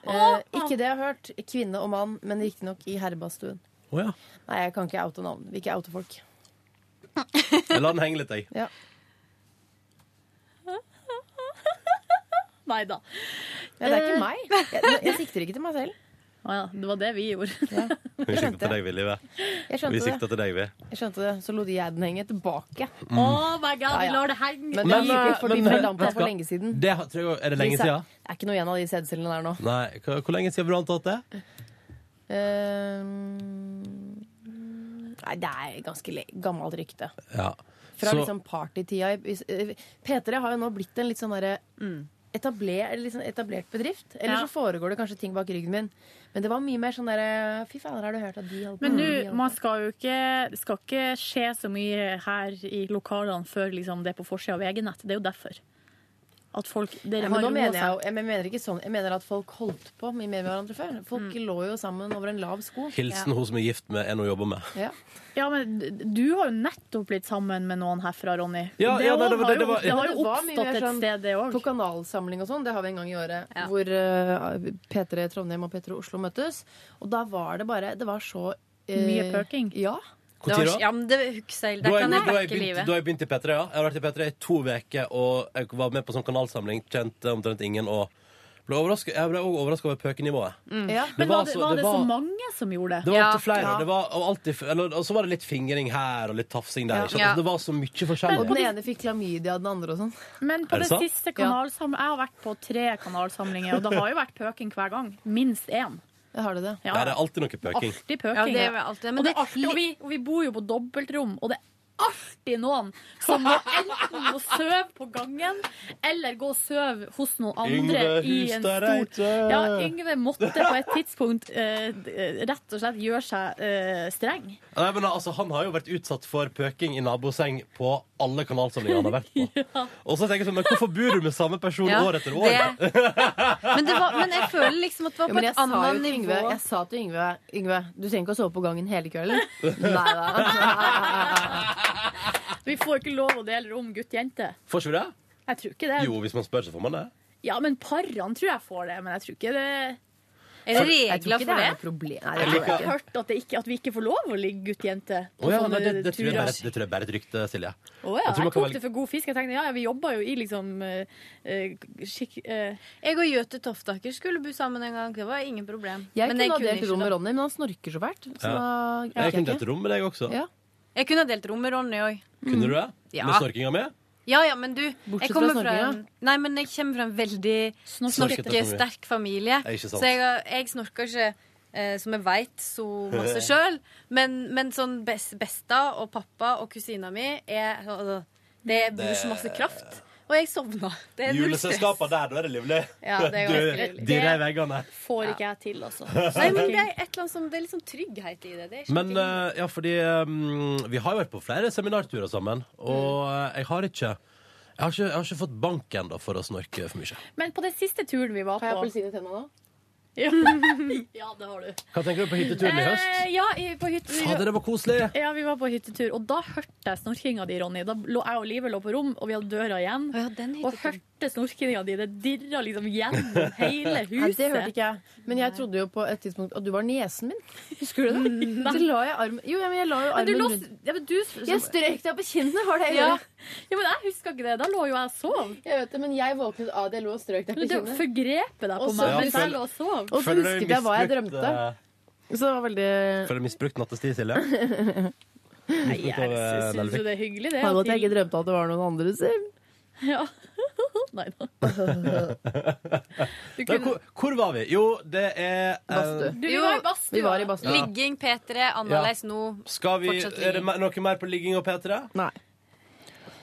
Speaker 5: eh, ikke det jeg har hørt. Kvinne og mann, men riktignok i herrebadstuen.
Speaker 2: Å ja.
Speaker 5: Nei, jeg kan ikke oute navn. Vil ikke oute folk.
Speaker 2: Jeg lar den henge litt, jeg.
Speaker 5: Ja.
Speaker 4: Nei da.
Speaker 5: Ja, det er ikke
Speaker 4: Eh.
Speaker 5: meg. Jeg, jeg sikter ikke til meg selv.
Speaker 4: Å ja, det var det vi gjorde.
Speaker 2: Vi sikter til deg, vi, Live.
Speaker 5: Jeg skjønte
Speaker 2: Vi
Speaker 5: det.
Speaker 2: sikter til deg, vi.
Speaker 5: Jeg skjønte det, Så lot jeg den henge tilbake.
Speaker 2: Mm. Oh
Speaker 4: my god, vi lar det henge.
Speaker 5: Men det gikk
Speaker 2: eh,
Speaker 5: ut for de
Speaker 2: men, eh,
Speaker 5: fordampa
Speaker 2: vet du
Speaker 5: for
Speaker 2: hva?
Speaker 5: lenge siden.
Speaker 2: Det, har- tror jeg, er det lenge
Speaker 5: Lisa,
Speaker 2: siden?
Speaker 5: Det er ikke noe igjen av de sædcellene der nå.
Speaker 2: Nei. Hvor, hvor lenge siden har du antatt det?
Speaker 5: Eh, Ehm, nei, det er ganske le gammelt rykte.
Speaker 2: Ja.
Speaker 5: Fra
Speaker 2: Så-
Speaker 5: liksom partytida. i- i- eh, P3 har jo nå blitt en litt sånn derre etabler, eller liksom etablert bedrift. Eller
Speaker 4: Mm. Ja.
Speaker 5: så foregår det kanskje ting bak ryggen min. Men det var mye mer sånn derre Fy fader, har du hørt at de holdt på
Speaker 4: Men
Speaker 5: med
Speaker 4: nå,
Speaker 5: det, de holdt på
Speaker 4: man skal jo ikke, det skal ikke skje så mye her i lokalene før liksom, det er på forsida av VG-nett. Det er jo derfor. At folk det
Speaker 5: Ja, men nå mener jeg, jo- jeg mener ikke sånn Jeg mener at folk holdt på mye mer med hverandre før. Folk
Speaker 4: Mm.
Speaker 5: lå jo sammen over en lav sko.
Speaker 2: Hilsen hun som er gift med en hun jobber med.
Speaker 5: Ja.
Speaker 4: men d- du har jo nettopp blitt sammen med noen herfra, Ronny.
Speaker 2: Ja,
Speaker 4: det,
Speaker 2: ja,
Speaker 4: har-
Speaker 2: det- det-
Speaker 4: har
Speaker 2: det
Speaker 4: jo,
Speaker 2: var-
Speaker 4: det har jo
Speaker 5: Det var mye
Speaker 4: oppstått
Speaker 5: mer
Speaker 4: et
Speaker 5: sånn
Speaker 4: sted, det òg.
Speaker 5: På kanalsamling og sånn, det har vi en gang i året, hvor eh, P3 Trondheim og P3 Oslo møttes. Og da var det bare Det var så eh,
Speaker 4: Mye pøking?
Speaker 5: Ja.
Speaker 20: Det
Speaker 2: Hvor
Speaker 20: var,
Speaker 2: tid da?
Speaker 20: ja, men det husker jeg.
Speaker 2: Da
Speaker 20: Der
Speaker 2: har jeg,
Speaker 20: kan jeg
Speaker 2: da har jeg,
Speaker 20: backe
Speaker 2: begynt,
Speaker 20: livet.
Speaker 2: da har jeg begynt i P3, ja. Jeg har vært i P3 i to uker, og jeg var med på sånn kanalsamling. Kjente omtrent ingen. Og ble overrasket, jeg ble også overraska over pøkenivået.
Speaker 4: Mm.
Speaker 2: Det
Speaker 4: Men
Speaker 2: var
Speaker 4: var det,
Speaker 2: så-
Speaker 4: var
Speaker 2: det
Speaker 4: det så
Speaker 2: var-
Speaker 4: mange som gjorde det?
Speaker 2: Det var opptil flere. Og, det var, og, alltid, eller, og så var det litt fingring her og litt tafsing der.
Speaker 4: Ja.
Speaker 2: ikke sant?
Speaker 4: Ja.
Speaker 2: Altså, det var så mye
Speaker 4: Men
Speaker 2: forskjellig.
Speaker 4: på
Speaker 2: Ja,
Speaker 4: det-
Speaker 3: ene fikk klamydia, den andre og sånn.
Speaker 4: Men på
Speaker 2: Er det
Speaker 4: det,
Speaker 2: sant?
Speaker 4: siste kanalsam... Jeg har vært på tre kanalsamlinger, og det har jo vært pøking hver gang. Minst én.
Speaker 3: Har du det?
Speaker 2: Det er alltid noe pøking.
Speaker 4: Alltid pøking.
Speaker 20: Ja, det er vel alltid, men
Speaker 4: og, det
Speaker 20: det er
Speaker 4: og, vi, og vi bor jo på dobbeltrom, og det er alltid noen som må enten må sove på gangen, eller gå og sove hos noen andre
Speaker 20: Yngve
Speaker 4: i en
Speaker 20: Hustad
Speaker 4: stor
Speaker 20: Reite.
Speaker 4: Ja, Yngve måtte på et tidspunkt eh, d- rett og slett gjøre seg eh, streng.
Speaker 2: Nei, men altså, Han har jo vært utsatt for pøking i naboseng på alle kanalsamlinger han har vært på. Og så tenker jeg sånn, men hvorfor bor du med samme person
Speaker 20: Ja,
Speaker 2: år etter år?
Speaker 20: det- Men, det var, men jeg føler liksom at det var
Speaker 3: Jo,
Speaker 20: på
Speaker 3: men jeg
Speaker 20: et
Speaker 3: sa jo til
Speaker 20: annet nivå.
Speaker 3: Yngve, jeg sa til Yngve Yngve, du trenger ikke å sove på gangen hele kvelden. Nei da.
Speaker 4: Vi får ikke lov å dele rom gutt-jente.
Speaker 2: Får ikke vi det?
Speaker 4: Jeg tror ikke det.
Speaker 2: Jo, hvis man spør, så får man det.
Speaker 4: Ja, men parene tror jeg får det, men jeg tror ikke det
Speaker 20: Er det regler for det?
Speaker 3: problem.
Speaker 2: det
Speaker 4: jeg
Speaker 2: tror jeg
Speaker 4: har
Speaker 2: ikke.
Speaker 4: hørt at, det ikke, at vi ikke får lov å ligge gutt-jente.
Speaker 2: Å ja, nei, det, det, tror jeg bare, det tror jeg bare er et rykte, Silje.
Speaker 4: Å ja,
Speaker 2: Jeg tror man
Speaker 4: jeg,
Speaker 2: kan
Speaker 4: tok
Speaker 2: velge-
Speaker 4: det for god fisk. Jeg tenkte ja, ja, vi jobber jo i liksom eh, eh, skikk... eh,
Speaker 20: Jeg og Jøte Toftaker skulle bo sammen en gang. Det var ingen problem.
Speaker 3: Jeg
Speaker 20: Men
Speaker 3: kunne ha delt
Speaker 20: ikke
Speaker 3: rom med
Speaker 20: det.
Speaker 3: Ronny, men han snorker så fælt. Så da
Speaker 2: Ja. Jeg
Speaker 3: gikk jeg
Speaker 2: kunne
Speaker 3: ikke.
Speaker 2: delt rom med deg også.
Speaker 3: Ja.
Speaker 20: Jeg kunne ha delt rom med Ronny òg.
Speaker 2: Kunne du det?
Speaker 20: Ja.
Speaker 2: Med snorkinga mi?
Speaker 20: Ja, ja, men du
Speaker 3: Bortsett
Speaker 20: jeg kommer
Speaker 3: fra
Speaker 20: fra, en,
Speaker 3: snorkinga.
Speaker 20: Nei, men jeg kommer fra en veldig
Speaker 2: Snorkete
Speaker 20: snorkete,
Speaker 2: familie.
Speaker 20: sterk familie.
Speaker 2: Ja, ikke sant.
Speaker 20: Så jeg, jeg snorker ikke, eh, som jeg veit, så masse sjøl. Men, men sånn bes- besta og pappa og kusina mi er altså, Det bor så masse kraft. Og jeg sovna. Det er null stress.
Speaker 2: Juleselskapene der, da er det livlig.
Speaker 20: Ja, det er
Speaker 2: Du-
Speaker 20: ganske livlig.
Speaker 2: Dirre i veggene.
Speaker 4: Får ikke jeg til, altså.
Speaker 20: Nei, men det er et eller annet som, det er litt sånn trygghet i det. det er ikke
Speaker 2: Men eh, ja, fordi eh, vi har jo vært på flere seminarturer sammen, og
Speaker 4: Mm.
Speaker 2: eh, jeg har ikke jeg har, ikke, jeg har ikke fått bank ennå for å snorke for mye.
Speaker 4: Men på den siste turen vi var på
Speaker 3: Har jeg appelsin i tennene da?
Speaker 4: Ja. ja, det har du.
Speaker 2: Hva tenker du på hytteturen i høst?
Speaker 4: Eh, ja, i- på hytte...
Speaker 2: Fader, det var koselig!
Speaker 4: Ja, vi var på hyttetur, og da hørte jeg snorkinga di, Ronny. Da lå jeg og Live lå på rom, og vi hadde døra igjen. og hørte snorkinga di. Det dirra liksom gjennom hele huset.
Speaker 3: Nei, det hørte ikke jeg. Men jeg trodde jo på et tidspunkt at du var niesen min. Husker du det?
Speaker 4: Mm,
Speaker 3: Så la jeg armen Jo, ja, men jeg la jo
Speaker 4: Men du
Speaker 3: armen
Speaker 4: lå-
Speaker 3: rundt
Speaker 4: ja, men du,
Speaker 3: Jeg strøk deg på kinnet, var det jeg
Speaker 4: Ja.
Speaker 3: gjorde.
Speaker 4: ja, men jeg husker ikke det. Da lå jo jeg og sov.
Speaker 3: Jeg vet det, men jeg våknet av det, jeg lå og strøk deg
Speaker 4: Du
Speaker 3: på
Speaker 4: du
Speaker 3: kinnet.
Speaker 4: forgrepet deg på
Speaker 3: Og så-
Speaker 4: meg
Speaker 2: Ja,
Speaker 4: mens
Speaker 2: føl-
Speaker 4: jeg lå og sov.
Speaker 3: Og så
Speaker 2: Føler du deg
Speaker 3: husket jeg hva jeg
Speaker 2: misbrukt,
Speaker 3: drømte.
Speaker 2: eh,
Speaker 3: Så det var veldig
Speaker 2: Føler du misbrukt nattestid, Silje? Misbrukt
Speaker 4: jeg
Speaker 2: av, eh,
Speaker 4: sy- syns
Speaker 2: Nelvik.
Speaker 4: jo det er hyggelig, det.
Speaker 3: Faen at jeg
Speaker 4: at
Speaker 3: ikke drømte at det var noen andre sin.
Speaker 4: vi- Ja. Nei da.
Speaker 2: Da, hvor, hvor var vi? Jo, det er eh,
Speaker 20: Du, vi var i badstua.
Speaker 3: Vi var i badstua.
Speaker 20: Ligging, P3, annerledes nå.
Speaker 2: Skal vi,
Speaker 20: Fortsatt
Speaker 2: er det me- noe mer på ligging og P3?
Speaker 3: Nei.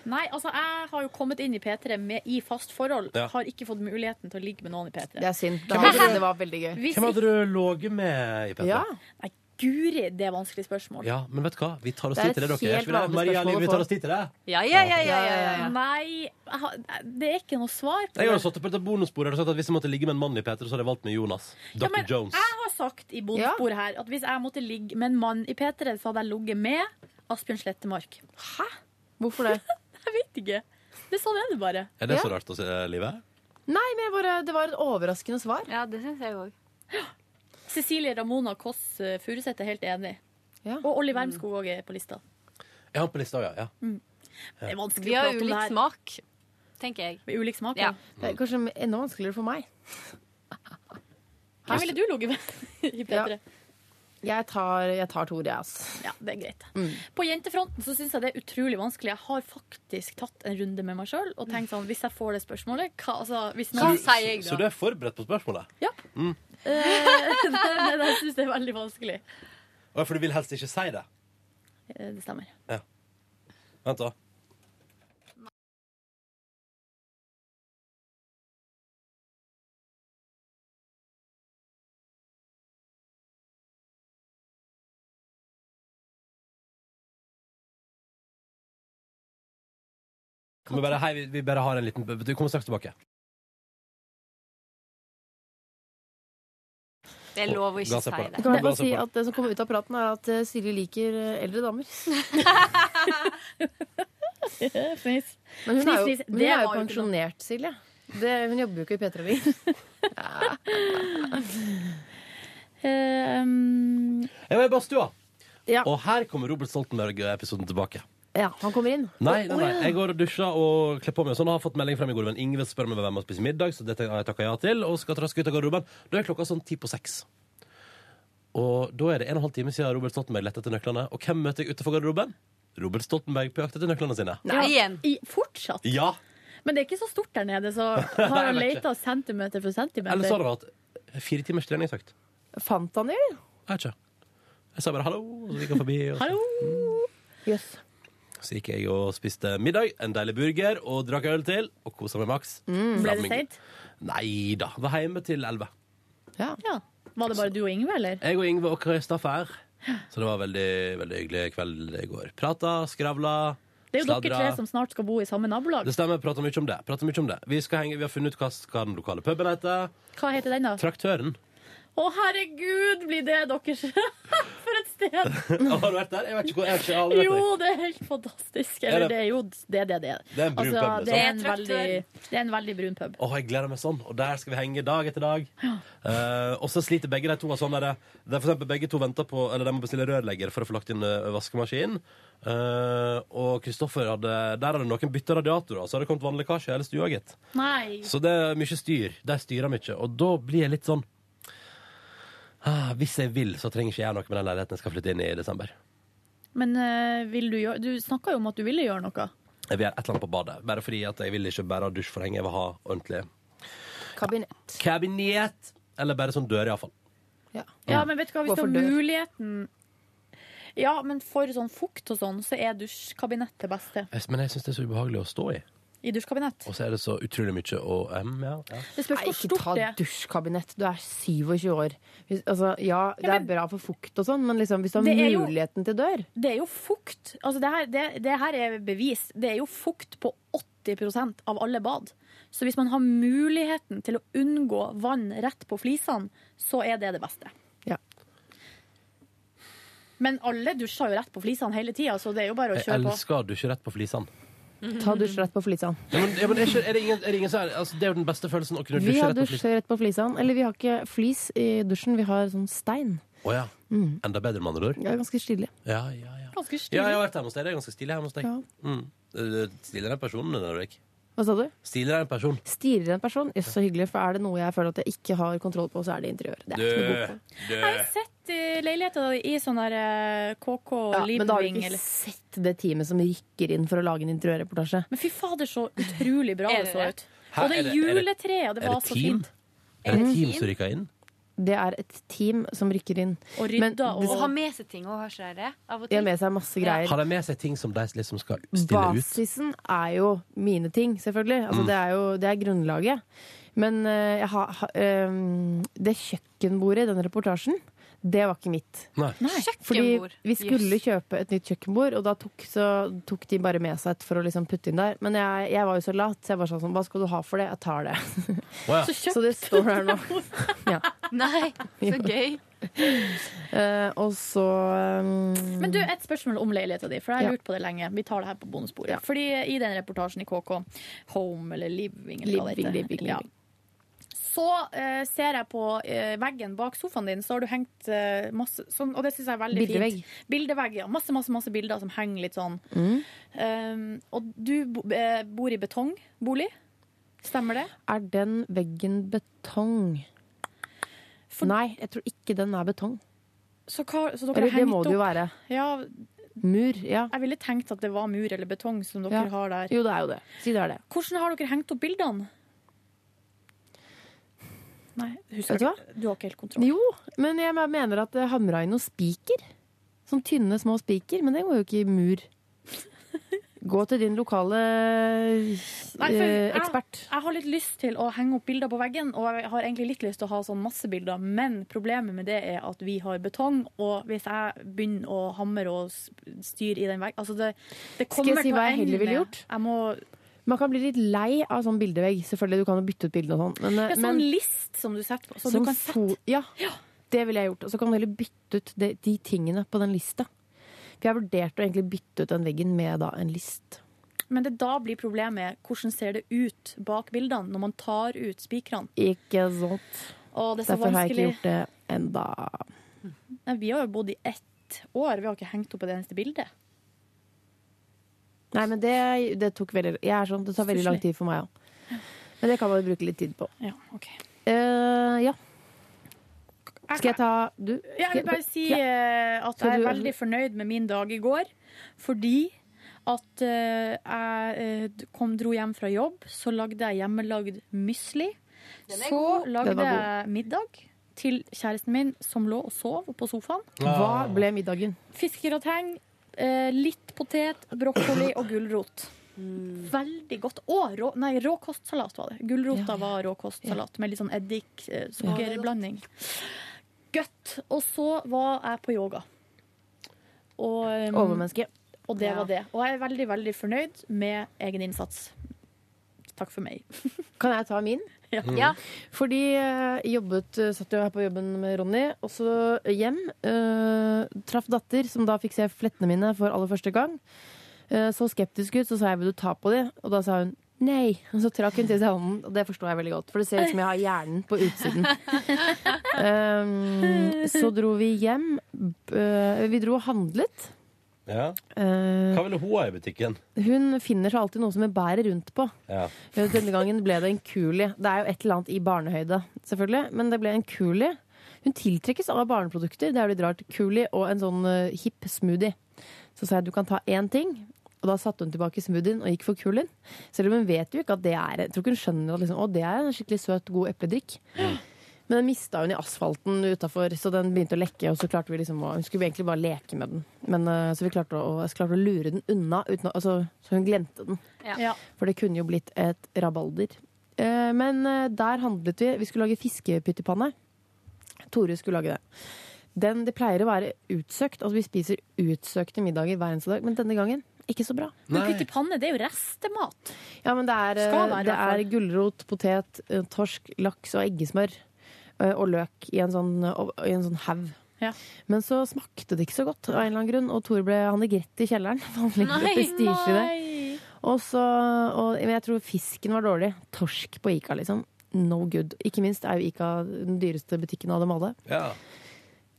Speaker 4: Nei, altså, jeg har jo kommet inn i P3 med, i fast forhold.
Speaker 2: Ja.
Speaker 4: Har ikke fått muligheten til å ligge med noen i P3.
Speaker 3: Det er synd.
Speaker 4: Hvem
Speaker 3: Det,
Speaker 4: hadde
Speaker 3: hadde,
Speaker 4: du-
Speaker 3: det var veldig gøy.
Speaker 4: Hvis
Speaker 2: Hvem hadde du ligget med i P3?
Speaker 3: Ja.
Speaker 4: Nei, guri, det er vanskelig spørsmål.
Speaker 2: Ja, men vet du hva? Vi tar oss
Speaker 4: Det er
Speaker 2: tid til det,
Speaker 4: et
Speaker 2: dere. Gjør
Speaker 4: helt
Speaker 2: ikke vi det?
Speaker 4: vanlig
Speaker 2: Maria
Speaker 4: spørsmål
Speaker 2: Liv, vi
Speaker 4: å få.
Speaker 2: tar oss tid til det.
Speaker 20: Ja, ja, ja, ja, ja, ja.
Speaker 4: Nei, jeg har- det er ikke noe svar på
Speaker 2: Jeg har jo
Speaker 4: det.
Speaker 2: satt opp et bonusbord og sagt at hvis jeg måtte ligge med en mann i P3, så hadde jeg valgt med Jonas. Dr.
Speaker 4: Ja, men
Speaker 2: Jones.
Speaker 4: Jeg har sagt i bondesporet her at hvis jeg måtte ligge med en mann i P3, så hadde jeg ligget med Asbjørn Slettemark. Hæ?
Speaker 3: Hvorfor det?
Speaker 4: jeg vet ikke. Det er Sånn er det bare.
Speaker 2: Er det
Speaker 3: Ja.
Speaker 2: så rart å se livet?
Speaker 3: Nei, men jeg bare, det var et overraskende svar.
Speaker 20: Ja, det syns jeg òg.
Speaker 4: Cecilie Ramona Kåss eh, Furuseth er helt enig. Og Olli Wermskog òg er på lista.
Speaker 2: Jeg har på lista, ja. ja.
Speaker 4: Det er vanskelig
Speaker 20: Vi har
Speaker 4: å prate om det
Speaker 20: ulik
Speaker 4: her.
Speaker 20: smak, tenker jeg.
Speaker 4: Med ulik smak,
Speaker 20: Ja.
Speaker 4: ja.
Speaker 3: Det er kanskje enda vanskeligere for meg.
Speaker 4: Hvem ville du ligget med i P3?
Speaker 3: Jeg tar, jeg tar Tore, jeg, ass.
Speaker 4: Ja, det er greit.
Speaker 20: Mm.
Speaker 4: På jentefronten så syns jeg det er utrolig vanskelig. Jeg har faktisk tatt en runde med meg sjøl og tenkt sånn Hvis jeg får det spørsmålet, hva, altså, hvis
Speaker 2: Så,
Speaker 4: noen
Speaker 2: du, så, så du er forberedt på spørsmålet?
Speaker 4: Ja.
Speaker 2: Mm.
Speaker 4: Eh, Men jeg syns det er veldig vanskelig.
Speaker 2: Å, For du vil helst ikke si det?
Speaker 4: Eh, Det stemmer.
Speaker 2: Vent, da. Kan vi bare, hei, vi- vi bare har en liten Du kommer straks tilbake.
Speaker 20: Det er lov å ikke
Speaker 2: Ga seg
Speaker 20: si
Speaker 2: på
Speaker 20: det.
Speaker 2: det.
Speaker 3: Kan jeg
Speaker 2: Gå
Speaker 3: bare
Speaker 2: og se
Speaker 3: si
Speaker 2: på det.
Speaker 3: at Det som kommer ut av praten, er at eh, Silje liker eh, eldre damer.
Speaker 4: Fnis.
Speaker 3: Men hun er jo,
Speaker 4: Fnis, fnis.
Speaker 3: men hun
Speaker 4: Det
Speaker 3: er jo
Speaker 4: var jo ikke noe.
Speaker 3: pensjonert, Silje. Det, hun jobber jo ikke i P3 lenger.
Speaker 4: Eh, um, Ehm,
Speaker 2: Jeg var i badstua,
Speaker 5: Ja.
Speaker 2: Og her kommer Robert Stoltenberg-episoden tilbake.
Speaker 5: Ja, han kommer inn.
Speaker 2: Nei, nei,
Speaker 5: Å,
Speaker 2: nei.
Speaker 5: ja.
Speaker 2: jeg går og dusjer og kler på meg. og Sånn, og har fått melding frem i går, men Ingvild spør meg om jeg vil være med og spise middag, så det har jeg takket ja til. Og skal traske ut av garderoben. Da er klokka sånn ti på seks. Og da er det en og en halv time siden Robert Stoltenberg lette etter nøklene. Og hvem møter jeg utenfor garderoben? Robert Stoltenberg på jakt etter nøklene sine.
Speaker 20: Nei, igjen.
Speaker 4: I, fortsatt.
Speaker 2: Ja!
Speaker 4: Men det er ikke så stort der nede, så
Speaker 2: Nei,
Speaker 4: har
Speaker 2: jeg
Speaker 4: han
Speaker 2: vet
Speaker 4: leita centimeter for centimeter.
Speaker 2: Eller så har han hatt fire timers treningsøkt.
Speaker 5: Fant han det, eller?
Speaker 2: Jeg vet ikke. Jeg sa bare hallo, og så gikk han forbi. Og så.
Speaker 5: Jøss.
Speaker 2: så gikk jeg og spiste middag, en deilig burger, og drakk øl til, og kosa meg maks.
Speaker 4: Mm. Ble det
Speaker 2: Flamming.
Speaker 4: seint?
Speaker 2: Nei da. Var hjemme til elleve.
Speaker 5: Ja.
Speaker 4: Var det bare du og Ingve, eller?
Speaker 2: Jeg og Ingve og Kristoffer. Så det var veldig, veldig hyggelig kveld i går. Prata, skravla,
Speaker 4: Det er jo dere tre som snart skal bo i samme nabolag.
Speaker 2: Det stemmer. Prata mye om det. Prata mye om det. Vi, skal henge, vi har funnet ut hva, hva den lokale puben heter.
Speaker 4: Hva heter den, da?
Speaker 2: Traktøren.
Speaker 4: Å, herregud, blir det deres For et sted!
Speaker 2: har du vært der? Jeg vet ikke hvor. Jeg har ikke aldri vært
Speaker 4: Jo,
Speaker 2: der.
Speaker 4: det er helt fantastisk.
Speaker 2: Er
Speaker 4: Eller
Speaker 2: det-
Speaker 4: det er jo det det det er. Altså,
Speaker 2: Det er en brun pub,
Speaker 4: det, er en
Speaker 2: liksom.
Speaker 4: veldig, det er en veldig brun pub.
Speaker 2: Åh, jeg gleder meg sånn. Og der skal vi henge dag etter dag. Eh, og så sliter begge de to av sånn derre der for eksempel begge to venter på Eller de må bestille rørlegger for å få lagt inn eh, vaskemaskin. Eh, og Kristoffer hadde Der hadde noen bytta radiatorer, så hadde det kommet vannlekkasje i hele stua, gitt.
Speaker 4: Nei.
Speaker 2: Så det er mye styr. De styrer mye. Og da blir jeg litt sånn ah, Hvis jeg vil, så trenger ikke jeg gjøre noe med den leiligheten jeg skal flytte inn i i desember.
Speaker 4: Men eh, vil du gjøre Du snakka jo om at du ville gjøre noe.
Speaker 2: Jeg vil gjøre et eller annet på badet. Bare fordi at jeg vil ikke bare ha dusjforheng. Jeg vil ha ordentlig
Speaker 5: Kabinett.
Speaker 2: kabinett. Eller bare sånn dør, iallfall.
Speaker 4: Ja, men vet du hva, hvis du
Speaker 5: Hvorfor
Speaker 4: har
Speaker 5: dør?
Speaker 4: muligheten Ja, men for sånn fukt og sånn, så er dusjkabinett det beste.
Speaker 2: Men jeg syns det er så ubehagelig å stå i.
Speaker 4: I dusjkabinett.
Speaker 2: Og så er det så utrolig mye å mm, ja, ja.
Speaker 4: Det spørs
Speaker 5: Nei,
Speaker 4: hvor
Speaker 5: ikke
Speaker 4: stort
Speaker 5: ta
Speaker 4: det er.
Speaker 5: dusjkabinett. Du er 27 år. Hvis, altså, ja, det er bra for fukt og sånn, men liksom, hvis du har
Speaker 4: Det er jo-
Speaker 5: muligheten til dør
Speaker 4: Det er jo fukt. Altså, det her, det, det her er bevis. Det er jo fukt på 80 av alle bad. Så hvis man har muligheten til å unngå vann rett på flisene, så er det det beste.
Speaker 5: Ja.
Speaker 4: Men alle dusjer jo rett på flisene hele tida, så det er jo bare å
Speaker 2: Jeg
Speaker 4: kjøre på.
Speaker 2: elsker å dusje rett på flisene.
Speaker 5: Ta dusj rett på flisene.
Speaker 2: Ja, men, ja, men er, ikke, er, det ingen, er det ingen som er altså, Det er jo den beste følelsen å kunne
Speaker 5: Vi
Speaker 2: dusje
Speaker 5: har
Speaker 2: rett på
Speaker 5: dusj
Speaker 2: flisene.
Speaker 5: rett på flisene. Eller vi har ikke flis i dusjen, vi har sånn stein.
Speaker 2: Å ja. Enda bedre, med andre ord.
Speaker 5: Det er ganske stilig.
Speaker 2: Ja, ja, ja.
Speaker 4: Ganske
Speaker 2: ja, jeg har vært hjemme hos deg. Det er ganske stilig hjemme hos deg.
Speaker 5: Ja.
Speaker 2: Mm. Eh, Stiligere enn personen din, Ulrik.
Speaker 5: Hva sa du?
Speaker 2: Stiligere enn person.
Speaker 5: Stirrer en person? Jøss, så hyggelig. For er det noe jeg føler at jeg ikke har kontroll på, så er det interiør. Det er
Speaker 2: Dø!
Speaker 5: ikke noe god på.
Speaker 2: Dø!
Speaker 4: Jeg har sett eh, leiligheter i sånn der eh, KK
Speaker 5: Ja,
Speaker 4: living
Speaker 5: men da har du ikke
Speaker 4: eller-
Speaker 5: sett det teamet som rykker inn for å lage en interiørreportasje.
Speaker 4: Men fy fader, så utrolig bra
Speaker 5: Er
Speaker 4: det
Speaker 5: det
Speaker 4: så
Speaker 5: det?
Speaker 4: ut.
Speaker 5: Hæ,
Speaker 4: Og
Speaker 5: er det-
Speaker 4: det
Speaker 5: er det-
Speaker 4: juletreet, det
Speaker 2: er
Speaker 4: var
Speaker 2: det
Speaker 4: så
Speaker 2: team?
Speaker 4: fint.
Speaker 2: Er det
Speaker 5: Mm.
Speaker 2: team som rykker inn?
Speaker 5: Det er et team som rykker inn.
Speaker 4: Og
Speaker 5: Men
Speaker 4: rydda
Speaker 5: det-
Speaker 20: Og ha med seg ting og har ikke det av og
Speaker 5: De
Speaker 20: til.
Speaker 5: har med seg masse greier.
Speaker 2: Har de med seg ting som de liksom skal stille ut?
Speaker 5: Basisen er jo mine ting, selvfølgelig. Altså,
Speaker 2: Mm.
Speaker 5: det er jo det er grunnlaget. Men eh, jeg har- ha- ehm, det kjøkkenbordet i den reportasjen, det var ikke mitt.
Speaker 2: Nei.
Speaker 5: Fordi
Speaker 20: Kjøkkenbord.
Speaker 5: vi skulle kjøpe et nytt kjøkkenbord, og da tok, så, tok de bare med seg et for å liksom putte inn der. Men jeg, jeg var jo så lat, så jeg bare sa sånn Hva skal du ha for det? Jeg tar det.
Speaker 2: Å, ja.
Speaker 20: Så
Speaker 5: Så det står der nå. Ja.
Speaker 20: Nei, så gøy.
Speaker 5: Eh, og så ehm,
Speaker 4: Men du, et spørsmål om leiligheta di, for jeg
Speaker 5: Ja.
Speaker 4: har lurt på det lenge. Vi tar det her på bonusbordet. Fordi i den reportasjen i KK, Home eller Living eller hva det
Speaker 5: Living,
Speaker 4: heter,
Speaker 5: living,
Speaker 4: Ja.
Speaker 5: living.
Speaker 4: så eh, ser jeg på eh, veggen bak sofaen din, så har du hengt eh, masse sånn, Og det syns jeg er veldig
Speaker 5: Bildevegg.
Speaker 4: fint. Bildevegg. Ja. Masse, masse, masse bilder som henger litt sånn.
Speaker 5: Mm.
Speaker 4: Um, og du bo, eh, bor i betongbolig. Stemmer det?
Speaker 5: Er den veggen betong? Nei, jeg tror ikke den er betong.
Speaker 4: Så, hva, så dere
Speaker 5: Eller
Speaker 4: har
Speaker 5: det må
Speaker 4: hengt
Speaker 5: det jo
Speaker 4: opp-
Speaker 5: være.
Speaker 4: Ja,
Speaker 5: Mur, ja.
Speaker 4: jeg ville tenkt at det var mur eller betong som dere
Speaker 5: Ja.
Speaker 4: har der.
Speaker 5: Jo, det er jo det. Si det er det.
Speaker 4: Hvordan har dere hengt opp bildene? Nei, husker
Speaker 5: Vet du hva?
Speaker 4: du Du har ikke helt kontroll.
Speaker 5: Jo, men jeg mener at det hamra inn noen spiker. Sånn tynne, små spiker. Men det går jo ikke i mur. Gå til din lokale
Speaker 4: Nei, for
Speaker 5: eh,
Speaker 4: jeg-
Speaker 5: ekspert.
Speaker 4: Jeg har litt lyst til å henge opp bilder på veggen, og jeg har egentlig litt lyst til å ha sånn masse bilder, men problemet med det er at vi har betong, og hvis jeg begynner å hamre og s- styre i den veggen altså det, det
Speaker 5: Skal
Speaker 4: kommer
Speaker 5: jeg si
Speaker 4: til å
Speaker 5: hva jeg heller
Speaker 4: ende
Speaker 5: ville
Speaker 4: med-
Speaker 5: gjort?
Speaker 4: Jeg må,
Speaker 5: Man kan bli litt lei av sånn bildevegg. Selvfølgelig, du kan jo bytte ut bildene og sånn. Men,
Speaker 4: det er sånn
Speaker 5: men
Speaker 4: list som du setter på, så
Speaker 5: som
Speaker 4: du kan sette
Speaker 5: fo- Ja, det ville jeg gjort. Og så kan du heller bytte ut de, de tingene på den lista. For jeg har vurdert å egentlig bytte ut den veggen med da en list.
Speaker 4: Men det da blir problemet hvordan ser det ut bak bildene når man tar ut spikrene.
Speaker 5: Ikke sant?
Speaker 4: Å, det er så
Speaker 5: Derfor har jeg ikke
Speaker 4: vanskelig.
Speaker 5: gjort det enda.
Speaker 4: Nei, vi har jo bodd i ett ett år. Vi har ikke hengt opp et eneste bilde.
Speaker 5: Nei, men det, det tok veldig Jeg er sånn, det tar veldig lang tid for meg òg. Men det kan man jo bruke litt tid på.
Speaker 4: Ja, ok.
Speaker 5: Eh, ja. Skal jeg ta du?
Speaker 4: Jeg vil bare si
Speaker 5: Ja.
Speaker 4: eh, at
Speaker 5: Skal
Speaker 4: jeg er
Speaker 5: du-
Speaker 4: veldig fornøyd med min dag i går, fordi at eh, jeg eh, d- kom, dro hjem fra jobb, så lagde jeg hjemmelagd mysli. Så
Speaker 5: Den
Speaker 4: lagde
Speaker 5: var
Speaker 4: jeg middag til kjæresten min, som lå og sov på sofaen.
Speaker 2: Ah,
Speaker 5: Hva ble middagen?
Speaker 4: Fiskegrateng, eh, litt potet, brokkoli og gulrot. Veldig godt. Og rå, nei, råkostsalat var det. Gulrota var råkostsalat med litt sånn eddik, eh, sukkerblanding. Godt. Og så var jeg på yoga. Og, eh,
Speaker 5: Overmenneske.
Speaker 4: Og det
Speaker 5: Ja.
Speaker 4: var det. Og jeg er veldig, veldig fornøyd med egen innsats. Takk for meg. Mm.
Speaker 5: Kan jeg ta min?
Speaker 4: Ja. Ja.
Speaker 5: Fordi eh, jobbet, eh, satt jo her på jobben med Ronny, og så hjem. eh, traff datter, som da fikk se flettene mine for aller første gang. Eh, så skeptisk ut, så sa jeg vil du ta på de? Og da sa hun nei. Og så trakk hun til seg hånden, og det forstår jeg veldig godt. For det ser ut som jeg har hjernen på utsiden. Eh, så dro vi hjem. B- eh, vi dro og handlet.
Speaker 2: Ja.
Speaker 5: Eh,
Speaker 2: Hva ville hun ha i butikken?
Speaker 5: hun finner seg alltid noe som hun bærer rundt på. Eh,
Speaker 2: Ja.
Speaker 5: Denne gangen ble det en kulie. Det er jo et eller annet i barnehøyde, selvfølgelig. Men det ble en kulie. Hun tiltrekkes av barneprodukter. Det er jo litt rart. Kulie og en sånn eh, hipp smoothie. Så sa jeg du kan ta én ting. Og da satte hun tilbake smoothien og gikk for kulien. Selv om hun vet jo ikke at det er Jeg tror ikke hun skjønner at liksom, å, det er en skikkelig søt, god epledrikk. Men den mista hun i asfalten utafor, så den begynte å lekke. Og så klarte vi liksom å, Hun skulle egentlig bare leke med den, men, eh, så vi klarte å, jeg klarte å lure den unna. Uten, å- altså, så hun glemte den.
Speaker 4: Ja.
Speaker 5: For det kunne jo blitt et rabalder. Eh, Men eh, der handlet vi. Vi skulle lage fiskepyttipanne. Tore skulle lage det. Den, det pleier å være utsøkt. Altså, vi spiser utsøkte middager hver eneste dag, men denne gangen ikke så bra.
Speaker 4: Men kutt i panne, det er jo restemat.
Speaker 5: Ja, men det er, eh,
Speaker 4: Skal være, i
Speaker 5: det
Speaker 4: hvert fall.
Speaker 5: er gulrot, potet, eh, torsk, laks og eggesmør. eh, Og løk i en sånn, eh, i en sånn haug. Men så smakte det ikke så godt, av en eller annen grunn, og Tore ble han gikk rett i kjelleren. Han fikk
Speaker 21: Nei,
Speaker 5: litt prestisje i
Speaker 4: det.
Speaker 5: Og så, og, men jeg tror fisken var dårlig. Torsk på Ica, liksom. No good. Ikke minst er jo Ica den dyreste butikken av dem alle.
Speaker 2: Ja.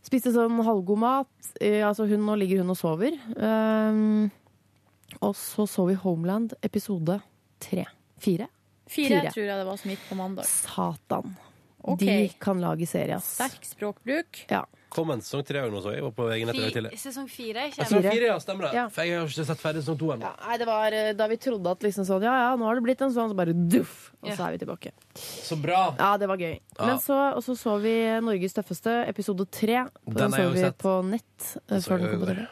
Speaker 5: Spiste sånn halvgod mat. Eh, altså hun, nå ligger hun og sover. Ehm, og så så vi Homeland episode tre. Fire?
Speaker 4: Fire, tror jeg det var som gikk på mandag.
Speaker 5: Satan.
Speaker 4: Ok.
Speaker 5: De kan lage serie, ass.
Speaker 4: Sterk språkbruk.
Speaker 5: Ja.
Speaker 2: Kom en sesong tre òg nå, så jeg var på egen etter
Speaker 22: Fi-
Speaker 2: tidlig.
Speaker 22: Sesong fire
Speaker 2: Ja, Sesong
Speaker 22: kommer.
Speaker 2: fire, ja, stemmer det.
Speaker 5: Ja.
Speaker 2: For jeg har ikke sett ferdig sesong to ennå.
Speaker 5: Nei, det var eh, da vi trodde at liksom sånn Ja ja, nå har det blitt en sånn, så bare duff, og så
Speaker 2: Ja.
Speaker 5: er vi tilbake.
Speaker 2: Så bra.
Speaker 5: Ja, det var gøy.
Speaker 2: Ja.
Speaker 5: Men så, og så så vi Norges tøffeste, episode tre. Den,
Speaker 2: Den har
Speaker 5: så
Speaker 2: jeg jo
Speaker 5: vi
Speaker 2: sett.
Speaker 5: på nett. eh,
Speaker 2: Den så
Speaker 5: Før den
Speaker 2: jeg
Speaker 5: kom på
Speaker 2: jo
Speaker 5: TV.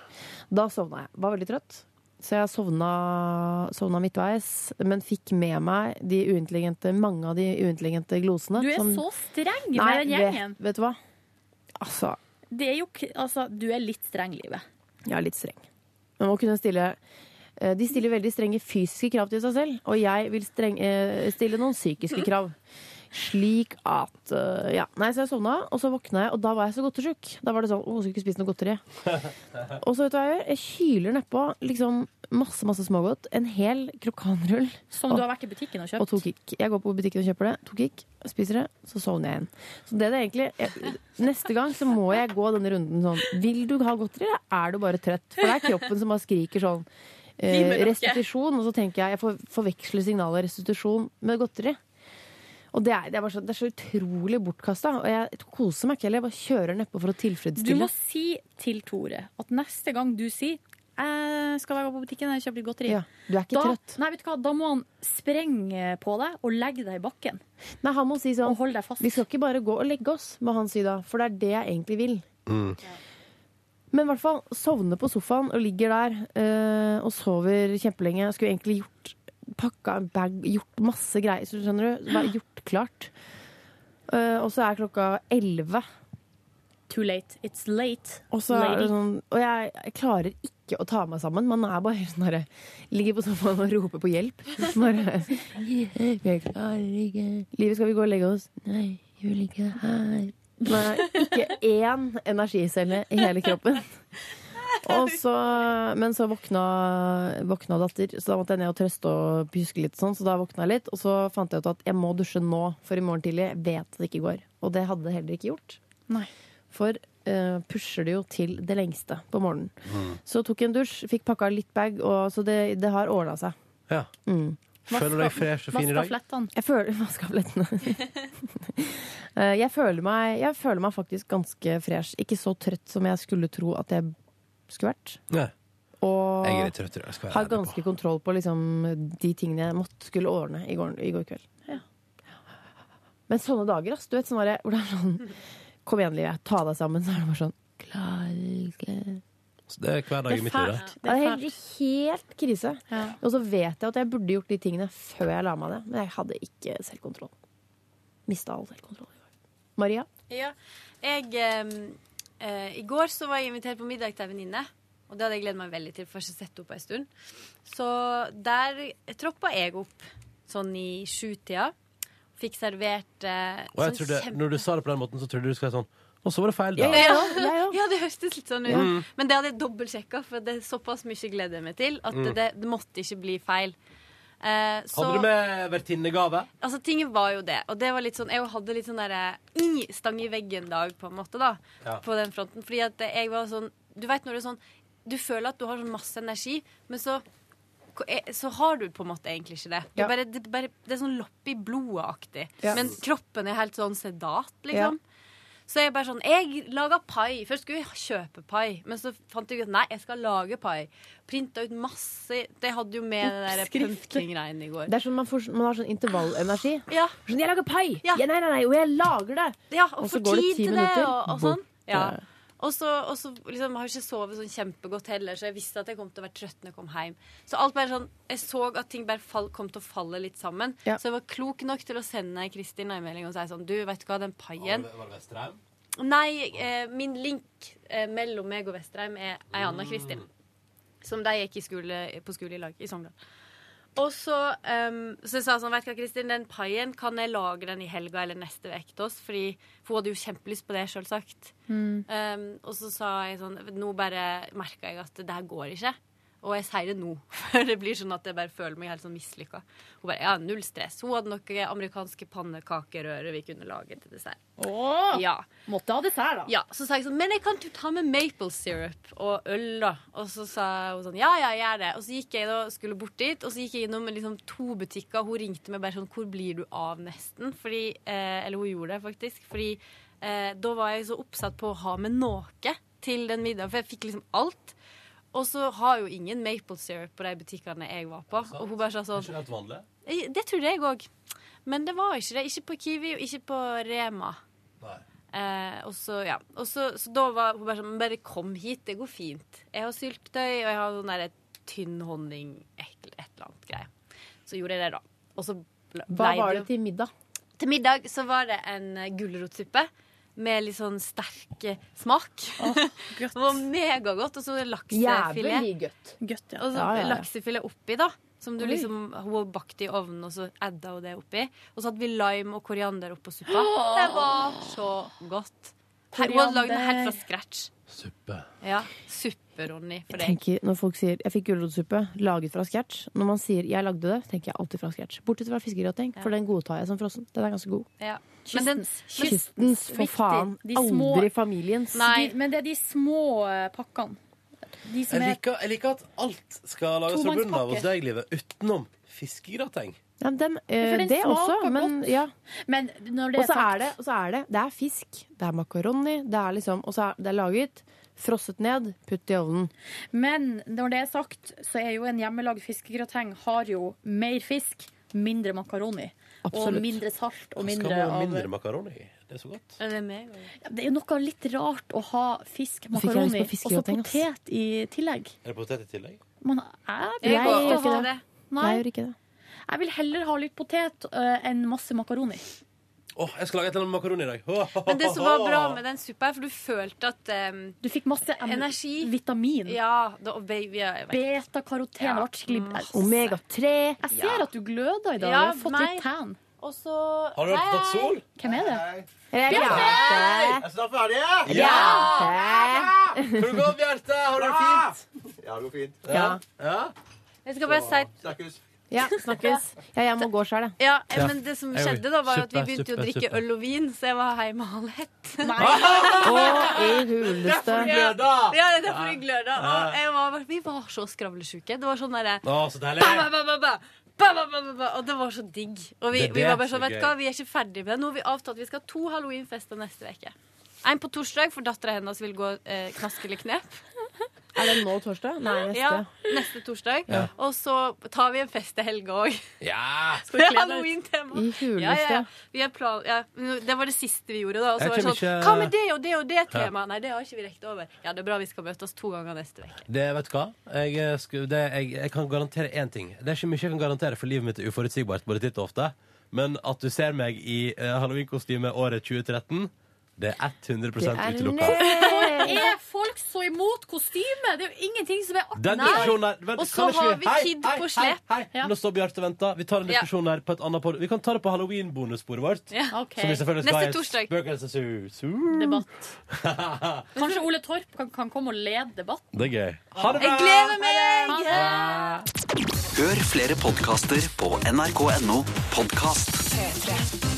Speaker 5: Da sovna jeg. Var veldig trøtt. Så jeg sovna, sovna midtveis, men fikk med meg de uintelligente, mange av de uintelligente glosene.
Speaker 4: Du er
Speaker 5: som-
Speaker 4: så streng med
Speaker 5: Nei,
Speaker 4: den gjengen.
Speaker 5: Vet, vet du hva? Altså,
Speaker 4: Det er jo, k- altså, du er litt streng, livet.
Speaker 5: jeg er litt streng. Man må kunne stille eh, de stiller veldig strenge fysiske krav til seg selv, og jeg vil streng, eh, stille noen psykiske krav. Slik at eh, Ja. Nei, så jeg sovna, og så våkna jeg, og da var jeg så godtesjuk. Da var det sånn Å, skulle ikke spise noe godteri. Og så vet du hva jeg gjør? Jeg kyler nedpå liksom masse masse smågodt. En hel krokanrull.
Speaker 4: Som du har vært i butikken og kjøpt.
Speaker 5: Og to kick. Jeg går på butikken og kjøper det. To kick, spiser det, så sovner jeg igjen. Så det er det egentlig jeg, Neste gang så må jeg gå denne runden sånn Vil du ha godteri, eller er du bare trøtt? For det er kroppen som bare skriker sånn eh,
Speaker 21: Gi meg noe.
Speaker 5: restitusjon, og så tenker jeg Jeg får, forveksler signalet restitusjon med godteri. Og det er, det, er bare så, det er så utrolig bortkasta. Og jeg koser meg ikke heller. Jeg bare kjører nedpå for å
Speaker 4: Du
Speaker 5: tilfredsstille.
Speaker 4: må si til Tore at neste gang du sier jeg skal jeg gå på butikken og kjøpe litt godteri.
Speaker 5: Ja, du er ikke
Speaker 4: da,
Speaker 5: trøtt.
Speaker 4: Nei, vet du hva? Da må han sprenge på deg og legge deg i bakken.
Speaker 5: Nei, han må si sånn
Speaker 4: Og holde deg fast.
Speaker 5: Vi skal ikke bare gå og legge oss, må han si da. For det er det jeg egentlig vil. Men i hvert fall sovner på sofaen og ligger der eh, og sover kjempelenge. Skulle egentlig gjort pakka en bag, gjort masse greier, så skjønner du. Bare gjort klart. Eh, og så er klokka elleve.
Speaker 4: Too late. It's late.
Speaker 5: Og, så er det
Speaker 4: lady.
Speaker 5: sånn, og jeg, jeg klarer ikke å ta meg sammen. Man er bare sånn herre Ligger på sofaen og roper på hjelp. Sånn herre, jeg klarer ikke Livet, skal vi gå og legge oss? Nei, jeg vil ikke her. Nei, ikke én energicelle i hele kroppen. Og så, men så våkna, våkna datter, så da måtte jeg ned og trøste og pjuske litt. sånn, Så da våkna jeg litt, og så fant jeg ut at jeg må dusje nå, for i morgen tidlig jeg vet at det ikke går. Og det hadde det heller ikke gjort.
Speaker 4: Nei.
Speaker 5: For eh, pusher det jo til det lengste på morgenen. Så tok jeg en dusj, fikk pakka litt bag, og, så det, det har ordna seg.
Speaker 2: Ja. Føler du deg
Speaker 5: sånn-
Speaker 2: fresh og fin i dag?
Speaker 5: Jeg føler, vaska flettene. Eh, jeg, føler meg, jeg føler meg faktisk ganske fresh. Ikke så trøtt som jeg skulle tro at jeg skulle vært.
Speaker 2: Nei.
Speaker 5: Og
Speaker 2: Jeg er litt trøtt i dag. Skal jeg
Speaker 5: har
Speaker 2: være ærlig på.
Speaker 5: ganske kontroll på liksom, de tingene jeg måtte skulle ordne i går, i går kveld. Men sånne dager, ass. Du vet, sånn var det, hvor det er sånn Kom igjen, livet. Ta deg sammen. Så er det bare sånn Klarge.
Speaker 2: Så Det er hver dag i mitt liv. det.
Speaker 5: Det er helt, helt krise. Og så vet jeg at jeg burde gjort de tingene før jeg la meg ned, men jeg hadde ikke selvkontroll. Mista all selvkontroll. i går. Maria?
Speaker 20: Ja. Jeg, ehm, eh, I går så var jeg invitert på middag til ei venninne. Og det hadde jeg gledet meg veldig til, for jeg har ikke sett henne på ei stund. Så der troppa jeg opp sånn i sjutida. Fikk servert eh,
Speaker 2: Og jeg
Speaker 20: sånn
Speaker 2: trodde,
Speaker 20: kjempe-
Speaker 2: når du sa det på den måten, så trodde du skulle være sånn Og så var det feil,
Speaker 20: ja,
Speaker 2: da.
Speaker 20: ja, ja, det hørtes litt sånn ut.
Speaker 2: Mm.
Speaker 20: Men det hadde jeg dobbeltsjekka, for det er såpass mye jeg gleder meg til at
Speaker 2: Mm.
Speaker 20: det, det måtte ikke bli feil. Eh, så-
Speaker 2: Hadde du med vertinnegave?
Speaker 20: Altså, tingen var jo det. Og det var litt sånn, jeg hadde litt sånn derre «Ih!» stang i veggen-dag, på en måte, da.
Speaker 2: Ja.
Speaker 20: På den fronten. Fordi at jeg var sånn Du vet når det er sånn Du føler at du har sånn masse energi, men så eh, så har du på en måte egentlig ikke det. Du
Speaker 5: Ja.
Speaker 20: bare, det, bare, det er sånn lopp i blodet-aktig.
Speaker 5: Ja.
Speaker 20: Men kroppen er helt sånn sedat,
Speaker 5: Ja.
Speaker 20: liksom. Så jeg bare sånn Jeg laga pai. Først skulle jeg kjøpe pai, men så fant jeg ut nei, jeg skal lage pai. Printa ut masse Det hadde jo med det der
Speaker 5: Oppskrifter.
Speaker 20: pumpkin-greiene i går.
Speaker 5: Det er sånn man, får, man har sånn intervallenergi.
Speaker 20: Ja.
Speaker 5: Sånn, 'Jeg lager pai!' Ja. nei, nei, nei, og jeg lager det!
Speaker 20: Ja, og,
Speaker 5: så
Speaker 20: får
Speaker 5: går det
Speaker 20: tid
Speaker 5: ti
Speaker 20: til det,
Speaker 5: minutter.
Speaker 20: og, og sånn.
Speaker 5: Borte.
Speaker 20: Ja. Og så, og så liksom, har jeg ikke sovet sånn kjempegodt heller, så jeg visste at jeg kom til å være trøtt når jeg kom hjem. Så alt bare sånn, jeg så at ting bare fall, kom til å falle litt sammen.
Speaker 5: Ja.
Speaker 20: Så jeg var klok nok til å sende Kristin en melding og si sånn Du, vet du hva, den paien
Speaker 2: Var det Vesterheim?
Speaker 20: Nei, eh, min link eh, mellom meg og Vestheim er ei anna Kristin. Som de gikk i skole, på skole i lag i Sogndal. Og så, ehm, så jeg sa sånn, vet du hva, Kristin, den paien, kan jeg lage den i helga eller neste uke til oss? Fordi, for hun hadde jo kjempelyst på det, selvsagt.
Speaker 4: Mm.
Speaker 20: Ehm, og så sa jeg sånn, nå bare merka jeg at det her går ikke. Og jeg sier det nå, for det blir sånn at jeg bare føler meg helt sånn mislykka. Hun bare ja, null stress. Hun hadde noen amerikanske pannekakerører vi kunne lage til dessert.
Speaker 4: Åh!
Speaker 20: Ja.
Speaker 4: Måtte ha dessert, da.
Speaker 20: Ja, så sa jeg sånn, men jeg kan jo ta med maple syrup og øl da. Og så sa hun sånn, ja, ja, gjør det. Og så gikk jeg da, skulle bort dit, og så gikk jeg innom liksom, to butikker, og hun ringte meg bare sånn, hvor blir du av nesten? Fordi, eh, eller hun gjorde det faktisk, fordi eh, da var jeg så oppsatt på å ha med noe til den middagen, for jeg fikk liksom alt. Og så har jo ingen maple syrup på de butikkene jeg var på. Og hun bare sa sånn,
Speaker 2: Ikke helt vanlig?
Speaker 20: «Eh, det trodde jeg òg. Men det var ikke det. Ikke på Kiwi og ikke på Rema. Eh, og så, ja. og så, så da var hun bare sånn Bare kom hit, det går fint. Jeg har syltetøy, og jeg har sånn der tynn honning, ekkel, et eller annet greie. Så gjorde jeg det, da. Og så ble
Speaker 5: Hva
Speaker 20: blei
Speaker 5: var det
Speaker 20: det
Speaker 5: til middag?
Speaker 20: Til middag så var det en eh, gulrotsuppe. Med litt sånn sterk eh, smak. det var megagodt. Og så laksefilet.
Speaker 5: Jævlig godt.
Speaker 4: Godt,
Speaker 20: Og så
Speaker 5: Ja, ja, ja.
Speaker 20: Sånn laksefilet oppi, da. Som du
Speaker 5: Oi.
Speaker 20: liksom Hun har bakt i ovnen, og så adda hun det oppi. Og så hadde vi lime og koriander oppå suppa.
Speaker 4: Åh!
Speaker 20: Det var så godt. Her, hun hadde lagd den helt fra scratch.
Speaker 2: Suppe.
Speaker 20: Ja. Suppe, Ronny. For deg.
Speaker 5: tenker, når folk sier 'jeg fikk gulrotsuppe laget fra scratch', når man sier 'jeg lagde det', tenker jeg alltid fra scratch. Bortsett fra fiskegrating, for den godtar jeg som frossen. Den er ganske god.
Speaker 20: Ja. Men den,
Speaker 4: Kystens.
Speaker 5: Kystens, for faen.
Speaker 4: De små-
Speaker 5: Aldri familiens.
Speaker 4: Nei, men det er de små eh, pakkene. De som
Speaker 2: Jeg
Speaker 4: er
Speaker 2: liker, jeg liker at alt skal lages fra bunnen av hos deg, Livet, utenom fiskegrateng.
Speaker 5: Ja, den, eh,
Speaker 4: For den
Speaker 5: det
Speaker 4: smaker
Speaker 5: også, men
Speaker 4: godt.
Speaker 5: ja.
Speaker 4: Men når det
Speaker 5: Og så
Speaker 4: er sagt
Speaker 5: er det, og så er det Det er fisk, det er makaroni, det er liksom Og så er det er laget, frosset ned, putt i ovnen.
Speaker 4: Men når det er sagt, så er jo en hjemmelagd fiskegrateng har jo mer fisk, mindre makaroni.
Speaker 2: Absolutt.
Speaker 4: Og mindre salt og
Speaker 2: Hva
Speaker 4: mindre,
Speaker 2: skal man ha
Speaker 4: av
Speaker 2: mindre makaroni? Det er så godt.
Speaker 20: Er det meg? eller?
Speaker 4: Ja, Det er jo noe litt rart å ha
Speaker 2: fikk
Speaker 4: fisk,
Speaker 2: jeg lyst
Speaker 4: makaroni
Speaker 2: på
Speaker 4: og så
Speaker 2: fiskegrateng, ass.
Speaker 4: potet i tillegg.
Speaker 2: Er det potet i tillegg?
Speaker 4: Man eh, er
Speaker 5: Jeg gjør ikke det.
Speaker 4: Nei.
Speaker 5: Jeg gjør ikke det.
Speaker 4: Jeg vil heller ha litt potet eh, enn masse makaroni.
Speaker 2: Åh, jeg skal lage et eller annet med makaroni i dag.
Speaker 20: Men det som var bra med den suppa, her, for du følte at eh,
Speaker 5: Mm.
Speaker 4: Du fikk masse em-
Speaker 20: energi.
Speaker 4: Vitamin.
Speaker 20: Ja, da, og baby, ja, jeg vet.
Speaker 4: Beta-karoten.
Speaker 20: Ja,
Speaker 4: det ble skikkelig-
Speaker 5: Omega-3.
Speaker 4: Jeg ser at du gløder i dag.
Speaker 20: Ja,
Speaker 4: du har fått
Speaker 20: meg.
Speaker 4: litt tan.
Speaker 20: Og så
Speaker 2: Har du tatt sol?
Speaker 4: Hvem er det?
Speaker 5: Er det
Speaker 4: Bjarte!
Speaker 2: Er snart ferdig?
Speaker 5: Bjarte!
Speaker 2: Hvordan går det, Bjarte? Har du det fint?
Speaker 23: Ja, det går fint.
Speaker 2: Ja.
Speaker 20: Jeg skal bare si
Speaker 23: Snakkes.
Speaker 3: Ja, snakkes. Ja, jeg må gå sjøl, jeg.
Speaker 20: Ja, eh, men det som
Speaker 3: Ja.
Speaker 20: skjedde da, var at vi
Speaker 3: Suppe,
Speaker 20: begynte å
Speaker 3: suppe,
Speaker 20: drikke
Speaker 3: suppe.
Speaker 20: øl og vin, så jeg var hjemme halv ett.
Speaker 3: Og i huleste
Speaker 20: Ja, ja, det er derfor jeg gløda. Og jeg var, vi var så skravlesjuke. Det var sånn derre
Speaker 2: Å, så deilig.
Speaker 20: Ba, ba, ba, ba, ba. Ba, ba, ba, ba, ba. Og det var så digg. Og vi,
Speaker 2: Det er
Speaker 20: vi
Speaker 2: det
Speaker 20: var bare
Speaker 2: som
Speaker 20: sånn,
Speaker 2: er
Speaker 20: vet du
Speaker 2: gøy.
Speaker 20: hva, vi er ikke ferdig med det. Nå har vi avtalt vi skal ha to halloweenfester neste uke. En på torsdag, for dattera hennes vil gå eh, knask eller knep.
Speaker 3: Er det nå torsdag? Nei, neste.
Speaker 20: Ja, neste torsdag.
Speaker 3: Ja.
Speaker 20: Og så tar vi en fest til helga òg.
Speaker 2: Ja!
Speaker 3: Skal vi Mm. kle deg ut?
Speaker 20: Halloween-tema.
Speaker 3: I huleste.
Speaker 20: Ja, ja, ja. Vi er plan... ja. men Det var det siste vi gjorde, da. Og så
Speaker 2: Jeg
Speaker 20: var det sånn
Speaker 2: kommer ikke-
Speaker 20: Hva med det og det og det
Speaker 2: Ja.
Speaker 20: temaet? Nei, det har ikke vi rekt over. Ja, det er bra vi skal møtes to ganger neste uke.
Speaker 2: Det, vet du hva? Jeg, eh, sku- det, jeg, jeg kan garantere én ting. Det er ikke mye jeg kan garantere, for livet mitt er uforutsigbart både titt og ofte. Men at du ser meg i eh, halloweenkostyme året 2013, det er 100 utelukka.
Speaker 4: Hvorfor Eh, er folk så imot kostyme? Det er jo ingenting som er
Speaker 2: Den diskusjonen der vent,
Speaker 4: Og så
Speaker 2: kan ikke
Speaker 4: har vi
Speaker 2: Hei,
Speaker 4: Kid
Speaker 2: hei,
Speaker 4: på
Speaker 2: hei,
Speaker 4: slep.
Speaker 2: hei. Nå står Bjarte og venter. Vi tar en
Speaker 20: Ja.
Speaker 2: diskusjon her på et annet pod. Vi kan ta det på halloween-bonussporet vårt.
Speaker 4: Ja, ok.
Speaker 2: Som vi selvfølgelig
Speaker 4: Neste
Speaker 2: skal i
Speaker 4: torsdag.
Speaker 2: Spøkelsesus.
Speaker 4: Debatt. Kanskje Ole Torp kan, kan komme og lede debatten?
Speaker 2: det er gøy. Ha det bra!
Speaker 4: Jeg gleder meg!
Speaker 18: Hør flere podkaster på nrk.no podkast.
Speaker 24: P3.